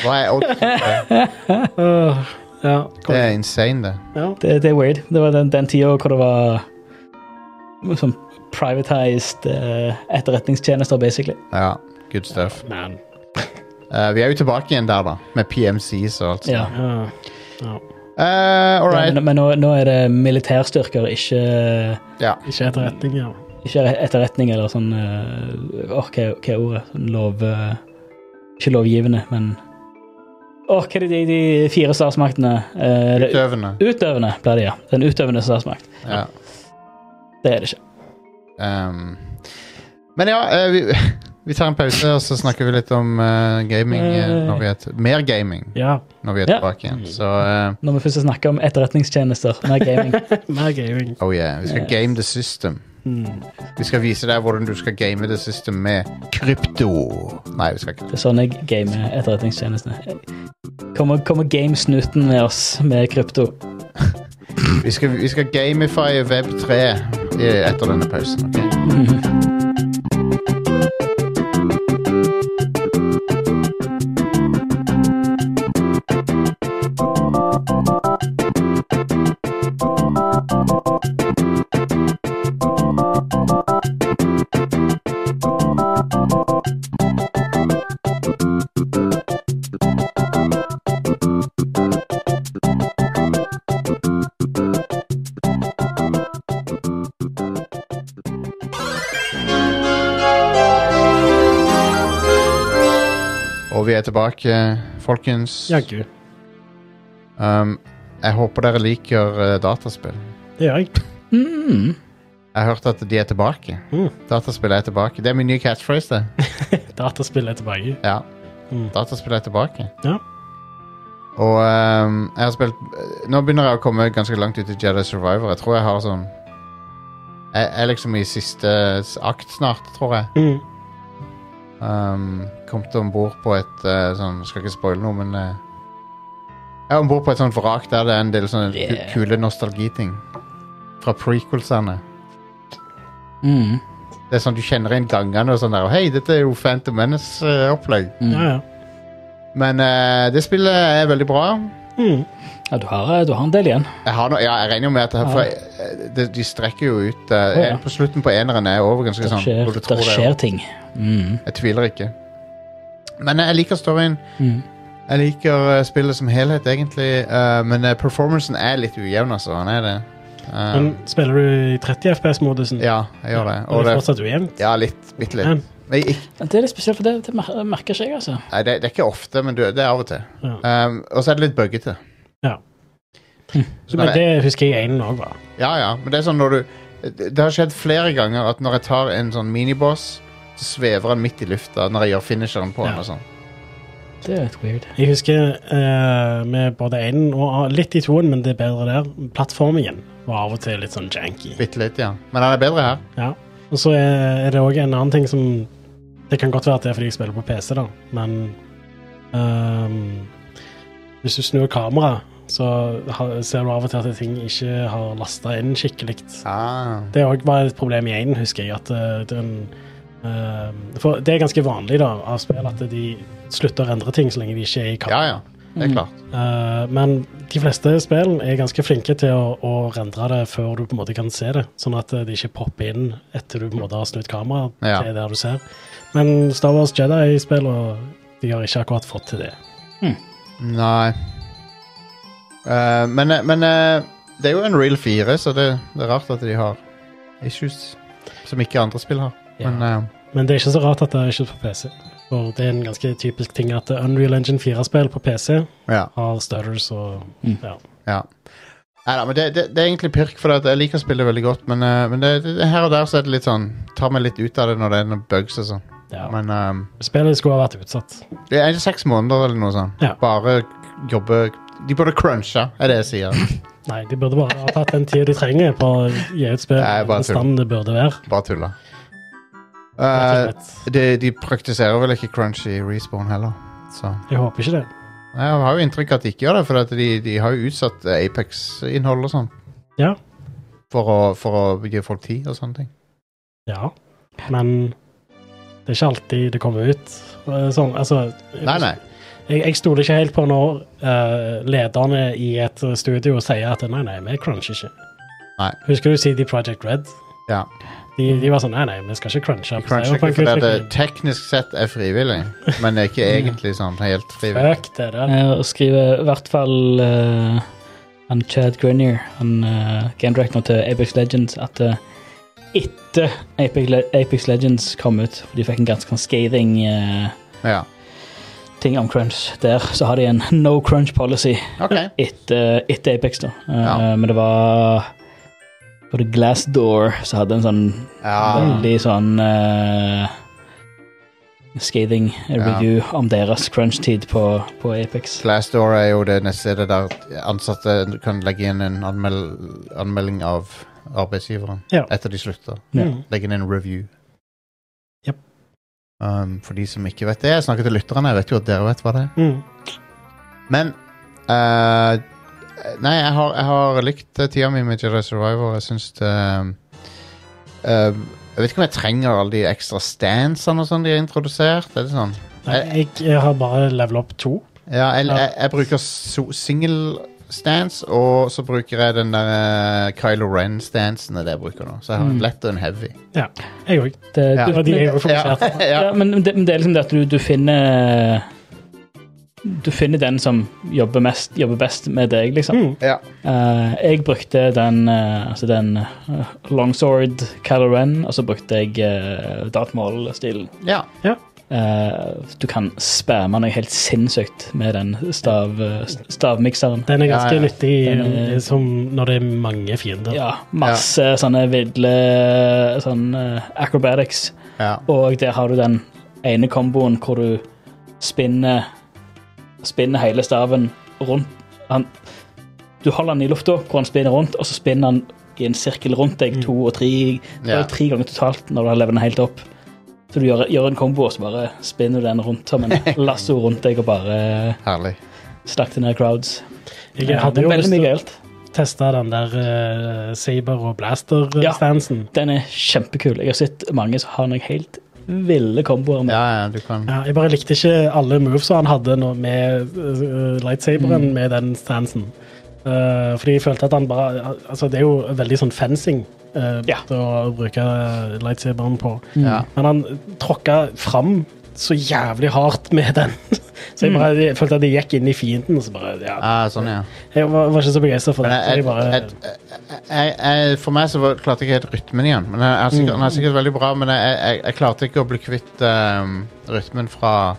[SPEAKER 1] Hva er oddsen?
[SPEAKER 2] Åh, ja.
[SPEAKER 1] Det
[SPEAKER 2] Kom.
[SPEAKER 1] er insane, det.
[SPEAKER 2] ja.
[SPEAKER 3] Det, det er weird. Det var den, den tida hvor det var sånn privatized eh, etterretningstjenester, basically.
[SPEAKER 1] Ja, good stuff.
[SPEAKER 2] Man.
[SPEAKER 1] Eh, vi er jo tilbake igjen der, da. Med PMCs og alt sånt.
[SPEAKER 3] Ja.
[SPEAKER 2] Ja. ja.
[SPEAKER 1] Eh, all
[SPEAKER 3] Ja,
[SPEAKER 1] right.
[SPEAKER 3] men men nå, nå er det militærstyrker, ikke,
[SPEAKER 1] Ja.
[SPEAKER 2] Ikke etterretning, ja.
[SPEAKER 3] ikke etterretning eller sånn eh, Åh, hva, hva er ordet? Sånn lov... eh, ikke lovgivende, men Åh, hva er det de, de fire statsmaktene eh, det-
[SPEAKER 1] Utøvende.
[SPEAKER 3] Utøvende, blir det, ja. Den utøvende statsmakt.
[SPEAKER 1] Ja.
[SPEAKER 3] Det er det ikke.
[SPEAKER 1] Ehm, men ja, eh, vi, vi tar en pause, og så snakker vi litt om eh, gaming eh, når vi er t Mer gaming
[SPEAKER 2] ja.
[SPEAKER 1] når vi er
[SPEAKER 3] Ja.
[SPEAKER 1] tilbake igjen. Så eh,
[SPEAKER 3] Når vi først snakker om etterretningstjenester, mer gaming
[SPEAKER 2] Mer gaming.
[SPEAKER 1] oh yeah, vi skal game the system.
[SPEAKER 2] Mm.
[SPEAKER 1] Vi skal vise deg hvordan du skal game the system med krypto. Nei, vi skal ikke
[SPEAKER 3] Det er sånn jeg gamer etterretningstjenestene. Kommer, kommer gamesnuten med oss med krypto?
[SPEAKER 1] Vi skal, vi skal gamify Web3 i- etter denne pausen. ok? Og vi er tilbake, folkens.
[SPEAKER 2] Jaggu.
[SPEAKER 1] Um, jeg håper dere liker eh, dataspill.
[SPEAKER 2] Det gjør jeg.
[SPEAKER 3] Mm.
[SPEAKER 1] Jeg har hørt at de er tilbake.
[SPEAKER 2] Mm.
[SPEAKER 1] Dataspill er tilbake. Det er min nye catchphrase, det.
[SPEAKER 2] Dataspill er tilbake.
[SPEAKER 1] Ja.
[SPEAKER 2] Mm.
[SPEAKER 1] Dataspill er tilbake.
[SPEAKER 2] Ja.
[SPEAKER 1] Og ehm, jeg har spilt Nå begynner jeg å komme ganske langt ut i Jedi Survivor. Jeg tror jeg har sånn Jeg er liksom i siste s- akt snart, tror jeg.
[SPEAKER 2] Mm.
[SPEAKER 1] Um, Kommet om bord på et eh, sånn Skal ikke spoile noe, men eh, Jeg er om bord på et sånt vrak der det er en del sånne ku-
[SPEAKER 3] Yeah.
[SPEAKER 1] kule nostalgiting. Fra prequelsene.
[SPEAKER 3] Mm.
[SPEAKER 1] Det er sånn du kjenner inn gangene og sånn der. Hei, dette er jo Phantom Menace-opplegg.
[SPEAKER 3] Mm.
[SPEAKER 2] Ja, ja.
[SPEAKER 1] Men eh, det spillet er veldig bra.
[SPEAKER 2] Mm.
[SPEAKER 3] Ja, du har, eh, du har en del igjen.
[SPEAKER 1] Jeg, har no, ja, jeg regner jo med at det, for, eh, de, de strekker jo ut eh,
[SPEAKER 3] Å, ja.
[SPEAKER 1] På slutten på eneren er over ganske
[SPEAKER 3] Det
[SPEAKER 1] sånn.
[SPEAKER 3] skjer,
[SPEAKER 1] hvor du tror det
[SPEAKER 3] der
[SPEAKER 1] er-
[SPEAKER 3] skjer ting. Mm.
[SPEAKER 1] Jeg tviler ikke. Men eh, jeg liker storyen.
[SPEAKER 3] Mm.
[SPEAKER 1] Jeg liker eh, spillet som helhet, egentlig. eh, men eh, performancen er litt ujevn, altså. Han er det. Eh,
[SPEAKER 2] Men spiller du i 30 FPS-modusen?
[SPEAKER 1] ja, jeg gjør det.
[SPEAKER 2] Og
[SPEAKER 1] Og
[SPEAKER 2] det er
[SPEAKER 1] det
[SPEAKER 2] fortsatt ujevnt?
[SPEAKER 1] ja, litt. Bitte litt.
[SPEAKER 2] Men,
[SPEAKER 1] Men ikke,
[SPEAKER 3] Ja, Det er litt spesielt, for det, det mer- merker ikke jeg, altså.
[SPEAKER 1] nei, det, det er ikke ofte, men du, det er av og til.
[SPEAKER 2] Ja.
[SPEAKER 1] Um, og så er det litt buggete.
[SPEAKER 2] Ja.
[SPEAKER 3] Mm.
[SPEAKER 1] Så
[SPEAKER 2] men
[SPEAKER 1] det,
[SPEAKER 2] det husker jeg enen òg var.
[SPEAKER 1] Ja, ja, men det er sånn når du Det det har skjedd flere ganger at når jeg tar en sånn miniboss, så svever han midt i lufta når jeg gjør finisheren på han
[SPEAKER 2] Ja.
[SPEAKER 1] og sånn.
[SPEAKER 3] Det er litt weird.
[SPEAKER 2] Jeg husker eh, med både enen og litt i toen, men det er bedre der. Plattformingen var av og til litt sånn janky.
[SPEAKER 1] Bitte litt, ja. Men han er bedre her.
[SPEAKER 2] Ja. Og så er, er det òg en annen ting som Det kan godt være at det er fordi jeg spiller på PC, da, men ehm, Hvis du snur kameraet, så har, ser du av og til at ting ikke har lasta inn skikkelig. Det òg var et problem i én, husker jeg. At eh, den ehm, For det er ganske vanlig da, av spill at de slutter å endre ting så lenge de ikke er i kamp.
[SPEAKER 1] Ja, ja. Det er klart.
[SPEAKER 2] Eh, men de fleste spill er ganske flinke til å, å rendre det før du på en måte kan se det, sånn at eh, det ikke popper inn etter du på en måte har snudd kameraet
[SPEAKER 1] Ja.
[SPEAKER 2] til der du ser. Men Star Wars Jedi-spill de har ikke akkurat fått til det.
[SPEAKER 1] Nei. Eh, men eh, men eh, det er jo en real 4, så det, det er rart at de har issues som ikke andre spill har.
[SPEAKER 2] Ja.
[SPEAKER 1] Men eh,
[SPEAKER 2] Men det er ikke så rart at det er ikke på PC. For det er en ganske typisk ting at Unreal Engine 4-spill på PC
[SPEAKER 1] Ja.
[SPEAKER 2] har stutters og
[SPEAKER 3] Mm.
[SPEAKER 2] ja.
[SPEAKER 1] ja. Neida, men det, det, det er egentlig pirk, for at jeg liker å spille veldig godt, men, eh, men det, det, det her og der så er det litt sånn Tar meg litt ut av det når det er noen bugs og sånn.
[SPEAKER 2] ja.
[SPEAKER 1] Men ehm,
[SPEAKER 2] Spillet skulle ha vært utsatt.
[SPEAKER 1] det er seks måneder eller noe sånt.
[SPEAKER 2] Ja.
[SPEAKER 1] Bare jobbe De burde crunche, er det jeg sier.
[SPEAKER 2] Nei, de burde bare ha tatt den tida de trenger på å gi ut spill
[SPEAKER 1] Nei,
[SPEAKER 2] i
[SPEAKER 1] bare
[SPEAKER 2] den standen det burde være.
[SPEAKER 1] Bare tulla.
[SPEAKER 2] rett og
[SPEAKER 1] Eh,
[SPEAKER 2] slett.
[SPEAKER 1] de, de praktiserer vel ikke crunch i respawn heller, så
[SPEAKER 2] Jeg håper ikke det.
[SPEAKER 1] Nei, Jeg har jo inntrykk av at de ikke gjør det, for at de, de har jo utsatt Apex-innhold og sånn.
[SPEAKER 2] Ja.
[SPEAKER 1] For å, for å gi folk tid og sånne ting.
[SPEAKER 2] Ja. Men det er ikke alltid det kommer ut eh, sånn. Altså
[SPEAKER 1] Nei, nei.
[SPEAKER 2] Jeg, jeg stoler ikke helt på når eh, lederne i et studio sier at nei, nei, vi cruncher ikke.
[SPEAKER 1] Nei.
[SPEAKER 2] Husker du CD Project Red?
[SPEAKER 1] Ja.
[SPEAKER 2] De, de var sånn nei, nei, vi skal ikke crunche. på
[SPEAKER 1] Crunch ikke, for det,
[SPEAKER 2] Cyberpunk-utviklingen».
[SPEAKER 1] det teknisk sett er frivillig, men det er ikke egentlig sånn helt frivillig.
[SPEAKER 2] Fuck det der.
[SPEAKER 3] Jeg skriver i hvert fall eh, han Chad Grenier, han uh, gamedirectoren til Apex Legends, at eh, etter Apex, Le Apex Legends kom ut, for de fikk en ganske sånn scathing eh,
[SPEAKER 1] Ja.
[SPEAKER 3] ting om crunch der, så har de en no crunch policy
[SPEAKER 1] OK.
[SPEAKER 3] etter, etter Apex, da. Eh,
[SPEAKER 1] Ja.
[SPEAKER 3] Men det var Var det Glassdoor som hadde en sånn
[SPEAKER 2] Mm.
[SPEAKER 1] Ja.
[SPEAKER 3] veldig sånn uh, scathing review om deres crunch-tid på, på Apex.
[SPEAKER 1] Glassdoor er jo det neste stedet der ansatte kan legge inn en anmel anmelding av arbeidsgiveren
[SPEAKER 2] Ja.
[SPEAKER 1] etter de slutter.
[SPEAKER 3] Ja.
[SPEAKER 2] Mm.
[SPEAKER 1] Legge inn en review.
[SPEAKER 2] Yep.
[SPEAKER 1] Um, for de som ikke vet det, jeg snakker til lytterne, jeg vet jo at dere vet hva det er.
[SPEAKER 2] Mm.
[SPEAKER 1] Men eh, Nei, jeg har, jeg har likt eh, tida mi med Jedi Survivor. Jeg syns det eh, Jeg vet ikke om jeg trenger alle de ekstra stansene og sånn de har introdusert. Er det sånn?
[SPEAKER 2] Nei, jeg, jeg har bare level opp to.
[SPEAKER 1] Ja, jeg,
[SPEAKER 2] Ja.
[SPEAKER 1] jeg, jeg bruker so single stance, og så bruker jeg den der eh, Kylo Ren-stansen det jeg bruker nå. Så jeg har en
[SPEAKER 3] Mm.
[SPEAKER 1] lett og en heavy.
[SPEAKER 2] Ja, jeg òg.
[SPEAKER 3] Det,
[SPEAKER 1] Ja.
[SPEAKER 3] du,
[SPEAKER 2] Og de er jo
[SPEAKER 1] Ja,
[SPEAKER 2] fokusert.
[SPEAKER 1] ja.
[SPEAKER 3] ja, men det, men det er liksom det at du, du finner Du finner den som jobber, mest, jobber best med deg, liksom.
[SPEAKER 2] Mm.
[SPEAKER 1] ja.
[SPEAKER 3] Eh, jeg brukte den, eh, altså den eh, longsword Kylo Ren, og så brukte jeg uh, Darth Maul-stilen.
[SPEAKER 1] ja.
[SPEAKER 3] Eh, du kan spamme noe helt sinnssykt med den stav, eh, stavmikseren.
[SPEAKER 2] Den er
[SPEAKER 1] Ja,
[SPEAKER 2] ganske
[SPEAKER 1] ja.
[SPEAKER 2] nyttig
[SPEAKER 3] Den er-
[SPEAKER 2] eh, som når det er mange fiender.
[SPEAKER 3] Ja, masse sånne vidle sånn, eh, acrobatics.
[SPEAKER 1] ja.
[SPEAKER 3] Og der har du den ene komboen hvor du spinner Spinner hele staven rundt han, Du holder den i lufta hvor han spinner rundt, og så spinner han i en sirkel rundt deg to og tre,
[SPEAKER 1] Ja.
[SPEAKER 3] eller tre ganger totalt når du har levd den helt opp. Så du gjør, gjør en kombo, og så bare spinner du den rundt som en lasso rundt deg og bare eh,
[SPEAKER 1] Herlig.
[SPEAKER 3] slakter ned crowds.
[SPEAKER 2] Jeg hadde
[SPEAKER 3] Det
[SPEAKER 2] jo
[SPEAKER 3] er veldig
[SPEAKER 2] lyst
[SPEAKER 3] mye
[SPEAKER 2] til å
[SPEAKER 3] gøyalt.
[SPEAKER 2] teste den der eh, saber- og eh,
[SPEAKER 3] Ja.
[SPEAKER 2] blaster-stansen.
[SPEAKER 3] Den er kjempekul. Jeg har sett mange som har noen helt ville komboer med
[SPEAKER 1] Ja, ja, du kan
[SPEAKER 2] Ja, jeg bare likte ikke alle movesa han hadde nå med eh, lightsaberen
[SPEAKER 3] Mm.
[SPEAKER 2] med den stansen. Eh, fordi jeg følte at han bare Altså, det er jo veldig sånn fencing eh,
[SPEAKER 3] Ja.
[SPEAKER 2] til å bruke eh, lightsaberen på.
[SPEAKER 1] Ja.
[SPEAKER 2] Men han tråkka fram så jævlig hardt med den. så
[SPEAKER 3] Mm.
[SPEAKER 2] jeg bare jeg følte at jeg gikk inn i fienden, og så bare ja.
[SPEAKER 1] Ah, sånn, ja.
[SPEAKER 2] Jeg var, var ikke så begeistra for det. Så
[SPEAKER 1] Men
[SPEAKER 2] jeg bare,
[SPEAKER 1] jeg, jeg, jeg, jeg, jeg, for meg så var- klarte jeg ikke helt rytmen igjen. Men jeg, er sikkert,
[SPEAKER 2] Mm.
[SPEAKER 1] Den er sikkert veldig bra, men jeg, jeg, jeg klarte ikke å bli kvitt ehm, rytmen fra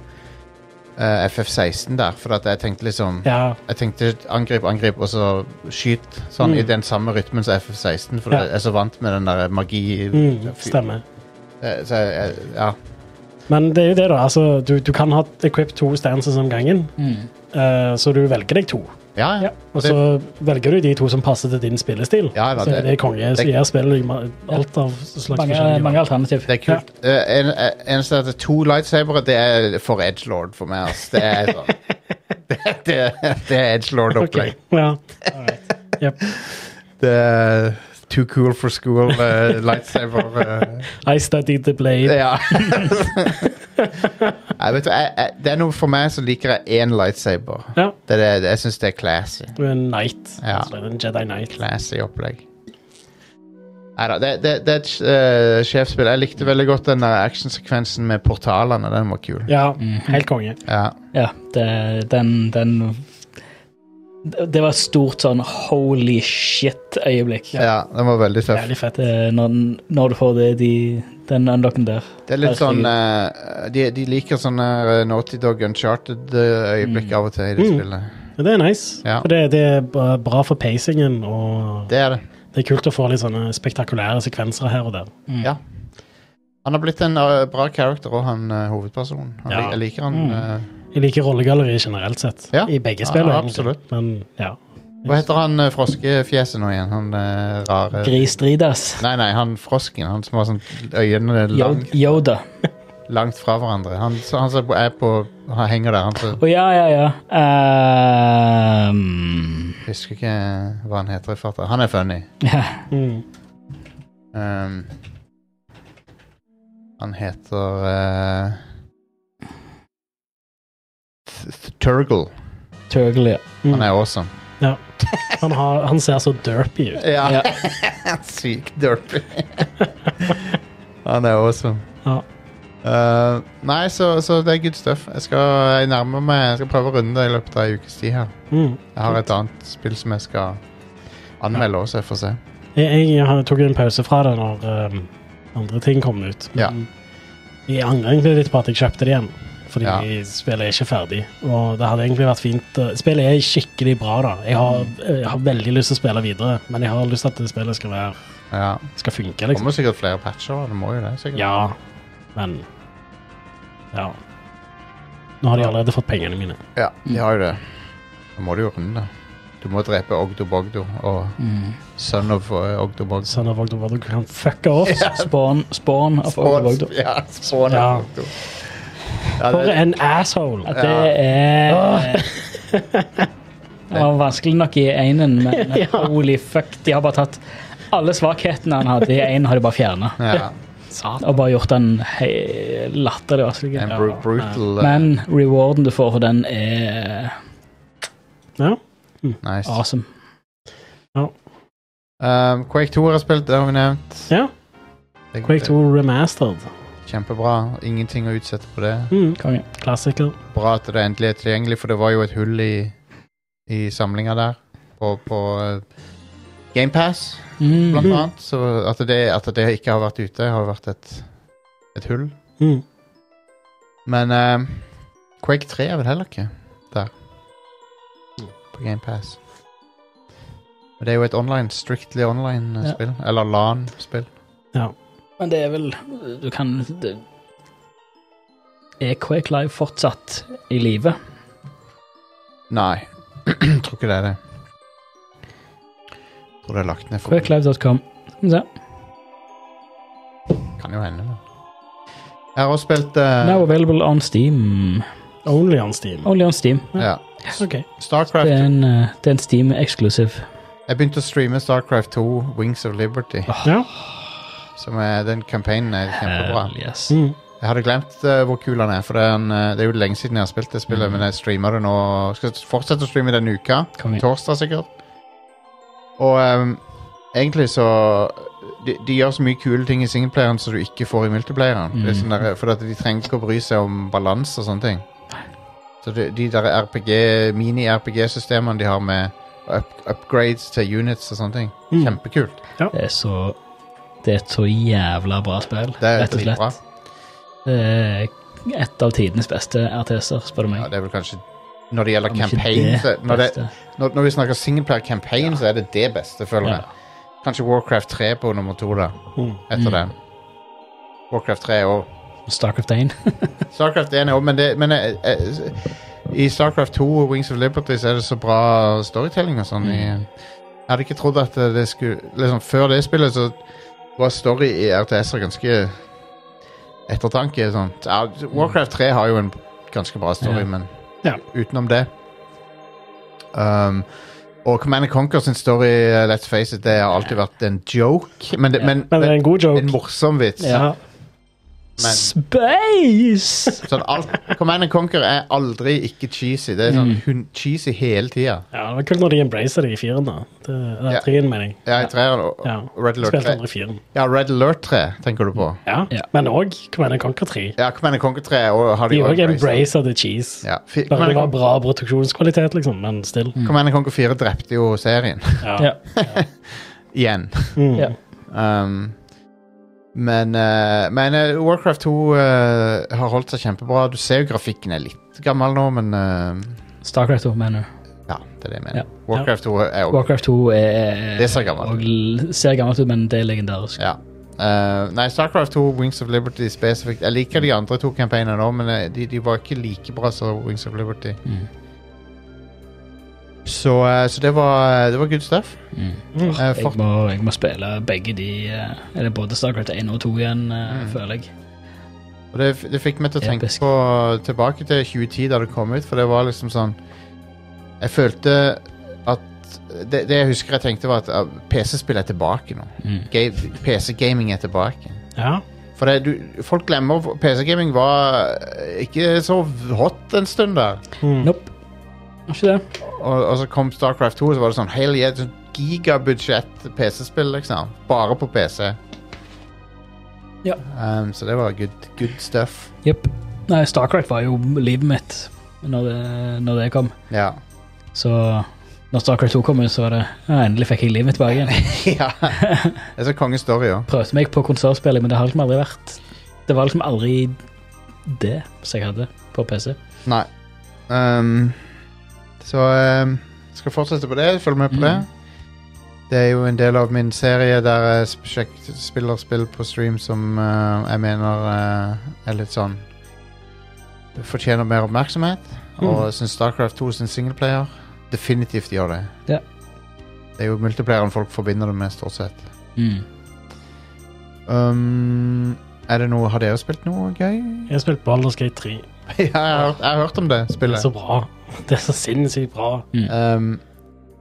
[SPEAKER 1] eh, FF16 der. For at jeg tenkte liksom
[SPEAKER 2] ja,
[SPEAKER 1] Jeg tenkte angrip, angrip, og så skyt. Sånn
[SPEAKER 2] Mm.
[SPEAKER 1] i den samme rytmen som FF16, for
[SPEAKER 2] Ja.
[SPEAKER 1] jeg er så vant med den der magi...
[SPEAKER 2] mm, stemmer.
[SPEAKER 1] Eh, Så jeg, jeg, ja.
[SPEAKER 2] Men det er jo det, da. Altså, du, du kan ha equipped to stances om gangen,
[SPEAKER 1] Mm.
[SPEAKER 2] eh, så du velger deg to.
[SPEAKER 1] Ja, ja.
[SPEAKER 2] Og så velger du de to som passer til din spillestil.
[SPEAKER 1] Ja, ja,
[SPEAKER 2] så
[SPEAKER 1] det-
[SPEAKER 2] det er konge som
[SPEAKER 1] det-
[SPEAKER 2] gjør spillet i ma- alt av slags
[SPEAKER 3] mange,
[SPEAKER 2] forskjellige.
[SPEAKER 3] mange alternativ.
[SPEAKER 1] Det er kult. Eh, en, eh, eneste er at to lightsabere, det er for edgelord for meg. ass. Det er sånn Det, det, det er
[SPEAKER 2] Ok,
[SPEAKER 1] edgelord-opplegg.
[SPEAKER 2] Ja. Alright. Yep.
[SPEAKER 1] Det er Too cool for school, eh, lightsaber eh.
[SPEAKER 2] I studied the blade.
[SPEAKER 1] Ja. Nei, vet du, jeg, jeg, det er noe for meg som liker jeg én lightsaber.
[SPEAKER 2] Ja.
[SPEAKER 1] Det, er det, jeg syns det er classy.
[SPEAKER 2] Du er en knight.
[SPEAKER 1] Ja.
[SPEAKER 2] Altså, en Jedi knight.
[SPEAKER 1] Classy opplegg. Nei da, det, det, det er et eh, sjefsspill. Jeg likte veldig godt den der actionsekvensen med portalene. Den var kul.
[SPEAKER 2] Ja, helt konge.
[SPEAKER 1] Ja.
[SPEAKER 3] Ja, det, den, den Det det var et stort sånn holy shit-øyeblikk.
[SPEAKER 1] Ja, den var veldig tøff.
[SPEAKER 2] Jævlig fett.
[SPEAKER 3] Det- eh, Når, den- når du får det, de, den unlocken der.
[SPEAKER 1] Det er litt sånn eh, de, de liker sånne eh, Naughty Dog Uncharted-øyeblikk av og til i det
[SPEAKER 2] Mm.
[SPEAKER 1] spillet.
[SPEAKER 2] Men det er nice.
[SPEAKER 1] Ja.
[SPEAKER 2] For det, det er ba- bra for pacingen, og
[SPEAKER 1] Det er det.
[SPEAKER 2] det er kult å få litt sånne spektakulære sekvenser her og der.
[SPEAKER 3] Mm.
[SPEAKER 1] Ja. Han har blitt en eh, bra character og han eh, hovedpersonen. Han,
[SPEAKER 2] Ja.
[SPEAKER 1] lik- Jeg liker han.
[SPEAKER 3] Mm.
[SPEAKER 1] eh,
[SPEAKER 2] Jeg liker rollegalleriet generelt sett,
[SPEAKER 1] Ja.
[SPEAKER 2] i begge spill.
[SPEAKER 1] Ja,
[SPEAKER 2] egentlig. Men ja.
[SPEAKER 1] hva heter han eh, froskefjeset nå igjen? Han eh, rare
[SPEAKER 3] Grisdridas.
[SPEAKER 1] Nei, nei, han frosken. Han som har sånn øynene langt,
[SPEAKER 3] Yoda.
[SPEAKER 1] langt fra hverandre. Han, så, han som er på Han henger der. Han som
[SPEAKER 3] Å ja, ja, ja. Ehm,
[SPEAKER 1] jeg husker ikke hva han heter i farta. Han er funny.
[SPEAKER 3] ja.
[SPEAKER 2] Mm.
[SPEAKER 1] Um, han heter eh, Th- Th- Turgle.
[SPEAKER 3] Turgle, ja.
[SPEAKER 1] Han er awesome.
[SPEAKER 2] Han, har, han ser så derpy ut.
[SPEAKER 1] Ja.
[SPEAKER 3] Ja.
[SPEAKER 1] Sykt derpy. han er awesome.
[SPEAKER 2] Ja.
[SPEAKER 1] Eh, nei, så, så det er good stuff. Jeg skal, jeg nærmer meg, jeg skal prøve å runde det i løpet av ei ukes tid her.
[SPEAKER 2] Mm.
[SPEAKER 1] Jeg har et annet spill som jeg skal anmelde også, jeg får se.
[SPEAKER 2] Jeg, jeg har- tok en pause fra det når um, andre ting kom ut.
[SPEAKER 1] Ja.
[SPEAKER 2] Jeg angrer egentlig litt på at jeg kjøpte det igjen, fordi
[SPEAKER 1] Ja.
[SPEAKER 2] spillet er ikke ferdig. Og det hadde egentlig vært fint uh, Spillet er skikkelig bra, da. Jeg har, eh, jeg har veldig lyst til å spille videre, men jeg har lyst til at det spillet skal, være,
[SPEAKER 1] Ja.
[SPEAKER 2] skal funke,
[SPEAKER 1] Det
[SPEAKER 2] liksom.
[SPEAKER 1] kommer sikkert flere patcher. Det må jo det, sikkert.
[SPEAKER 2] Ja, men Ja. Nå har de allerede fått pengene mine.
[SPEAKER 1] Ja, de har jo det. Da må du jo runde. Du må drepe Ogdo Bogdo og
[SPEAKER 2] Mm.
[SPEAKER 1] Son of eh, Ogdo Bogdo.
[SPEAKER 2] Sånn at Vogdo Vogdo kan fucke off.
[SPEAKER 3] Spawn, spawn av Overvogd.
[SPEAKER 1] Ja, Spawn
[SPEAKER 2] Ja.
[SPEAKER 1] of Ogdo. Ja,
[SPEAKER 2] For
[SPEAKER 1] det,
[SPEAKER 2] en asshole!
[SPEAKER 3] At det er Det var vanskelig nok i einen, men holy fuck, de har bare tatt alle svakhetene han hadde i én, har de bare fjerna.
[SPEAKER 1] ja.
[SPEAKER 2] Satan.
[SPEAKER 3] Og bare gjort den hei- latterlig vanskelig.
[SPEAKER 1] En bru brutal eh,
[SPEAKER 3] Men rewarden du får for den, er
[SPEAKER 2] Ja.
[SPEAKER 1] Nice.
[SPEAKER 3] awesome.
[SPEAKER 1] Um, Quake 2 har jeg spilt, det har vi nevnt.
[SPEAKER 2] ja.
[SPEAKER 1] Det,
[SPEAKER 2] Quake 2 Remastered.
[SPEAKER 1] det- Kjempebra. Ingenting å utsette på det.
[SPEAKER 2] Mm.
[SPEAKER 3] Konge.
[SPEAKER 2] Klassiker.
[SPEAKER 1] Bra at det endelig er tilgjengelig, for det var jo et hull i, i samlinga der. På, på eh, GamePass, blant
[SPEAKER 3] Mm.
[SPEAKER 1] annet. Så at det, at det ikke har vært ute, har vært et, et hull.
[SPEAKER 2] Mm.
[SPEAKER 1] Men eh, Quake 3 er vel heller ikke der. På GamePass. Det er jo et online, strictly
[SPEAKER 3] Ja.
[SPEAKER 1] online-spill. Eller LAN-spill.
[SPEAKER 3] Men det er vel Du kan det, Er Quake Live fortsatt i live?
[SPEAKER 1] Nei, tror ikke det er det. Tror det er lagt ned for
[SPEAKER 3] Quakelive.com. Skal vi se.
[SPEAKER 1] Kan jo hende, men Jeg har også spilt eh,
[SPEAKER 3] Now available on Steam.
[SPEAKER 2] Only on Steam.
[SPEAKER 3] Only on Steam.
[SPEAKER 1] ja.
[SPEAKER 2] Ok.
[SPEAKER 1] Starcraft.
[SPEAKER 3] Det er en, eh, det er en Steam eksklusiv.
[SPEAKER 1] Jeg begynte å streame Starcraft 2, Wings of Liberty.
[SPEAKER 3] Ah.
[SPEAKER 2] Ja.
[SPEAKER 1] Som er, den campaignen er kjempebra.
[SPEAKER 3] Hell yes.
[SPEAKER 2] Mm.
[SPEAKER 1] Jeg hadde glemt eh, hvor kul han er, for det er, en, eh, det er jo lenge siden jeg har spilt det spillet,
[SPEAKER 3] Mm.
[SPEAKER 1] men jeg streamer det nå. Skal fortsette å streame denne uka.
[SPEAKER 3] Konge.
[SPEAKER 1] Torsdag, sikkert. Og ehm, egentlig så de, de gjør så mye kule ting i singleplayeren som du ikke får i multiplayeren.
[SPEAKER 3] Mm.
[SPEAKER 1] Det er sånn der, for at de trenger ikke å bry seg om balanse og sånne ting. Så de, de der RPG, mini-RPG-systemene de har med up, upgrades til units og sånne ting,
[SPEAKER 2] Mm.
[SPEAKER 1] kjempekult.
[SPEAKER 3] Det er så Det er et så jævla bra spill,
[SPEAKER 1] Det er
[SPEAKER 3] rett og
[SPEAKER 1] dritbra.
[SPEAKER 3] slett. Det er et av tidenes beste RTS-er, spør du meg.
[SPEAKER 1] Ja, det er vel kanskje Når det gjelder
[SPEAKER 3] Om ikke
[SPEAKER 1] campaign,
[SPEAKER 3] det
[SPEAKER 1] så, når, det,
[SPEAKER 3] beste.
[SPEAKER 1] Når, når vi snakker singleplayer campaign, så er det det beste, føler
[SPEAKER 3] Ja.
[SPEAKER 1] jeg. Kanskje Warcraft 3 på nummer to, da.
[SPEAKER 2] Mm.
[SPEAKER 1] Etter
[SPEAKER 3] Mm.
[SPEAKER 1] den. Warcraft 3 òg.
[SPEAKER 3] Starcraft 1.
[SPEAKER 1] Starcraft 1 er òg, men, det, men jeg, jeg, i Starcraft 2 og Wings of Liberty så er det så bra storytelling og sånn. i- Jeg hadde ikke trodd at det skulle liksom Før det spillet så var story i RTS-er ganske ettertanke. Sånn. Ja, Warcraft 3 har jo en ganske bra story,
[SPEAKER 3] Ja.
[SPEAKER 1] men
[SPEAKER 2] Ja.
[SPEAKER 1] utenom det um, Og Command Conquer sin story, eh, let's face it, det har alltid vært en joke, men, det, men,
[SPEAKER 2] Men det er en god joke.
[SPEAKER 1] en morsom vits.
[SPEAKER 2] Ja.
[SPEAKER 1] Men
[SPEAKER 3] Space!
[SPEAKER 1] sånn alt, Command and Conquer er aldri ikke cheesy. Det er
[SPEAKER 2] Mm.
[SPEAKER 1] sånn hun, cheesy hele tida.
[SPEAKER 2] Ja, det var kult når de embracer det i firen, da. Det, det
[SPEAKER 1] Ja.
[SPEAKER 2] er treen, mener jeg.
[SPEAKER 1] Ja, i treeren og
[SPEAKER 2] Ja. Mm.
[SPEAKER 1] og Red Alert
[SPEAKER 2] Spilte
[SPEAKER 1] 3.
[SPEAKER 2] aldri firen.
[SPEAKER 1] Ja, Red Alert 3 tenker du på.
[SPEAKER 2] Ja.
[SPEAKER 3] Ja.
[SPEAKER 2] Men òg Command Conquer 3.
[SPEAKER 1] Ja, Command and Conquer 3 og, har de
[SPEAKER 2] De òg
[SPEAKER 1] embraced.
[SPEAKER 2] embracer the cheese.
[SPEAKER 1] Ja, fi-
[SPEAKER 2] Bare
[SPEAKER 1] Command
[SPEAKER 2] det var
[SPEAKER 1] and Con-
[SPEAKER 2] bra produksjonskvalitet, liksom, men still.
[SPEAKER 1] Command and Conquer 4 drepte jo serien.
[SPEAKER 3] Ja.
[SPEAKER 1] Igjen.
[SPEAKER 2] Mm.
[SPEAKER 3] Ja.
[SPEAKER 1] Um, men eh, men eh, Warcraft 2 eh, har holdt seg kjempebra. Du ser jo grafikken er litt gammel nå, men eh,
[SPEAKER 3] Starcraft 2, mener du.
[SPEAKER 1] ja, det er det jeg mener.
[SPEAKER 3] Ja.
[SPEAKER 1] Warcraft 2 er jo
[SPEAKER 3] Warcraft 2 er
[SPEAKER 1] Det ser gammelt ut.
[SPEAKER 3] og l- ser gammelt ut, men det er legendarisk.
[SPEAKER 1] ja. Eh, nei, Starcraft 2, Wings of Liberty spesifikt Jeg liker de andre to campaignene nå, men eh, de, de var ikke like bra som Wings of Liberty.
[SPEAKER 3] Mm.
[SPEAKER 1] Så, eh, så det, var, det var good stuff.
[SPEAKER 3] Mm.
[SPEAKER 2] Mm.
[SPEAKER 1] Eh,
[SPEAKER 3] Jeg,
[SPEAKER 1] for,
[SPEAKER 3] må, jeg må spille begge de eh, Eller både Starcraft 1 og 2 igjen,
[SPEAKER 1] Mm.
[SPEAKER 3] eh, føler jeg.
[SPEAKER 1] Og det, det fikk meg til å tenke
[SPEAKER 3] Episk.
[SPEAKER 1] på eh, tilbake til 2010 da det kom ut, for det var liksom sånn Jeg følte at Det, det jeg husker jeg tenkte, var at ah, PC-spill er tilbake nå.
[SPEAKER 3] Mm.
[SPEAKER 1] Ga- PC-gaming er tilbake.
[SPEAKER 2] Ja.
[SPEAKER 1] For det, du, folk glemmer hvor- PC-gaming var eh, ikke så hot en stund der.
[SPEAKER 2] Mm.
[SPEAKER 3] Nope. Var Ikke det?
[SPEAKER 1] Og, og så kom Starcraft 2, og så var det sånn hell yeah, sånn gigabudsjett PC-spill, liksom. Bare på PC.
[SPEAKER 3] Ja.
[SPEAKER 1] Um, så det var good, good stuff.
[SPEAKER 3] Jepp. Nei, Starcraft var jo livet mitt når det, når det kom.
[SPEAKER 1] Ja.
[SPEAKER 3] Så når Starcraft 2 kom, ut, så var det ja, Endelig fikk jeg livet mitt tilbake igjen.
[SPEAKER 1] ja. Det er så kongestory òg.
[SPEAKER 3] Prøvde meg på konsertspilling, men det har liksom aldri vært Det var liksom aldri det som jeg hadde på PC.
[SPEAKER 1] Nei. Ehm, så ehm, skal fortsette på det. Følg med på
[SPEAKER 3] Mm.
[SPEAKER 1] det. Det er jo en del av min serie der jeg sp- sjekk- spiller spill på stream som eh, jeg mener eh, er litt sånn Det Fortjener mer oppmerksomhet.
[SPEAKER 3] Mm.
[SPEAKER 1] Og jeg syns Starcraft 2 sin singleplayer definitivt gjør det.
[SPEAKER 3] Ja.
[SPEAKER 1] Det er jo multiplayeren folk forbinder det med, stort sett.
[SPEAKER 3] Mm.
[SPEAKER 1] Um, er det noe, Har dere spilt noe gøy?
[SPEAKER 2] Jeg har spilt Baldur's Gate 3.
[SPEAKER 1] ja, jeg har, hørt- jeg har hørt om det
[SPEAKER 2] Det
[SPEAKER 1] spillet.
[SPEAKER 2] er så bra. Det er så sinnssykt bra.
[SPEAKER 1] Um,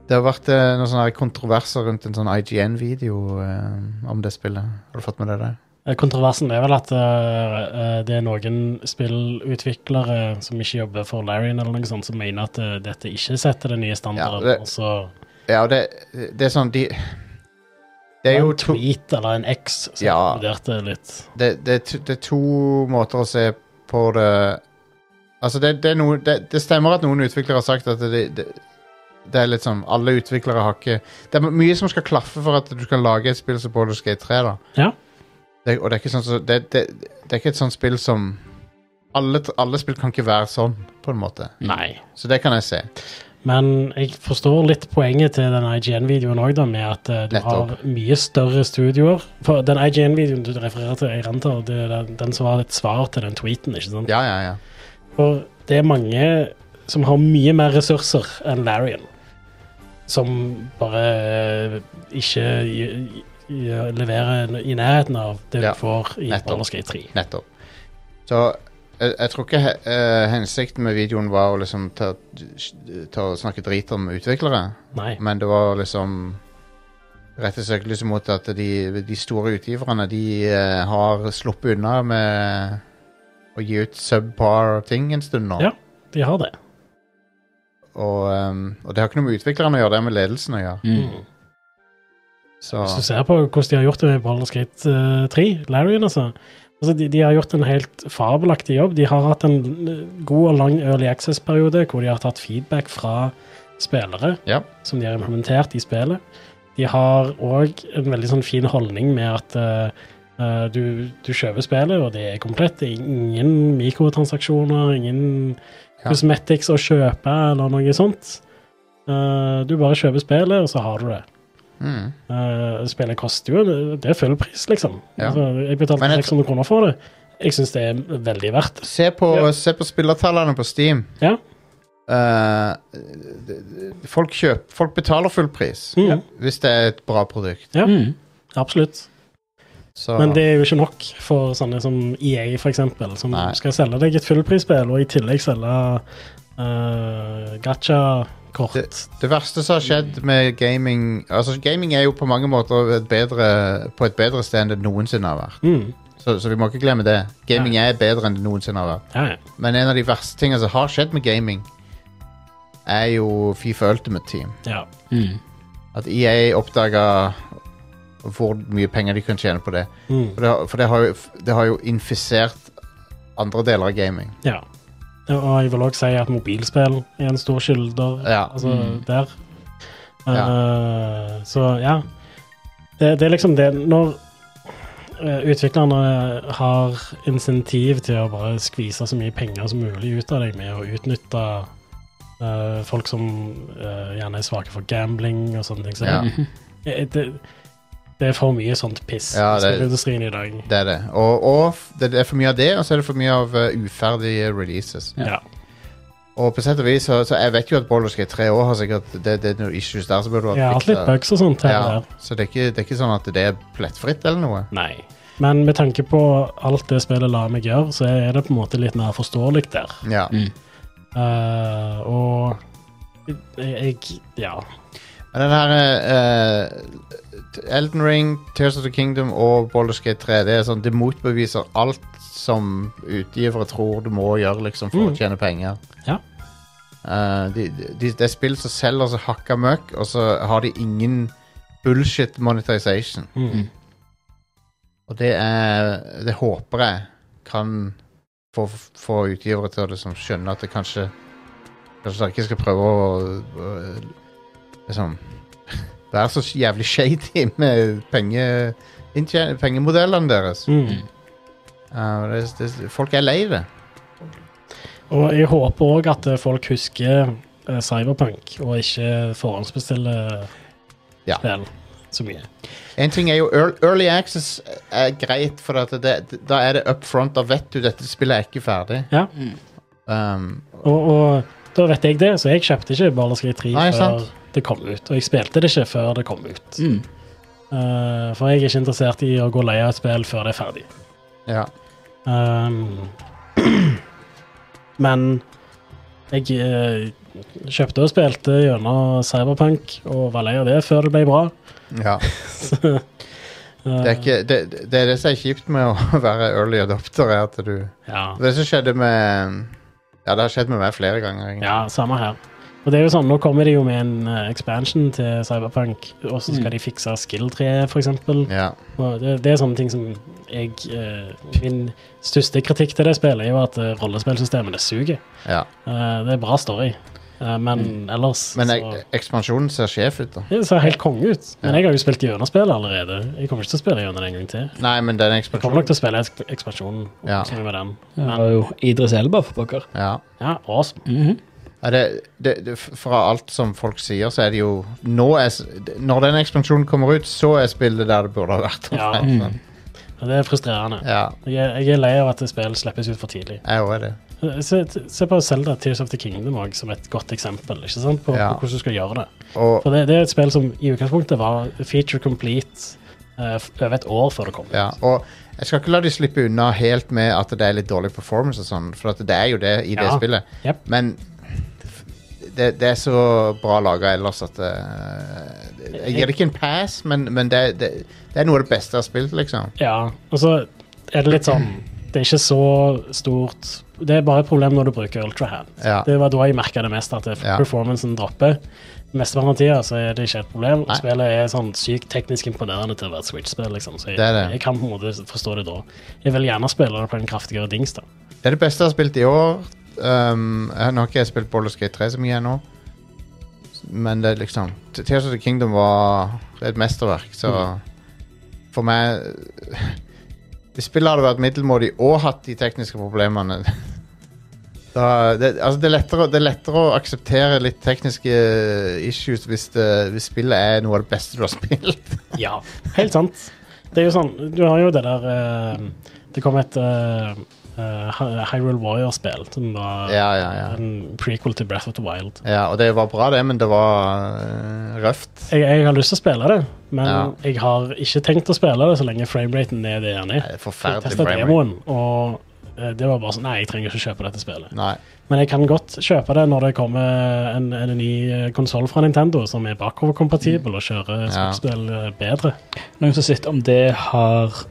[SPEAKER 1] det har vært eh, noen sånne her kontroverser rundt en sånn IGN-video eh, om det spillet. Har du fått med deg det?
[SPEAKER 2] Eh, Kontroversen er vel at eh, eh, det er noen spillutviklere som ikke jobber for Larrien eller noe sånt, som mener at eh, dette ikke setter den nye standarden.
[SPEAKER 1] Ja, det-
[SPEAKER 2] og så
[SPEAKER 1] Ja, og det, det er sånn de, Det er
[SPEAKER 2] en
[SPEAKER 1] jo to,
[SPEAKER 2] tweet eller en X som
[SPEAKER 1] Ja.
[SPEAKER 2] vurderte litt.
[SPEAKER 1] det, det, er to- det er to måter å se på det Altså, det, det, er noe, det, det stemmer at noen utviklere har sagt at det, det, det er litt sånn Alle utviklere har ikke Det er mye som skal klaffe for at du kan lage et spill som Baldur's Gate 3, da.
[SPEAKER 2] Ja.
[SPEAKER 1] Det, og det er ikke sånn så, det, det, det er ikke et sånt spill som alle, alle spill kan ikke være sånn, på en måte.
[SPEAKER 2] Nei.
[SPEAKER 1] Så det kan jeg se.
[SPEAKER 2] Men jeg forstår litt poenget til den IGN-videoen òg, da, med at eh, du
[SPEAKER 1] Nettopp.
[SPEAKER 2] har mye større studioer. For den IGN-videoen du refererer til, jeg antar, det er den, den som var et svar til den tweeten, ikke sant?
[SPEAKER 1] Ja, ja, ja.
[SPEAKER 2] For det er mange som har mye mer ressurser enn Larian. Som bare eh, ikke i- i- leverer i nærheten av det du
[SPEAKER 1] Ja,
[SPEAKER 2] får i
[SPEAKER 1] nettopp.
[SPEAKER 2] Baldur's Gate 3.
[SPEAKER 1] Nettopp. Så jeg, jeg tror ikke he- eh, hensikten med videoen var å liksom ta, ta og snakke drit om utviklere,
[SPEAKER 2] Nei.
[SPEAKER 1] men det var liksom Rette søkelyset liksom mot at de, de store utgiverne de eh, har sluppet unna med å gi ut subpar ting en stund nå.
[SPEAKER 2] Ja. De har det.
[SPEAKER 1] Og, ehm, og det har ikke noe med utviklerne å gjøre, det er med ledelsen å gjøre.
[SPEAKER 3] Mm.
[SPEAKER 1] Så
[SPEAKER 2] Hvis du ser på hvordan de har gjort det med Baldur's Gate eh, 3, Larian altså. altså de, de har gjort en helt fabelaktig jobb. De har hatt en eh, god og lang early access-periode hvor de har tatt feedback fra spillere.
[SPEAKER 1] ja.
[SPEAKER 2] som de har implementert i spillet. De har òg en veldig sånn fin holdning med at eh, eh, du, du kjøper spillet, og det er komplett. Det er ingen mikrotransaksjoner, ingen
[SPEAKER 1] Ja.
[SPEAKER 2] cosmetics å kjøpe eller noe sånt. Eh, du bare kjøper spillet, og så har du det.
[SPEAKER 1] Mm.
[SPEAKER 2] Eh, spillet koster jo Det er full pris, liksom.
[SPEAKER 1] Ja.
[SPEAKER 2] Altså, jeg betalte
[SPEAKER 1] Men jeg
[SPEAKER 2] 600 kroner for det. Jeg syns det er veldig verdt det.
[SPEAKER 1] Se på,
[SPEAKER 2] Ja.
[SPEAKER 1] se på spillertallene på Steam.
[SPEAKER 2] Ja.
[SPEAKER 1] Eh, d- d- folk, kjøp, folk betaler full pris
[SPEAKER 2] Mm,
[SPEAKER 1] hvis det er et bra produkt.
[SPEAKER 2] Ja.
[SPEAKER 3] Mm.
[SPEAKER 2] Absolutt.
[SPEAKER 1] Så,
[SPEAKER 2] Men det er jo ikke nok for sånne som EA, for eksempel, som
[SPEAKER 1] Nei.
[SPEAKER 2] skal selge deg et fullprisspill og i tillegg selge eh, gacha-kort.
[SPEAKER 1] det verste som har skjedd med gaming Altså, gaming er jo på mange måter et bedre, på et bedre sted enn det noensinne har vært.
[SPEAKER 2] Mm.
[SPEAKER 1] Så, så vi må ikke glemme det. Gaming er bedre enn det noensinne har vært.
[SPEAKER 2] Ja, ja.
[SPEAKER 1] Men en av de verste tingene som har skjedd med gaming, er jo Fifa Ultimate Team.
[SPEAKER 2] ja.
[SPEAKER 3] Mm.
[SPEAKER 1] At EA oppdaga hvor mye penger de kunne tjene på det.
[SPEAKER 2] Mm.
[SPEAKER 1] For det, har- for det, har, jo, det har jo infisert andre deler av gaming.
[SPEAKER 2] ja. Og jeg vil òg si at mobilspill er en stor skylder
[SPEAKER 1] Ja.
[SPEAKER 2] altså,
[SPEAKER 3] Mm.
[SPEAKER 2] der. Eh, Så ja. Det, det er liksom det Når eh, utviklerne har insentiv til å bare skvise så mye penger som mulig ut av deg med å utnytte eh, folk som eh, gjerne er svake for gambling og sånne ting. Så
[SPEAKER 1] Ja.
[SPEAKER 2] det, det, det er for mye sånt piss i
[SPEAKER 1] Ja, det-
[SPEAKER 2] spillindustrien i dag.
[SPEAKER 1] Det er det. Og, og f- det det er for mye av det, og så er det for mye av eh, uferdige releases.
[SPEAKER 2] Ja.
[SPEAKER 1] Og på sett og vis, så, så jeg vet jo at Baldur's Gate 3 år har sikkert det, det er noen issues der som burde vært
[SPEAKER 2] Jeg har hatt litt bugs og sånt her og
[SPEAKER 1] Ja,
[SPEAKER 2] der.
[SPEAKER 1] så det er, ikke, det er ikke sånn at det er plettfritt eller noe.
[SPEAKER 2] Nei. Men med tanke på alt det spillet lar meg gjøre, så er det på en måte litt mer forståelig der.
[SPEAKER 1] Ja.
[SPEAKER 3] Mm.
[SPEAKER 2] Eh, og jeg, jeg Ja.
[SPEAKER 1] Men den her eh, Elden Ring, Tears of the Kingdom og Baldur's Gate 3 det er sånn, det motbeviser alt som utgivere tror du må gjøre liksom, for
[SPEAKER 2] Mm.
[SPEAKER 1] å tjene penger.
[SPEAKER 2] Ja.
[SPEAKER 1] Eh, de, de, det er spill som selger så hakka møkk, og så har de ingen bullshit monetization.
[SPEAKER 2] Mm.
[SPEAKER 1] Og det er Det håper jeg kan få, få utgivere til å liksom skjønne at det kanskje Kanskje dere ikke skal prøve å, å liksom Være så jævlig shady med penge, inntjen- pengemodellene deres.
[SPEAKER 2] Mm.
[SPEAKER 1] Uh, det, det, folk er lei det.
[SPEAKER 2] Og jeg håper òg at eh, folk husker eh, Cyberpunk, og ikke forhåndsbestiller
[SPEAKER 1] Ja.
[SPEAKER 2] spill så mye.
[SPEAKER 1] En ting er jo ear- Early access er greit, for at det, da er det up front. Da vet du dette spillet er ikke ferdig.
[SPEAKER 2] Ja.
[SPEAKER 1] Um,
[SPEAKER 2] Og, og da vet jeg det, så jeg kjøpte ikke Baldur's Gate 3
[SPEAKER 1] Nei,
[SPEAKER 2] før
[SPEAKER 1] sant.
[SPEAKER 2] det kom ut. Og jeg spilte det ikke før det kom ut.
[SPEAKER 3] Mm.
[SPEAKER 2] Eh, for jeg er ikke interessert i å gå lei av et spill før det er ferdig.
[SPEAKER 1] ja.
[SPEAKER 2] Ehm, men jeg eh, kjøpte og spilte gjennom Cyberpunk og var lei av det før det ble bra.
[SPEAKER 1] ja.
[SPEAKER 2] Så, eh,
[SPEAKER 1] Det er, ikke, det, det- det er det som er kjipt med å være early adopter, er at du
[SPEAKER 2] ja.
[SPEAKER 1] Det som skjedde med Ja, det har skjedd med meg flere ganger. egentlig.
[SPEAKER 2] ja, samme her. Og det er jo sånn, Nå kommer de jo med en eh, expansion til Cyberpunk, og så skal de fikse skill-treet, f.eks.
[SPEAKER 1] Ja.
[SPEAKER 2] Og Det, det er sånne ting som jeg eh, Min største kritikk til det spillet er jo at eh, rollespillsystemene suger.
[SPEAKER 1] ja.
[SPEAKER 2] Eh, det er bra story, eh, men ellers
[SPEAKER 1] Mm. Men
[SPEAKER 2] så-
[SPEAKER 1] ek- ekspansjonen ser sjef ut, da.
[SPEAKER 2] Det ser helt konge ut. Men
[SPEAKER 1] Ja.
[SPEAKER 2] jeg har jo spilt gjennom spillet allerede. Jeg kommer ikke til å spille gjennom det en gang til.
[SPEAKER 1] Nei, men den
[SPEAKER 2] Jeg
[SPEAKER 1] ekspansjonen
[SPEAKER 2] kommer nok til å spille eks- ekspansjonen.
[SPEAKER 1] Ja.
[SPEAKER 2] som er med den.
[SPEAKER 3] Det var jo Idris Elba, for pokker.
[SPEAKER 1] ja.
[SPEAKER 2] Ja, awesome.
[SPEAKER 3] Mhm.
[SPEAKER 1] Ja, det, det, det, fra alt som folk sier, så er det jo nå er, s- Når den ekspansjonen kommer ut, så er spillet der det burde ha vært.
[SPEAKER 2] Ja.
[SPEAKER 1] omtrent.
[SPEAKER 2] Men Det er frustrerende.
[SPEAKER 1] ja
[SPEAKER 2] Jeg er, jeg er lei av at spill slippes ut for tidlig.
[SPEAKER 1] jeg òg er det.
[SPEAKER 2] Se, se på Zelda Tears of the Kingdom også, som et godt eksempel ikke sant? På,
[SPEAKER 1] Ja.
[SPEAKER 2] på hvordan du skal gjøre det.
[SPEAKER 1] Og
[SPEAKER 2] For det, det er et spill som i utgangspunktet var feature complete eh, f- over et år før det kom.
[SPEAKER 1] Ja, og jeg skal ikke la de slippe unna helt med at det er litt dårlig performance og sånn, for at det er jo det i det
[SPEAKER 2] Ja.
[SPEAKER 1] spillet.
[SPEAKER 2] Jep.
[SPEAKER 1] Men det, det er så bra laga ellers at eh, Jeg gir det ikke en pass, men, men det, det, det er noe av det beste jeg har spilt, liksom.
[SPEAKER 2] Ja, og så er det litt sånn Det er ikke så stort Det er bare et problem når du bruker ultrahand.
[SPEAKER 1] Ja.
[SPEAKER 2] Det var da jeg merka det mest, at
[SPEAKER 1] Ja.
[SPEAKER 2] performancen dropper. Mesteparten av tida så er det ikke et problem.
[SPEAKER 1] Nei.
[SPEAKER 2] Spillet er sånn sykt teknisk imponerende til å være et Switch-spill, liksom. Så jeg,
[SPEAKER 1] Det er det.
[SPEAKER 2] jeg kan på en måte forstå det da. Jeg vil gjerne spille det på en kraftigere dings, da.
[SPEAKER 1] Det er det beste jeg har spilt i år. Um, jeg- nå har ikke jeg spilt Baldur's Gate 3 så mye ennå, men det er liksom Tears of the Kingdom var et mesterverk, så for meg Hvis spillet hadde vært middelmådig og hatt de tekniske problemene da, det, altså det, er lettere, det er lettere å akseptere litt tekniske eh, issues hvis, det, hvis spillet er noe av det beste du har spilt.
[SPEAKER 2] Ja, helt sant. Det er jo sånn, du har jo det der eh, Det kom et eh, eh, Hy- Hyrule Warrior-spill som var
[SPEAKER 1] Ja, ja, ja.
[SPEAKER 2] en prequel til Breath of the Wild.
[SPEAKER 1] ja, Og det var bra, det, men det var øh, røft.
[SPEAKER 2] Jeg, jeg har lyst til å spille det, men
[SPEAKER 1] Ja.
[SPEAKER 2] jeg har ikke tenkt å spille det så lenge frameraten er det den er.
[SPEAKER 1] Det er
[SPEAKER 2] Jeg
[SPEAKER 1] Forferdelig
[SPEAKER 2] testa
[SPEAKER 1] framerate.
[SPEAKER 2] demoen, og eh, det var bare sånn Nei, jeg trenger ikke kjøpe dette spillet.
[SPEAKER 1] Nei.
[SPEAKER 2] Men jeg kan godt kjøpe det når det kommer en, en ny konsoll fra Nintendo som er bakoverkompatibel og kjører
[SPEAKER 1] Mm. Ja.
[SPEAKER 2] spill bedre.
[SPEAKER 3] Noen som sitter om det har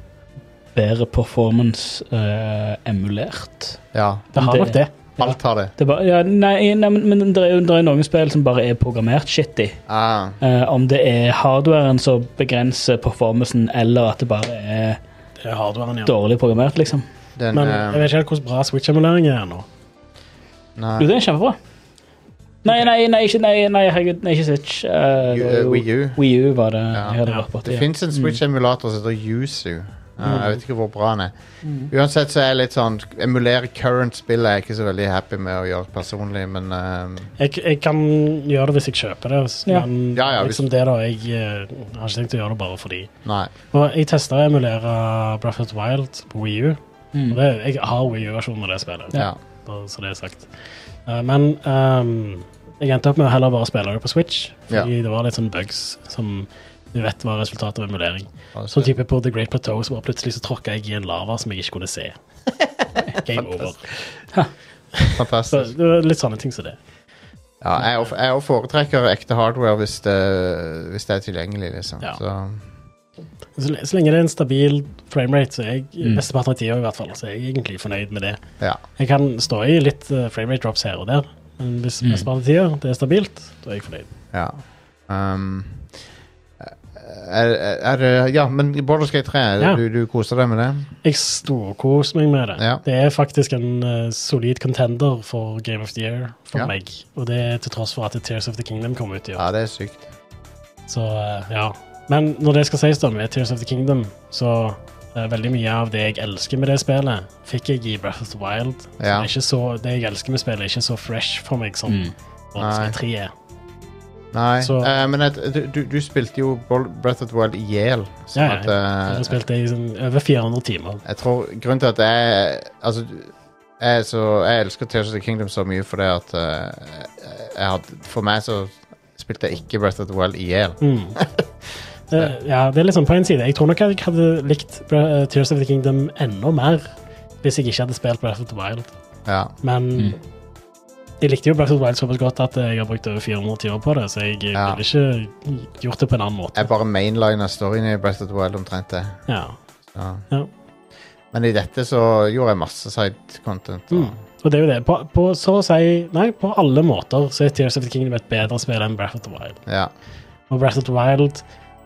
[SPEAKER 3] bedre performance eh, emulert.
[SPEAKER 1] Ja.
[SPEAKER 2] Det har
[SPEAKER 3] Det-
[SPEAKER 2] nok det.
[SPEAKER 1] Alt har det.
[SPEAKER 3] Det er bare, ja, nei, nei, men, men det er jo det er noen spill som bare er programmert shitty.
[SPEAKER 1] Ah,
[SPEAKER 3] Eh, om det er hardwaren som begrenser performancen, eller at det bare er
[SPEAKER 2] Det er hardwaren, ja.
[SPEAKER 3] dårlig programmert, liksom.
[SPEAKER 1] den
[SPEAKER 2] Men
[SPEAKER 1] eh,
[SPEAKER 2] jeg vet ikke helt hvordan bra Switch-emulering er ennå.
[SPEAKER 3] Jo,
[SPEAKER 1] Nei.
[SPEAKER 3] det er kjempebra. Nei, nei, nei, ikke, nei, nei herregud, nei, ikke Switch. Eh, det var
[SPEAKER 1] U-
[SPEAKER 3] jo-
[SPEAKER 1] Wii U.
[SPEAKER 3] Wii U var det
[SPEAKER 1] Ja.
[SPEAKER 3] jeg hadde
[SPEAKER 2] Ja.
[SPEAKER 3] vært borti.
[SPEAKER 1] Det
[SPEAKER 3] ja.
[SPEAKER 2] Mm.
[SPEAKER 1] fins en Switch-emulator som heter Yuzu. Ja, jeg vet ikke hvor bra den er.
[SPEAKER 2] Mm.
[SPEAKER 1] Uansett så er jeg litt sånn Emulere current spill er jeg ikke så veldig happy med å gjøre personlig, men ehm,
[SPEAKER 2] Jeg, jeg kan gjøre det hvis jeg kjøper det, s-
[SPEAKER 3] Ja.
[SPEAKER 2] men
[SPEAKER 1] Ja, ja, hvis-
[SPEAKER 2] liksom det da, jeg eh, har ikke tenkt å gjøre det bare fordi.
[SPEAKER 1] nei.
[SPEAKER 2] Og jeg testa å emulere Breath of the Wild på Wii U. Og
[SPEAKER 3] Mm.
[SPEAKER 2] Det, jeg har Wii U-versjonen av det spillet,
[SPEAKER 1] Ja.
[SPEAKER 2] bare så det er sagt. Eh, men ehm, jeg endte opp med å heller bare spille det på Switch, fordi det var litt sånn bugs som du vet var resultatet av emulering. Sånn type på The Great Plateau, så bare plutselig så tråkka jeg i en lava som jeg ikke kunne se. Game over. Så
[SPEAKER 1] Fantastisk.
[SPEAKER 2] det var litt sånne ting som det.
[SPEAKER 1] Ja, jeg, og- jeg og foretrekker ekte hardware hvis det, hvis det er tilgjengelig, liksom.
[SPEAKER 2] Ja.
[SPEAKER 1] Så,
[SPEAKER 2] Så, le- så lenge det er en stabil framerate, så er jeg
[SPEAKER 3] Mm.
[SPEAKER 2] mesteparten av tida i hvert fall, så er jeg egentlig fornøyd med det.
[SPEAKER 1] ja.
[SPEAKER 2] Jeg kan stå i litt eh, framerate drops her og der, men hvis
[SPEAKER 3] Mm.
[SPEAKER 2] mesteparten av tida det er stabilt, da er jeg fornøyd.
[SPEAKER 1] Ja. Um, er, er det Ja, men Baldur's Gate 3,
[SPEAKER 2] Ja.
[SPEAKER 1] du, du koser deg med det?
[SPEAKER 2] Jeg storkoser meg med det.
[SPEAKER 1] Ja.
[SPEAKER 2] Det er faktisk en eh, solid contender for Game of the Year for
[SPEAKER 1] Ja.
[SPEAKER 2] meg, og det er til tross for at Tears of the Kingdom kom ut i år.
[SPEAKER 1] Ja, det er sykt.
[SPEAKER 2] Så eh, ja. Men når det skal sies, da, med Tears of the Kingdom, så eh, veldig mye av det jeg elsker med det spillet, fikk jeg i Breath of the Wild. Så
[SPEAKER 1] Ja.
[SPEAKER 2] det, er ikke så, det jeg elsker med spillet, er ikke så fresh for meg som
[SPEAKER 3] Mm.
[SPEAKER 2] Baldur's Gate 3 er.
[SPEAKER 1] Nei,
[SPEAKER 2] Så-
[SPEAKER 1] eh, men et, du, du, du spilte jo Bal- Breath of the Wild i hjel. så
[SPEAKER 2] Ja, ja.
[SPEAKER 1] at,
[SPEAKER 2] Jeg
[SPEAKER 1] eh,
[SPEAKER 2] har spilt det i sånn over 400 timer.
[SPEAKER 1] jeg tror Grunnen til at jeg Altså, jeg, er så, jeg elsker Tears of the Kingdom så mye fordi at eh, jeg hadde, For meg så spilte jeg ikke Breath of the Wild i hjel.
[SPEAKER 2] Mm. Eh, ja, det er litt sånn på en side. Jeg tror nok jeg hadde likt Bre- eh, Tears of the Kingdom enda mer hvis jeg ikke hadde spilt Breath of the Wild,
[SPEAKER 1] Ja.
[SPEAKER 2] men
[SPEAKER 3] Mm.
[SPEAKER 2] jeg likte jo Breath of the Wild såpass godt at jeg har brukt over 400 timer på det, så jeg eh,
[SPEAKER 1] Ja.
[SPEAKER 2] ville ikke gjort det på en annen måte.
[SPEAKER 1] Jeg bare mainlina storyen i Breath of the Wild omtrent det.
[SPEAKER 2] Ja.
[SPEAKER 1] Ja.
[SPEAKER 2] Ja.
[SPEAKER 1] Men i dette så gjorde jeg masse side content. Og,
[SPEAKER 2] Mm. Og det er jo det. På, på, så å si Nei, på alle måter så er Tears of the Kingdom et bedre spill enn Breath of the Wild.
[SPEAKER 1] ja.
[SPEAKER 2] Og Breath of the Wild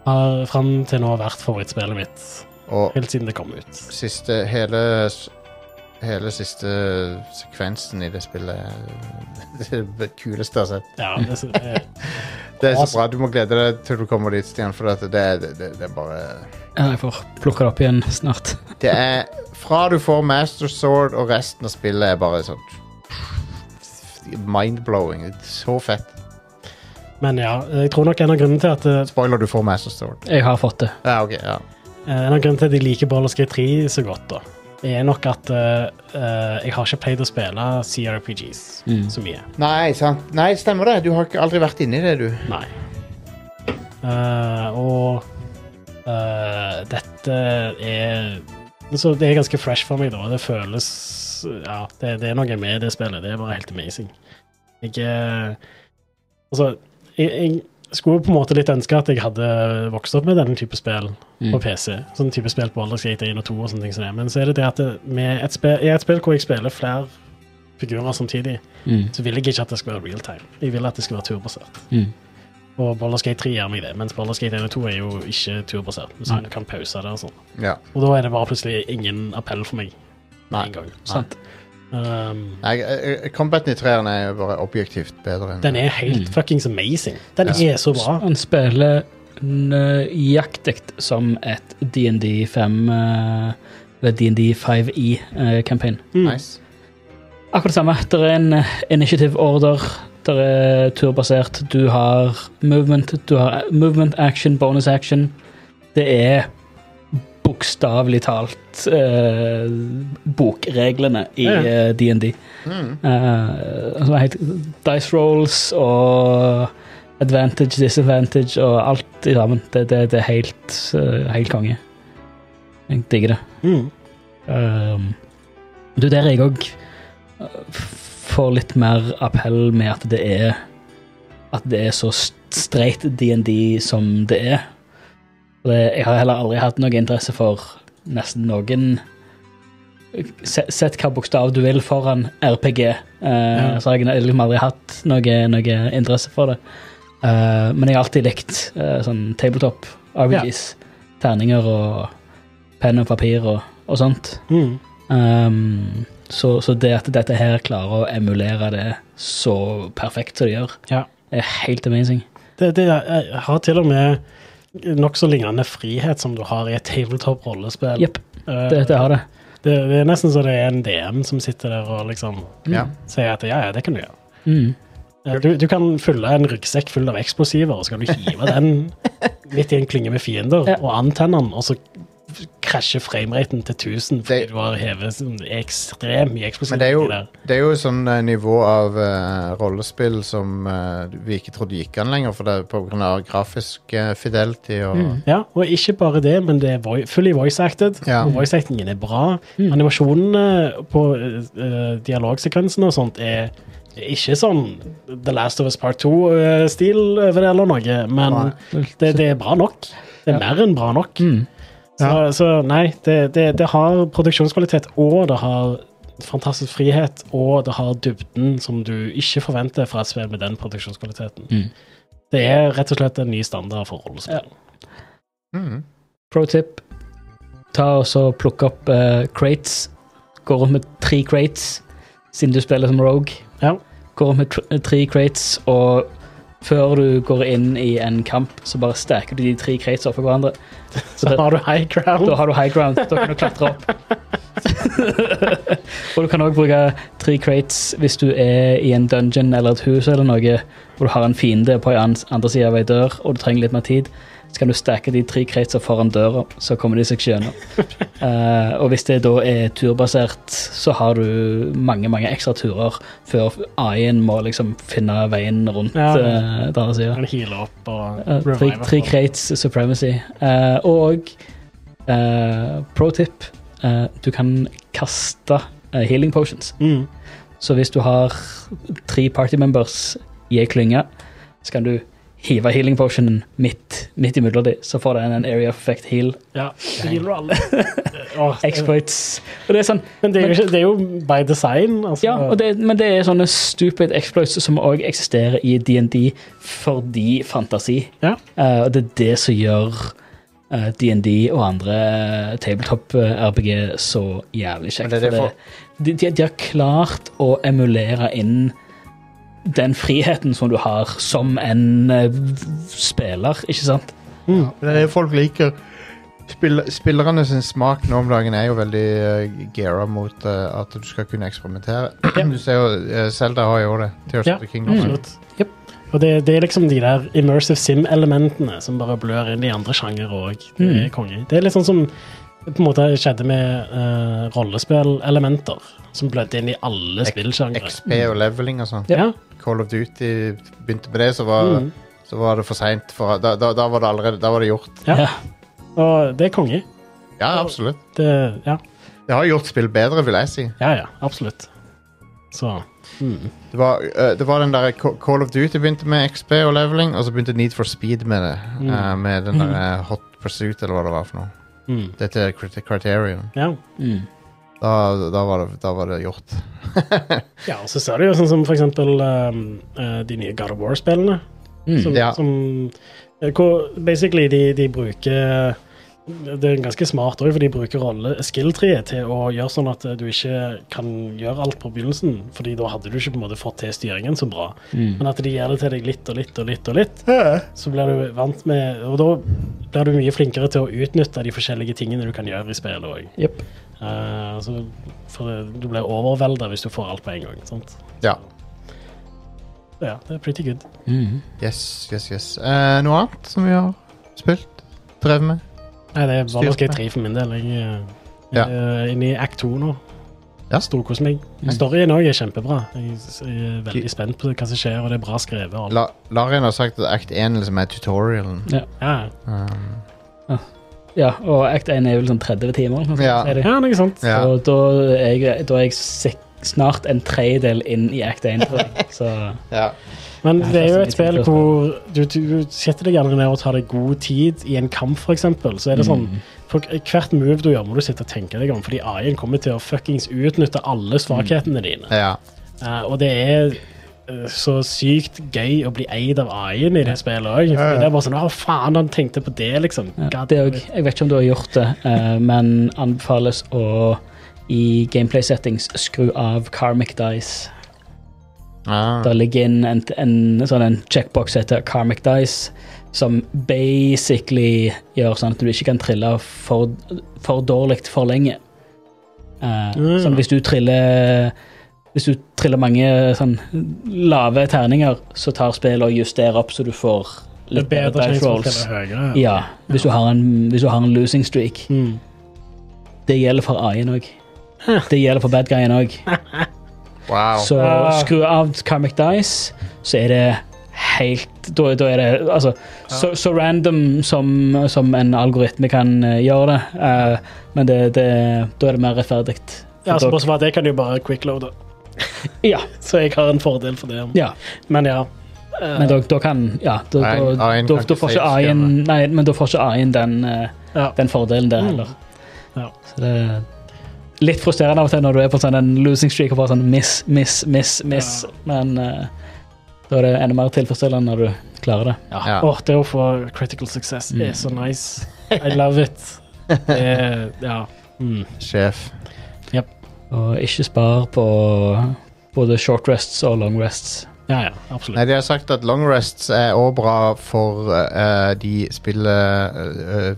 [SPEAKER 2] har fram til nå vært favorittspillet mitt
[SPEAKER 1] og
[SPEAKER 2] helt siden det kom ut.
[SPEAKER 1] siste hele, hele siste sekvensen i det spillet Det er det kuleste jeg har sett.
[SPEAKER 2] Ja, det, er så- det, er-
[SPEAKER 1] Det er så
[SPEAKER 2] Awesome.
[SPEAKER 1] bra. Du må glede deg til du kommer dit, Stian, for at det, er- det, det, det er bare
[SPEAKER 3] Ja, jeg får plukke det opp igjen snart.
[SPEAKER 1] Det er Fra du får Master Sword og resten av spillet er bare sånn Mind-blowing. Så fett.
[SPEAKER 2] men ja, jeg tror nok en av grunnene til at eh,
[SPEAKER 1] Spoiler, du får Master Sword.
[SPEAKER 3] Jeg har fått det.
[SPEAKER 1] Ja, ok. Ja.
[SPEAKER 2] Eh, En av grunnene til at jeg liker Baldur's Gate 3 så godt, da, er nok at eh, eh, jeg har ikke pleid å spille CRPGs
[SPEAKER 3] Mm.
[SPEAKER 2] så mye.
[SPEAKER 1] Nei, sant. Nei, stemmer det. Du har ikke aldri vært inni det, du.
[SPEAKER 2] Nei. Eh, og eh, dette er så Det er ganske fresh for meg, da. Det føles Ja, det, det er noe med det spillet. Det er bare helt amazing. Jeg eh, Altså, jeg, jeg skulle på en måte litt ønske at jeg hadde vokst opp med denne type spill på PC. Sånn type spill på Baldur's Gate 1 og 2 og sånne ting som det. Men så er det det at det, med et spill, i et spill hvor jeg spiller flere figurer samtidig,
[SPEAKER 3] Mm.
[SPEAKER 2] så vil jeg ikke at det skal være real time. Jeg vil at det skal være turbasert.
[SPEAKER 3] Mm.
[SPEAKER 2] Og Baldur's Gate 3 gjør meg det, mens Baldur's Gate 1 og 2 er jo ikke turbasert. Så
[SPEAKER 3] Nei.
[SPEAKER 2] du kan pause det og sånn.
[SPEAKER 1] Ja.
[SPEAKER 2] Og da er det bare plutselig ingen appell for meg. Nei. En gang.
[SPEAKER 3] Sant.
[SPEAKER 2] Um,
[SPEAKER 1] Nei, eh, eh, combaten i treeren er jo bare objektivt bedre enn
[SPEAKER 2] den er helt
[SPEAKER 3] Mm.
[SPEAKER 2] fuckings amazing. Den er så bra.
[SPEAKER 3] Han spiller nøyaktig som et DND 5 eh, Eller DND E, 5E-campaign.
[SPEAKER 2] Mm.
[SPEAKER 1] Nice.
[SPEAKER 3] Akkurat det samme. Det er en eh, initiative order. Det er turbasert. Du har movement, du har eh, movement action, bonus action. Det er bokstavelig talt eh, bokreglene i
[SPEAKER 2] Ja, ja.
[SPEAKER 3] eh, DND.
[SPEAKER 1] Mm.
[SPEAKER 3] Eh, som er helt Dice rolls og advantage, disadvantage og alt i sammen. Det, det, det er helt, eh, helt konge. Jeg digger det.
[SPEAKER 2] Mm.
[SPEAKER 3] Um, du, der jeg òg får litt mer appell med at det er At det er så st- straight DND som det er. Og det- Jeg har heller aldri hatt noe interesse for nesten noen eh, se- Sett hva bokstav du vil foran RPG. Eh, Så har jeg liksom aldri hatt noe, noe interesse for det. Eh, men jeg har alltid likt eh, sånn tabletop RPGs. Terninger og penn og papir og, og sånt.
[SPEAKER 2] Mm.
[SPEAKER 3] Ehm, så, så det at dette her klarer å emulere det så perfekt som det gjør,
[SPEAKER 2] Ja.
[SPEAKER 3] er helt amazing.
[SPEAKER 2] Det, det er- har til og med nokså lignende frihet som du har i et tabletop-rollespill.
[SPEAKER 3] Jepp,
[SPEAKER 2] Eh,
[SPEAKER 3] det, det har det.
[SPEAKER 2] det, det er nesten så det er en DM som sitter der og liksom
[SPEAKER 1] Ja.
[SPEAKER 2] sier at ja, ja, det kan du gjøre.
[SPEAKER 3] Mm.
[SPEAKER 2] Eh, Du, du kan fylle en ryggsekk full av eksplosiver, og så kan du hive den midt i en klynge med fiender
[SPEAKER 3] Ja.
[SPEAKER 2] og antenne den, og så krasjer frameraten til 1000 fordi
[SPEAKER 1] Det-
[SPEAKER 2] du har hevet sånn ekstremt mye
[SPEAKER 1] Men
[SPEAKER 2] eksplosiver.
[SPEAKER 1] det er jo,
[SPEAKER 2] i der.
[SPEAKER 1] det er jo sånn eh, nivå av eh, rollespill som eh, vi ikke trodde gikk an lenger, for det er på grunn av grafisk eh, fidelity og
[SPEAKER 2] Ja, og ikke bare det, men det er voi- fully voice-acted,
[SPEAKER 1] Ja.
[SPEAKER 2] og voice-actingen er bra. Animasjonene på eh, dialogsekvensene og sånt er ikke sånn The Last of Us Part 2-stil over det eller noe, men
[SPEAKER 1] Nei.
[SPEAKER 2] det, det er bra nok. Det er mer enn bra nok.
[SPEAKER 3] Mm.
[SPEAKER 2] Så, så nei, det, det, det har produksjonskvalitet, og det har fantastisk frihet, og det har dybden som du ikke forventer fra et spill med den produksjonskvaliteten.
[SPEAKER 3] Mm.
[SPEAKER 2] Det er rett og slett en ny standard for rollespill.
[SPEAKER 1] Mhm.
[SPEAKER 3] Pro tip. Ta og så Plukk opp eh, crates. Gå rundt med tre crates, siden du spiller som Rogue.
[SPEAKER 2] Ja.
[SPEAKER 3] Gå rundt med tr eh, tre crates, og før du går inn i en kamp, så bare stacker du de tre crates oppå hverandre.
[SPEAKER 2] Så har du high ground.
[SPEAKER 3] Da har du high ground. Da kan du klatre opp. og du kan òg bruke tre crates hvis du er i en dungeon eller et hus eller noe, og du har en fiende på en annen- andre sida av ei dør, og du trenger litt mer tid. Så kan du stacke de tre cratesa foran døra, så kommer de seg ikke gjennom. Eh, og hvis det da er turbasert, så har du mange mange ekstra turer før AI-en må liksom finne veien rundt
[SPEAKER 2] Ja.
[SPEAKER 3] eh, den andre sida.
[SPEAKER 2] Kan heale opp og
[SPEAKER 3] Eh, Tre,
[SPEAKER 2] revive
[SPEAKER 3] tre
[SPEAKER 2] folk.
[SPEAKER 3] crates supremacy. Eh, og eh, pro tip eh, Du kan kaste eh, healing potions.
[SPEAKER 2] Mm.
[SPEAKER 3] Så hvis du har tre party members i ei klynge, så kan du hive healing potionen midt, midt imellom dem. Så får den en area of effect heal.
[SPEAKER 2] Ja. Healer alle. Åh,
[SPEAKER 3] Exploits. Og det er sånn,
[SPEAKER 2] men det er, jo ikke, det er jo by design. Altså.
[SPEAKER 3] ja, og det, men det er sånne stupid exploits som òg eksisterer i DND fordi fantasi.
[SPEAKER 2] Ja.
[SPEAKER 3] Eh, og det er det som gjør eh, DND og andre eh, tabletop-RPG så jævlig
[SPEAKER 1] Men
[SPEAKER 3] kjekt.
[SPEAKER 1] det er det
[SPEAKER 3] for de, de, de har klart å emulere inn den friheten som du har som en eh, spiller, ikke sant?
[SPEAKER 2] Mm.
[SPEAKER 1] Det er jo folk liker Spill, Spillerne sin smak nå om dagen er jo veldig uh, geara mot eh, at du skal kunne eksperimentere. du ser jo, eh, Zelda har jo det. Tears
[SPEAKER 2] Ja, Mm.
[SPEAKER 1] of the Kingdom.
[SPEAKER 2] absolutt.
[SPEAKER 3] Jep.
[SPEAKER 2] Og det, det er liksom de der immersive sim-elementene som bare blør inn i andre sjanger òg. Det er
[SPEAKER 3] Mm.
[SPEAKER 2] konge. Det er litt sånn som på en måte skjedde med uh, rollespillelementer, som blødde inn i alle
[SPEAKER 1] Ex-
[SPEAKER 2] spillsjangre.
[SPEAKER 1] XP og leveling og sånn.
[SPEAKER 2] Ja.
[SPEAKER 1] Call of Duty begynte med det, så var,
[SPEAKER 2] Mm.
[SPEAKER 1] så var det for seint. Da, da, da var det allerede Da var det gjort.
[SPEAKER 2] Ja. Og det er konge.
[SPEAKER 1] Ja, absolutt.
[SPEAKER 2] Det, ja.
[SPEAKER 1] Det har gjort spill bedre, vil jeg si.
[SPEAKER 2] ja, ja. Absolutt. Så mm.
[SPEAKER 1] Det var, eh, det var den der Ca- Call of Duty begynte med XP og leveling, og så begynte Need for Speed med det.
[SPEAKER 2] Mm.
[SPEAKER 1] eh, med den der eh, Hot Pursuit, eller hva det var for noe.
[SPEAKER 2] Mm.
[SPEAKER 1] Dette er Crit- Criterion.
[SPEAKER 2] Ja.
[SPEAKER 3] Mm.
[SPEAKER 1] Da, da, var, det, da var det gjort.
[SPEAKER 2] Ja, og så ser du jo sånn som for eksempel um, eh, de nye God of War-spillene.
[SPEAKER 3] Mm.
[SPEAKER 2] Som,
[SPEAKER 1] Ja.
[SPEAKER 2] som eh, Hvor basically de, de bruker Det er ganske smart òg, for de bruker rolle skill-treet til å gjøre sånn at eh, du ikke kan gjøre alt på begynnelsen, fordi da hadde du ikke på en måte fått til styringen så bra.
[SPEAKER 3] Mm.
[SPEAKER 2] Men at de gjør det til deg litt og litt og litt, og litt, så blir du vant med Og da blir du mye flinkere til å utnytte de forskjellige tingene du kan gjøre i spillet òg.
[SPEAKER 3] Jepp.
[SPEAKER 2] Eh, så for det- du blir overvelda hvis du får alt på en gang. Sant?
[SPEAKER 1] Ja.
[SPEAKER 2] Så Ja, det er pretty good.
[SPEAKER 3] Mm.
[SPEAKER 1] Yes, yes, yes. Eh, noe annet som vi har spilt? Drevet med?
[SPEAKER 2] Nei, det er
[SPEAKER 1] Styrt
[SPEAKER 2] Baldur's
[SPEAKER 1] med.
[SPEAKER 2] Gate 3 for min del. Jeg eh,
[SPEAKER 1] Ja.
[SPEAKER 2] er inne i act 2 nå.
[SPEAKER 1] Ja.
[SPEAKER 2] Storkoser meg.
[SPEAKER 3] Mm.
[SPEAKER 2] Storyen òg er kjempebra. Jeg s- jeg er veldig spent på hva som skjer, og det er bra skrevet. og alt.
[SPEAKER 1] La, Larian har sagt at Act 1 liksom er tutorialen.
[SPEAKER 2] Ja,
[SPEAKER 1] Um,
[SPEAKER 3] Ja, og Act 1 er vel sånn 30 timer. eller noe sånt,
[SPEAKER 1] Ja.
[SPEAKER 3] sier de.
[SPEAKER 2] ja noe sånt.
[SPEAKER 1] ja.
[SPEAKER 3] Og da er jeg, da er jeg sek- snart en tredjedel inn i Act 1, tror jeg. Så
[SPEAKER 1] ja.
[SPEAKER 2] Men Men
[SPEAKER 3] Det er
[SPEAKER 2] det er sånn jo et
[SPEAKER 3] fascinating
[SPEAKER 2] spill
[SPEAKER 3] for å
[SPEAKER 2] hvor du, du setter deg gjerne ned og tar deg god tid i en kamp, f.eks. Så er det sånn for Hvert move du gjør, må du sitte og tenke deg om, fordi AI-en kommer til å fuckings utnytte alle svakhetene dine.
[SPEAKER 1] Ja.
[SPEAKER 2] Eh, og det er eh, så sykt gøy å bli eid av AI-en i det spillet òg. Det er bare sånn Å, faen, han tenkte på det, liksom.
[SPEAKER 3] Ja,
[SPEAKER 2] God
[SPEAKER 3] det
[SPEAKER 2] damn
[SPEAKER 3] òg. Jeg vet ikke om du har gjort det, eh, men anbefales å i gameplay settings skru av Karmic Dice.
[SPEAKER 1] Ah.
[SPEAKER 3] Der ligger inn en, en, sånn en checkbox som heter Karmic Dice, som basically gjør sånn at du ikke kan trille for, for dårlig for lenge. Eh,
[SPEAKER 2] Mm.
[SPEAKER 3] Sånn hvis du triller Hvis du triller mange sånn lave terninger, så tar spillet og justerer opp så du får
[SPEAKER 2] Det er
[SPEAKER 3] litt bedre
[SPEAKER 2] bedre
[SPEAKER 3] dice
[SPEAKER 2] sjanse for at
[SPEAKER 3] rolls.
[SPEAKER 2] det er høyere.
[SPEAKER 3] Ja, hvis du har en, hvis du har en losing streak.
[SPEAKER 2] Mm.
[SPEAKER 3] Det gjelder for AI-en òg. Det gjelder for bad guyen òg.
[SPEAKER 1] Wow.
[SPEAKER 3] Så
[SPEAKER 2] Ah.
[SPEAKER 3] skru av Karmic Dice, så er det helt Da, da er det altså så, så random som, som en algoritme kan eh, gjøre det, eh, men det, det, da er det mer rettferdig.
[SPEAKER 2] Ja, så bortsett fra at jeg kan jo bare quickloade,
[SPEAKER 3] Ja,
[SPEAKER 2] så jeg har en fordel for det.
[SPEAKER 3] ja.
[SPEAKER 2] Men ja. eh,
[SPEAKER 3] Men da, da kan Ja, da, da,
[SPEAKER 1] AI-en
[SPEAKER 3] da,
[SPEAKER 1] kan
[SPEAKER 3] da,
[SPEAKER 1] ikke
[SPEAKER 3] får
[SPEAKER 1] save
[SPEAKER 3] ikke AI-en Nei, men da får ikke AI-en den eh,
[SPEAKER 2] ja.
[SPEAKER 3] den fordelen der
[SPEAKER 2] Mm.
[SPEAKER 3] heller.
[SPEAKER 2] Ja.
[SPEAKER 3] Så det er litt frustrerende av og til når du er på sånn en losing streak og bare sånn miss, miss, miss, miss.
[SPEAKER 2] Ja.
[SPEAKER 3] Men eh, da er det enda mer tilfredsstillende når du klarer det.
[SPEAKER 1] Ja.
[SPEAKER 2] Åh, det å få critical success
[SPEAKER 3] Mm.
[SPEAKER 2] er så nice. I love it. Det er- ja. Mm.
[SPEAKER 1] Sjef.
[SPEAKER 3] Og ikke spar på både short rests og long rests.
[SPEAKER 2] ja, ja, absolutt.
[SPEAKER 1] Nei, de har sagt at long rests er òg bra for eh, de spiller uh,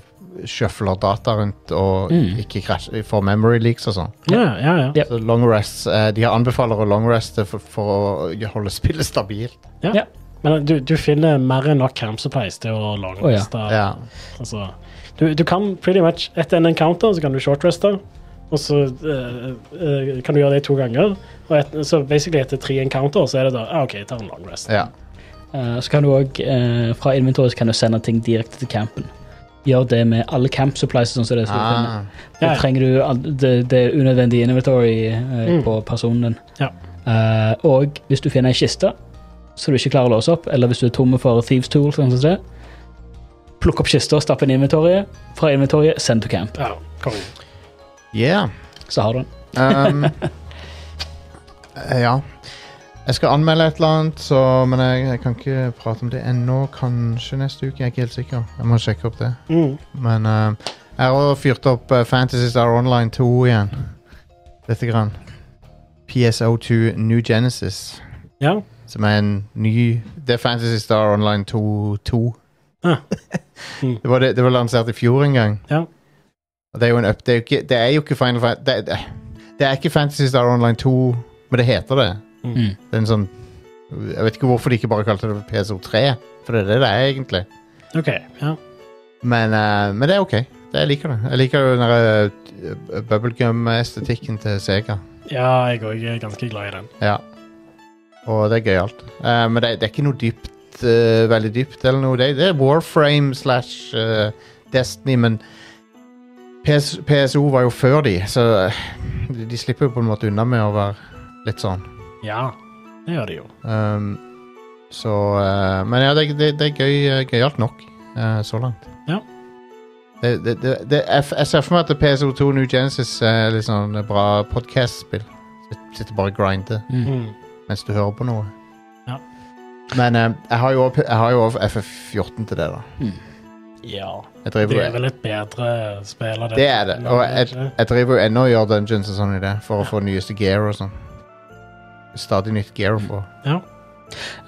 [SPEAKER 1] Shuffler data rundt og
[SPEAKER 3] Mm.
[SPEAKER 1] ikke krasjer får memory leaks og sånn.
[SPEAKER 2] Ja, ja, ja.
[SPEAKER 3] Ja.
[SPEAKER 1] Så long rests eh, De anbefaler å long reste for, for å holde spillet stabilt.
[SPEAKER 2] Men du, du finner mer enn nok camp supplies til å
[SPEAKER 3] Å, ja.
[SPEAKER 2] langreste.
[SPEAKER 1] Ja.
[SPEAKER 2] altså, du, du kan pretty much etter en encounter så kan du shortreste, og så eh, eh, kan du gjøre det to ganger. Og et, så basically etter tre encounter så er det da ah, OK, jeg tar en langrest.
[SPEAKER 1] ja.
[SPEAKER 3] Eh, så kan du òg, fra inventoret, så kan du sende ting direkte til campen. Gjør det med alle camp supplies. Sånn som det, er, så du kan-
[SPEAKER 1] Ah.
[SPEAKER 3] Da
[SPEAKER 2] Ja.
[SPEAKER 3] trenger du all- det, det unødvendige inventory eh,
[SPEAKER 2] Mm.
[SPEAKER 3] på personen din.
[SPEAKER 2] Ja.
[SPEAKER 3] Eh, og hvis du finner ei kiste som du ikke klarer å låse opp, eller hvis du er tom for thieves tool, sånn som det, plukk opp kista og stapp inn i inventoriet. Fra inventoriet, send to camp.
[SPEAKER 2] Ja, konge.
[SPEAKER 1] Yeah.
[SPEAKER 3] Så har du den.
[SPEAKER 1] Um, eh, ja. Jeg skal anmelde et eller annet, så, men jeg, jeg kan ikke prate om det ennå. Kanskje neste uke, jeg er ikke helt sikker. Jeg må sjekke opp det.
[SPEAKER 2] Mm.
[SPEAKER 1] Men eh, jeg har også fyrt opp eh, Fantasy Star Online 2 igjen. Lite grann. PSO2 New Genesis,
[SPEAKER 2] Ja.
[SPEAKER 1] som er en ny Det er Fantasy Star Online 2. 2.
[SPEAKER 2] Ah. Mm.
[SPEAKER 1] det, var det, det var lansert i fjor en gang.
[SPEAKER 2] Ja.
[SPEAKER 1] Og det er jo en up... Det er jo ikke, det er jo ikke Final Fantasy det, det, det er ikke Fantasy Star Online 2, men det heter det.
[SPEAKER 3] Mm.
[SPEAKER 1] Det er en sånn Jeg vet ikke hvorfor de ikke bare kalte det PSO3, for det er det det er egentlig.
[SPEAKER 2] OK. Ja.
[SPEAKER 1] Men, eh, men det er ok. Det, jeg liker det. Jeg liker jo den der eh, bubblegum-estetikken til Sega.
[SPEAKER 2] ja, jeg òg er ganske glad i den.
[SPEAKER 1] Ja. Og det er gøyalt. Uh, men det, det er ikke noe dypt, eh, veldig dypt eller noe. Det, det er Warframe slash eh, Destiny, men PS, PSO var jo før de, så eh, de- de slipper jo på en måte unna med å være litt sånn.
[SPEAKER 2] Ja, det gjør det jo.
[SPEAKER 1] Um, så eh, Men ja, det, det, det er gøy, eh, gøyalt nok eh, så langt.
[SPEAKER 2] Ja.
[SPEAKER 1] Det, det, det, det, jeg, f- jeg ser for meg at PSO2 New Genesis er litt sånn bra podcast-spill. Sitt- Sitter bare og grinder
[SPEAKER 2] Mm.
[SPEAKER 1] mens du hører på noe.
[SPEAKER 2] Ja.
[SPEAKER 1] Men eh, jeg har jo også- jeg har jo også FF14 til det, da.
[SPEAKER 3] Mm.
[SPEAKER 2] Ja.
[SPEAKER 1] Jeg
[SPEAKER 2] Det
[SPEAKER 1] driver,
[SPEAKER 2] er vel et bedre spill av
[SPEAKER 1] det er det. Og jeg, jeg driver jo ennå og gjør dungeons og sånn i det, for å få nyeste gear og sånn. Stadig nytt gear å få.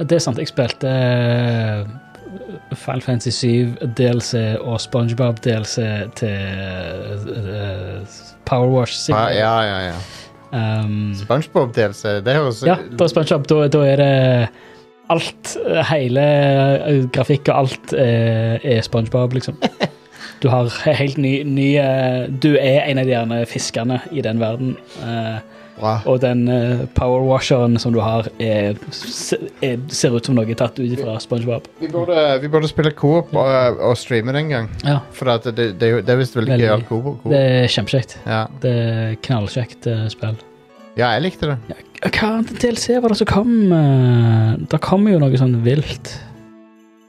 [SPEAKER 3] Det er sant. Jeg spilte eh, Final Fantasy 7 DLC og SpongeBob DLC til eh, Power Wash.
[SPEAKER 1] Ja, Ah, ja, ja. ja.
[SPEAKER 3] Um,
[SPEAKER 1] SpongeBob-DLC, det høres
[SPEAKER 3] Ja, da er SpongeBob, da, da er det alt, hele eh, grafikk og alt eh, er SpongeBob, liksom. Du har helt ny, ny eh, Du er en av de gjerne fiskene i den verden. eh,
[SPEAKER 1] bra.
[SPEAKER 3] og den eh, powerwasheren som du har, er, se- er, ser ut som noe tatt ut fra SpongeBob.
[SPEAKER 1] Vi burde, vi burde spille coop og, og streame den gang.
[SPEAKER 3] Ja,
[SPEAKER 1] For at det, det, er jo- det er visst veldig
[SPEAKER 3] Veldig.
[SPEAKER 1] gøyalt coop. coop.
[SPEAKER 3] Det er kjempekjekt.
[SPEAKER 1] Ja.
[SPEAKER 3] Det er knallkjekt eh, spill.
[SPEAKER 1] Ja, jeg likte det.
[SPEAKER 3] Hva annet DLC var det som kom? eh, Det kom jo noe sånn vilt.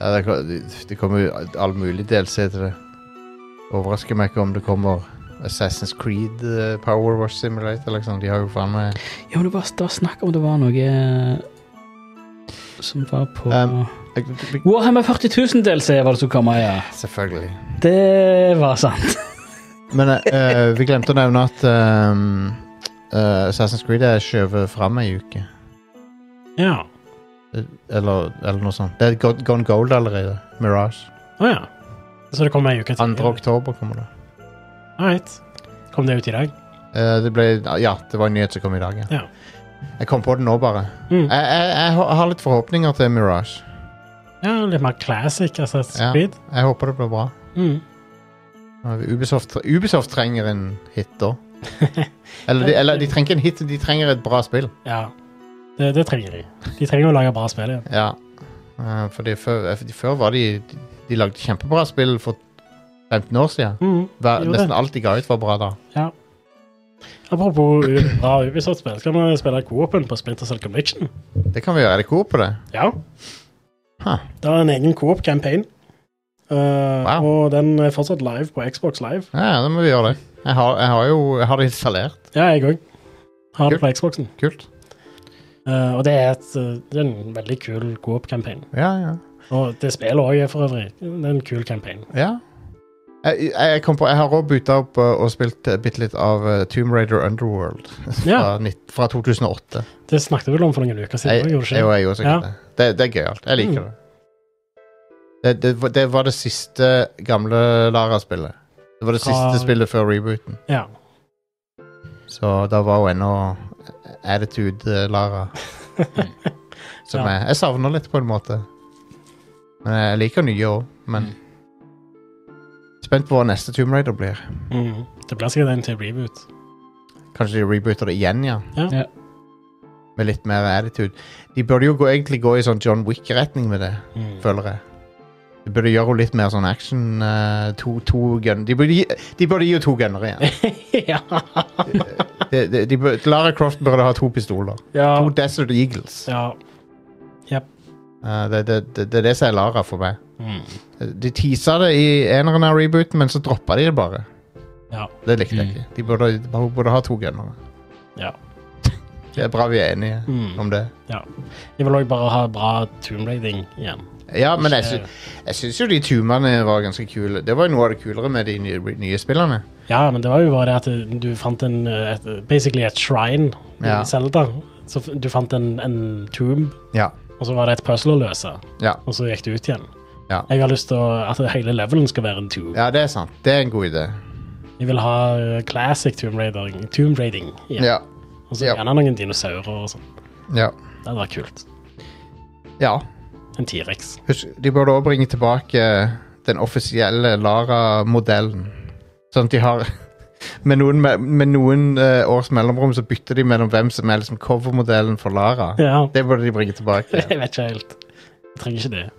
[SPEAKER 1] Ja, det, ko- det- det kommer jo all mulig DLC til det. Overrasker meg ikke om det kommer Assassin's Creed eh, Power Wash Simulator. Liksom. De har jo faen meg
[SPEAKER 3] Ja, men det var, det var snakk om det var noe eh, som var på
[SPEAKER 1] Um,
[SPEAKER 3] Warhammer 40 000 DLC var det som kom, ja.
[SPEAKER 1] Selvfølgelig.
[SPEAKER 3] Det var sant.
[SPEAKER 1] Men eh, vi glemte å nevne at ehm, eh, Assassin's Creed er skjøvet fram ei uke.
[SPEAKER 2] Ja.
[SPEAKER 1] Eller, eller noe sånt. Det er go- Gone Gold allerede. Mirage.
[SPEAKER 2] Å ja. Så det kommer en uke
[SPEAKER 1] 2. oktober kommer det.
[SPEAKER 2] Right. Kom det ut i dag?
[SPEAKER 1] Eh, det ble, ja, det var en nyhet som kom i dag. Ja.
[SPEAKER 2] Ja.
[SPEAKER 1] Jeg kom på det nå, bare. Jeg,
[SPEAKER 2] Mm.
[SPEAKER 1] jeg, jeg har- har litt forhåpninger til Mirage.
[SPEAKER 2] Ja, litt mer classic Assassin's
[SPEAKER 1] Ja.
[SPEAKER 2] Creed.
[SPEAKER 1] Jeg håper det blir bra.
[SPEAKER 2] Mm.
[SPEAKER 1] Ubisoft, Ubisoft trenger en hit, da. Eller de, eller de trenger ikke en hit, de trenger et bra spill.
[SPEAKER 2] Ja. Det, det trenger de. De trenger å lage bra spill igjen.
[SPEAKER 1] Ja. Eh, Fordi før, fordi før var de De lagde kjempebra spill for 15 år siden.
[SPEAKER 2] Mm.
[SPEAKER 1] Hver,
[SPEAKER 2] Jo, det.
[SPEAKER 1] nesten alt de ga ut, var bra da.
[SPEAKER 2] Apropos u- bra Ubisoft-spill, skal vi spille co-open på Splinter Cell Conviction?
[SPEAKER 1] Det kan vi gjøre. Er det coop på det?
[SPEAKER 2] Ja.
[SPEAKER 1] Huh.
[SPEAKER 2] Det er en egen co-op-campaign. Eh,
[SPEAKER 1] Wow.
[SPEAKER 2] Og den er fortsatt live på Xbox Live.
[SPEAKER 1] Ja, ja, da må vi gjøre det. Jeg har, jeg har jo jeg har det installert.
[SPEAKER 2] Ja, jeg òg. Har det på Xboxen.
[SPEAKER 1] Kult.
[SPEAKER 2] Eh, og det er, et, eh, det er en veldig kul co-op-campaign.
[SPEAKER 1] Ja, ja.
[SPEAKER 2] Og det spillet òg er for øvrig det er en kul campaign.
[SPEAKER 1] ja. Jeg, jeg, jeg kom på, jeg har òg bytta opp eh, og spilt eh, bitte litt av eh, Tomb Raider Underworld fra,
[SPEAKER 2] Ja.
[SPEAKER 1] nitt- fra 2008.
[SPEAKER 2] Det snakket vi vel om for noen uker
[SPEAKER 1] Jeg,
[SPEAKER 2] siden.
[SPEAKER 1] jeg,
[SPEAKER 2] gjorde vi ikke det?
[SPEAKER 1] jeg gjorde sikkert
[SPEAKER 2] Ja.
[SPEAKER 1] det. det. Det er gøyalt. Jeg liker
[SPEAKER 2] Mm.
[SPEAKER 1] det. Det, det. var- Det var det siste gamle Lara-spillet. Det var det
[SPEAKER 2] Fra-
[SPEAKER 1] siste spillet før rebooten.
[SPEAKER 2] Ja.
[SPEAKER 1] Så da var hun ennå attitude-Lara. Som
[SPEAKER 2] Ja.
[SPEAKER 1] jeg, jeg savner litt, på en måte. Men jeg liker nye òg, men Spent på hva neste Tomb Raider blir.
[SPEAKER 2] Mm. Det blir sikkert en til reboot.
[SPEAKER 1] Kanskje de rebooter det igjen, ja.
[SPEAKER 2] Ja.
[SPEAKER 3] Ja.
[SPEAKER 1] Med litt mer attitude. De burde jo gå, egentlig gå i sånn John Wick-retning med det,
[SPEAKER 2] Mm.
[SPEAKER 1] føler jeg. De burde gjøre henne litt mer sånn action eh, to, to gun. De burde, gi, de burde gi henne to gunner igjen.
[SPEAKER 2] ja.
[SPEAKER 1] De, de, de, burde- Lara Croft burde ha to pistoler.
[SPEAKER 2] ja.
[SPEAKER 1] To Desert Eagles.
[SPEAKER 2] Ja.
[SPEAKER 1] Eh, det, det, det, det er det som er Lara for meg.
[SPEAKER 2] Mm.
[SPEAKER 1] De teasa det i eneren av rebooten, men så droppa de det bare.
[SPEAKER 2] Ja.
[SPEAKER 1] Det likte jeg
[SPEAKER 3] Mm.
[SPEAKER 1] ikke. De burde, hun burde ha to gunnere.
[SPEAKER 2] Ja.
[SPEAKER 1] Det er bra vi er enige
[SPEAKER 2] Mm.
[SPEAKER 1] om det.
[SPEAKER 2] Jeg vil òg bare ha bra tomb raiding igjen.
[SPEAKER 1] Ja, men jeg,
[SPEAKER 2] Ikke-
[SPEAKER 1] sy jeg syns jo de tumene var ganske kule. Det var jo noe av det kulere med de nye, nye spillene.
[SPEAKER 2] Ja, men det var jo bare det at du fant en eh, et, Basically et shrine
[SPEAKER 1] Ja.
[SPEAKER 2] i Zelda. Så f- du fant en, en tomb,
[SPEAKER 1] Ja.
[SPEAKER 2] og så var det et puzzle å løse,
[SPEAKER 1] Ja.
[SPEAKER 2] og så gikk du ut igjen.
[SPEAKER 1] Ja.
[SPEAKER 2] Jeg har lyst til å, at hele levelen skal være en tomb.
[SPEAKER 1] ja, det er sant. Det er en god idé.
[SPEAKER 2] Jeg vil ha eh, classic tomb raiding, tomb raiding igjen.
[SPEAKER 1] Ja.
[SPEAKER 2] Og så
[SPEAKER 1] ja.
[SPEAKER 2] gjerne noen dinosaurer og sånn.
[SPEAKER 1] Ja.
[SPEAKER 2] Det hadde vært kult.
[SPEAKER 1] ja.
[SPEAKER 2] En T-rex.
[SPEAKER 1] Husk, de burde også bringe tilbake eh, den offisielle Lara-modellen. Sånn at de har Med noen, me- med noen eh, års mellomrom så bytter de mellom hvem som er liksom covermodellen for Lara.
[SPEAKER 2] Ja.
[SPEAKER 1] Det burde de bringe tilbake.
[SPEAKER 2] Jeg vet ikke helt. Jeg trenger ikke det.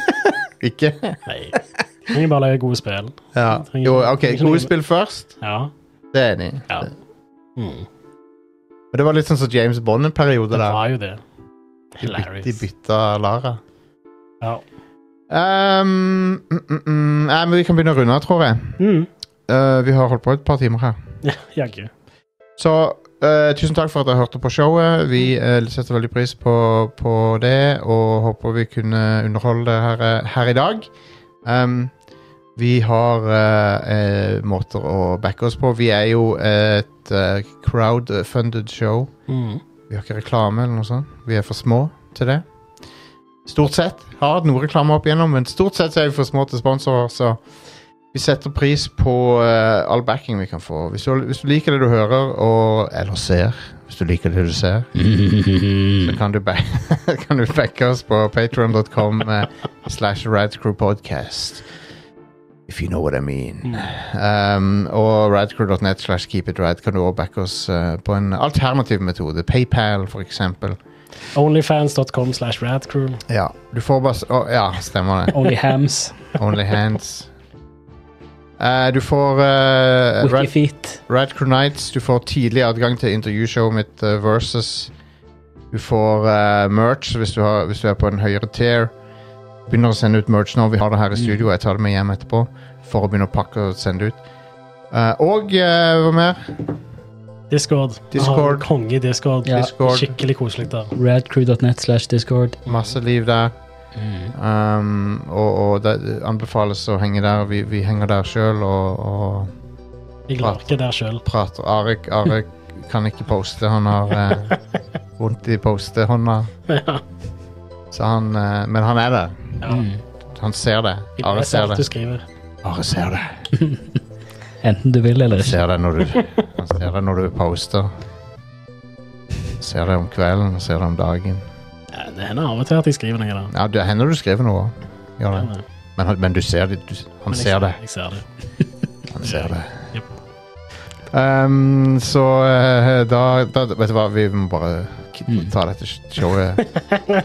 [SPEAKER 1] Ikke?
[SPEAKER 2] Nei. Jeg trenger bare lage gode spill.
[SPEAKER 1] Ja.
[SPEAKER 2] Trenger-
[SPEAKER 1] Jo, OK.
[SPEAKER 2] trenger-
[SPEAKER 1] Gode spill først.
[SPEAKER 2] Ja.
[SPEAKER 1] Det er jeg enig i.
[SPEAKER 2] Ja. Mm.
[SPEAKER 1] Men Det var litt sånn som James Bond en periode
[SPEAKER 2] Det
[SPEAKER 1] der.
[SPEAKER 2] var jo det.
[SPEAKER 1] De byt- De
[SPEAKER 2] Hilarious.
[SPEAKER 1] bytta Lara.
[SPEAKER 2] Ja.
[SPEAKER 1] Ehm, mm, mm, mm. Nei, men vi kan begynne å runde av, tror jeg.
[SPEAKER 2] Mm.
[SPEAKER 1] Eh, vi har holdt på et par timer her.
[SPEAKER 2] Ja, Jaggu.
[SPEAKER 1] Så eh, tusen takk for at dere hørte på showet. Vi eh, setter veldig pris på, på det, og håper vi kunne underholde dere her, eh, her i dag. Ehm, vi har eh, eh, måter å backe oss på. Vi er jo et eh, crowdfunded show.
[SPEAKER 2] Mm.
[SPEAKER 1] Vi har ikke reklame eller noe sånt. Vi er for små til det. Stort sett. Har hatt noe reklame opp igjennom, men stort sett så er vi for små til sponsorer, så vi setter pris på eh, all backing vi kan få. Hvis du, hvis du liker det du hører, og eller ser, hvis du liker det du ser,
[SPEAKER 3] Mm.
[SPEAKER 1] så kan du, ba kan du backe oss på patreon.com eh, slash radcrewpodcast. If you know what I mean. Um, og radcrew.net slash keepitrad kan du også backe oss eh, på en alternativ metode. PayPal, for eksempel.
[SPEAKER 2] Onlyfans.com slash radcrew.
[SPEAKER 1] Ja, du får bare s- å, Ja, stemmer det.
[SPEAKER 3] Only hams.
[SPEAKER 1] Only hands. Eh, du får eh, Red,
[SPEAKER 3] Wikifeet.
[SPEAKER 1] Radcrew Nights. Du får tidlig adgang til intervjushowet mitt eh, versus. Du får eh, merch hvis du, har, hvis du er på en høyere tier. Begynner å sende ut merch nå. Vi har det her i studio. Jeg tar det med hjem etterpå for å begynne å pakke og sende ut. Eh, og eh, hva mer?
[SPEAKER 2] Discord. Vi har
[SPEAKER 1] Discord.
[SPEAKER 2] Konge-discord.
[SPEAKER 3] Ja.
[SPEAKER 1] Discord.
[SPEAKER 2] Skikkelig koselig der.
[SPEAKER 3] Radcrew.net slash discord.
[SPEAKER 1] Masse liv der. Um, og og det det anbefales å henge der. Vi, vi henger der sjøl og, og
[SPEAKER 2] Jeg klarer ikke det sjøl.
[SPEAKER 1] prater. Are, Are kan ikke poste. Han har eh, vondt i postehånda.
[SPEAKER 2] Ja.
[SPEAKER 1] Så han, eh, men han er der.
[SPEAKER 3] Mm.
[SPEAKER 1] Han ser det.
[SPEAKER 2] Jeg
[SPEAKER 1] Are
[SPEAKER 2] leser
[SPEAKER 1] ser
[SPEAKER 2] alt du
[SPEAKER 1] det.
[SPEAKER 2] skriver.
[SPEAKER 1] Are ser det.
[SPEAKER 3] Enten du vil eller
[SPEAKER 1] Han
[SPEAKER 3] ikke.
[SPEAKER 1] ser det når du, han ser det når du poster. Ser det om kvelden og ser det om dagen.
[SPEAKER 2] Ja, det hender av og til at jeg skriver noe der.
[SPEAKER 1] Ja, Det hender du skriver noe. Gjør
[SPEAKER 2] Men,
[SPEAKER 1] det.
[SPEAKER 2] eh,
[SPEAKER 1] Men, han- men du ser det. Du, han
[SPEAKER 2] men jeg-
[SPEAKER 1] ser det.
[SPEAKER 2] Jeg ser det.
[SPEAKER 1] Han ser det.
[SPEAKER 2] Jep.
[SPEAKER 1] Ehm, så eh, da, da Vet du hva, vi må bare k-
[SPEAKER 3] Mm.
[SPEAKER 1] ta dette sh- showet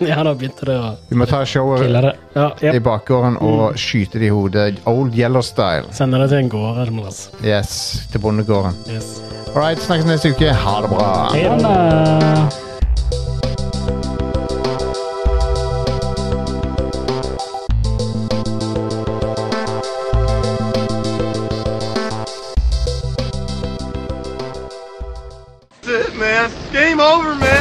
[SPEAKER 2] ja, da begynte det å
[SPEAKER 1] Vi må ta showet
[SPEAKER 3] Killer det.
[SPEAKER 2] Ja,
[SPEAKER 1] i
[SPEAKER 2] yep.
[SPEAKER 1] bakgården og skyte det i hodet. Old Yellow Style.
[SPEAKER 2] Sende det til en gård eller noe. altså.
[SPEAKER 1] Yes, til bondegården.
[SPEAKER 2] Yes.
[SPEAKER 1] All right, snakkes neste uke. Ha det bra.
[SPEAKER 2] Hei da.
[SPEAKER 3] Anna.
[SPEAKER 6] That's it, man. Game over, man.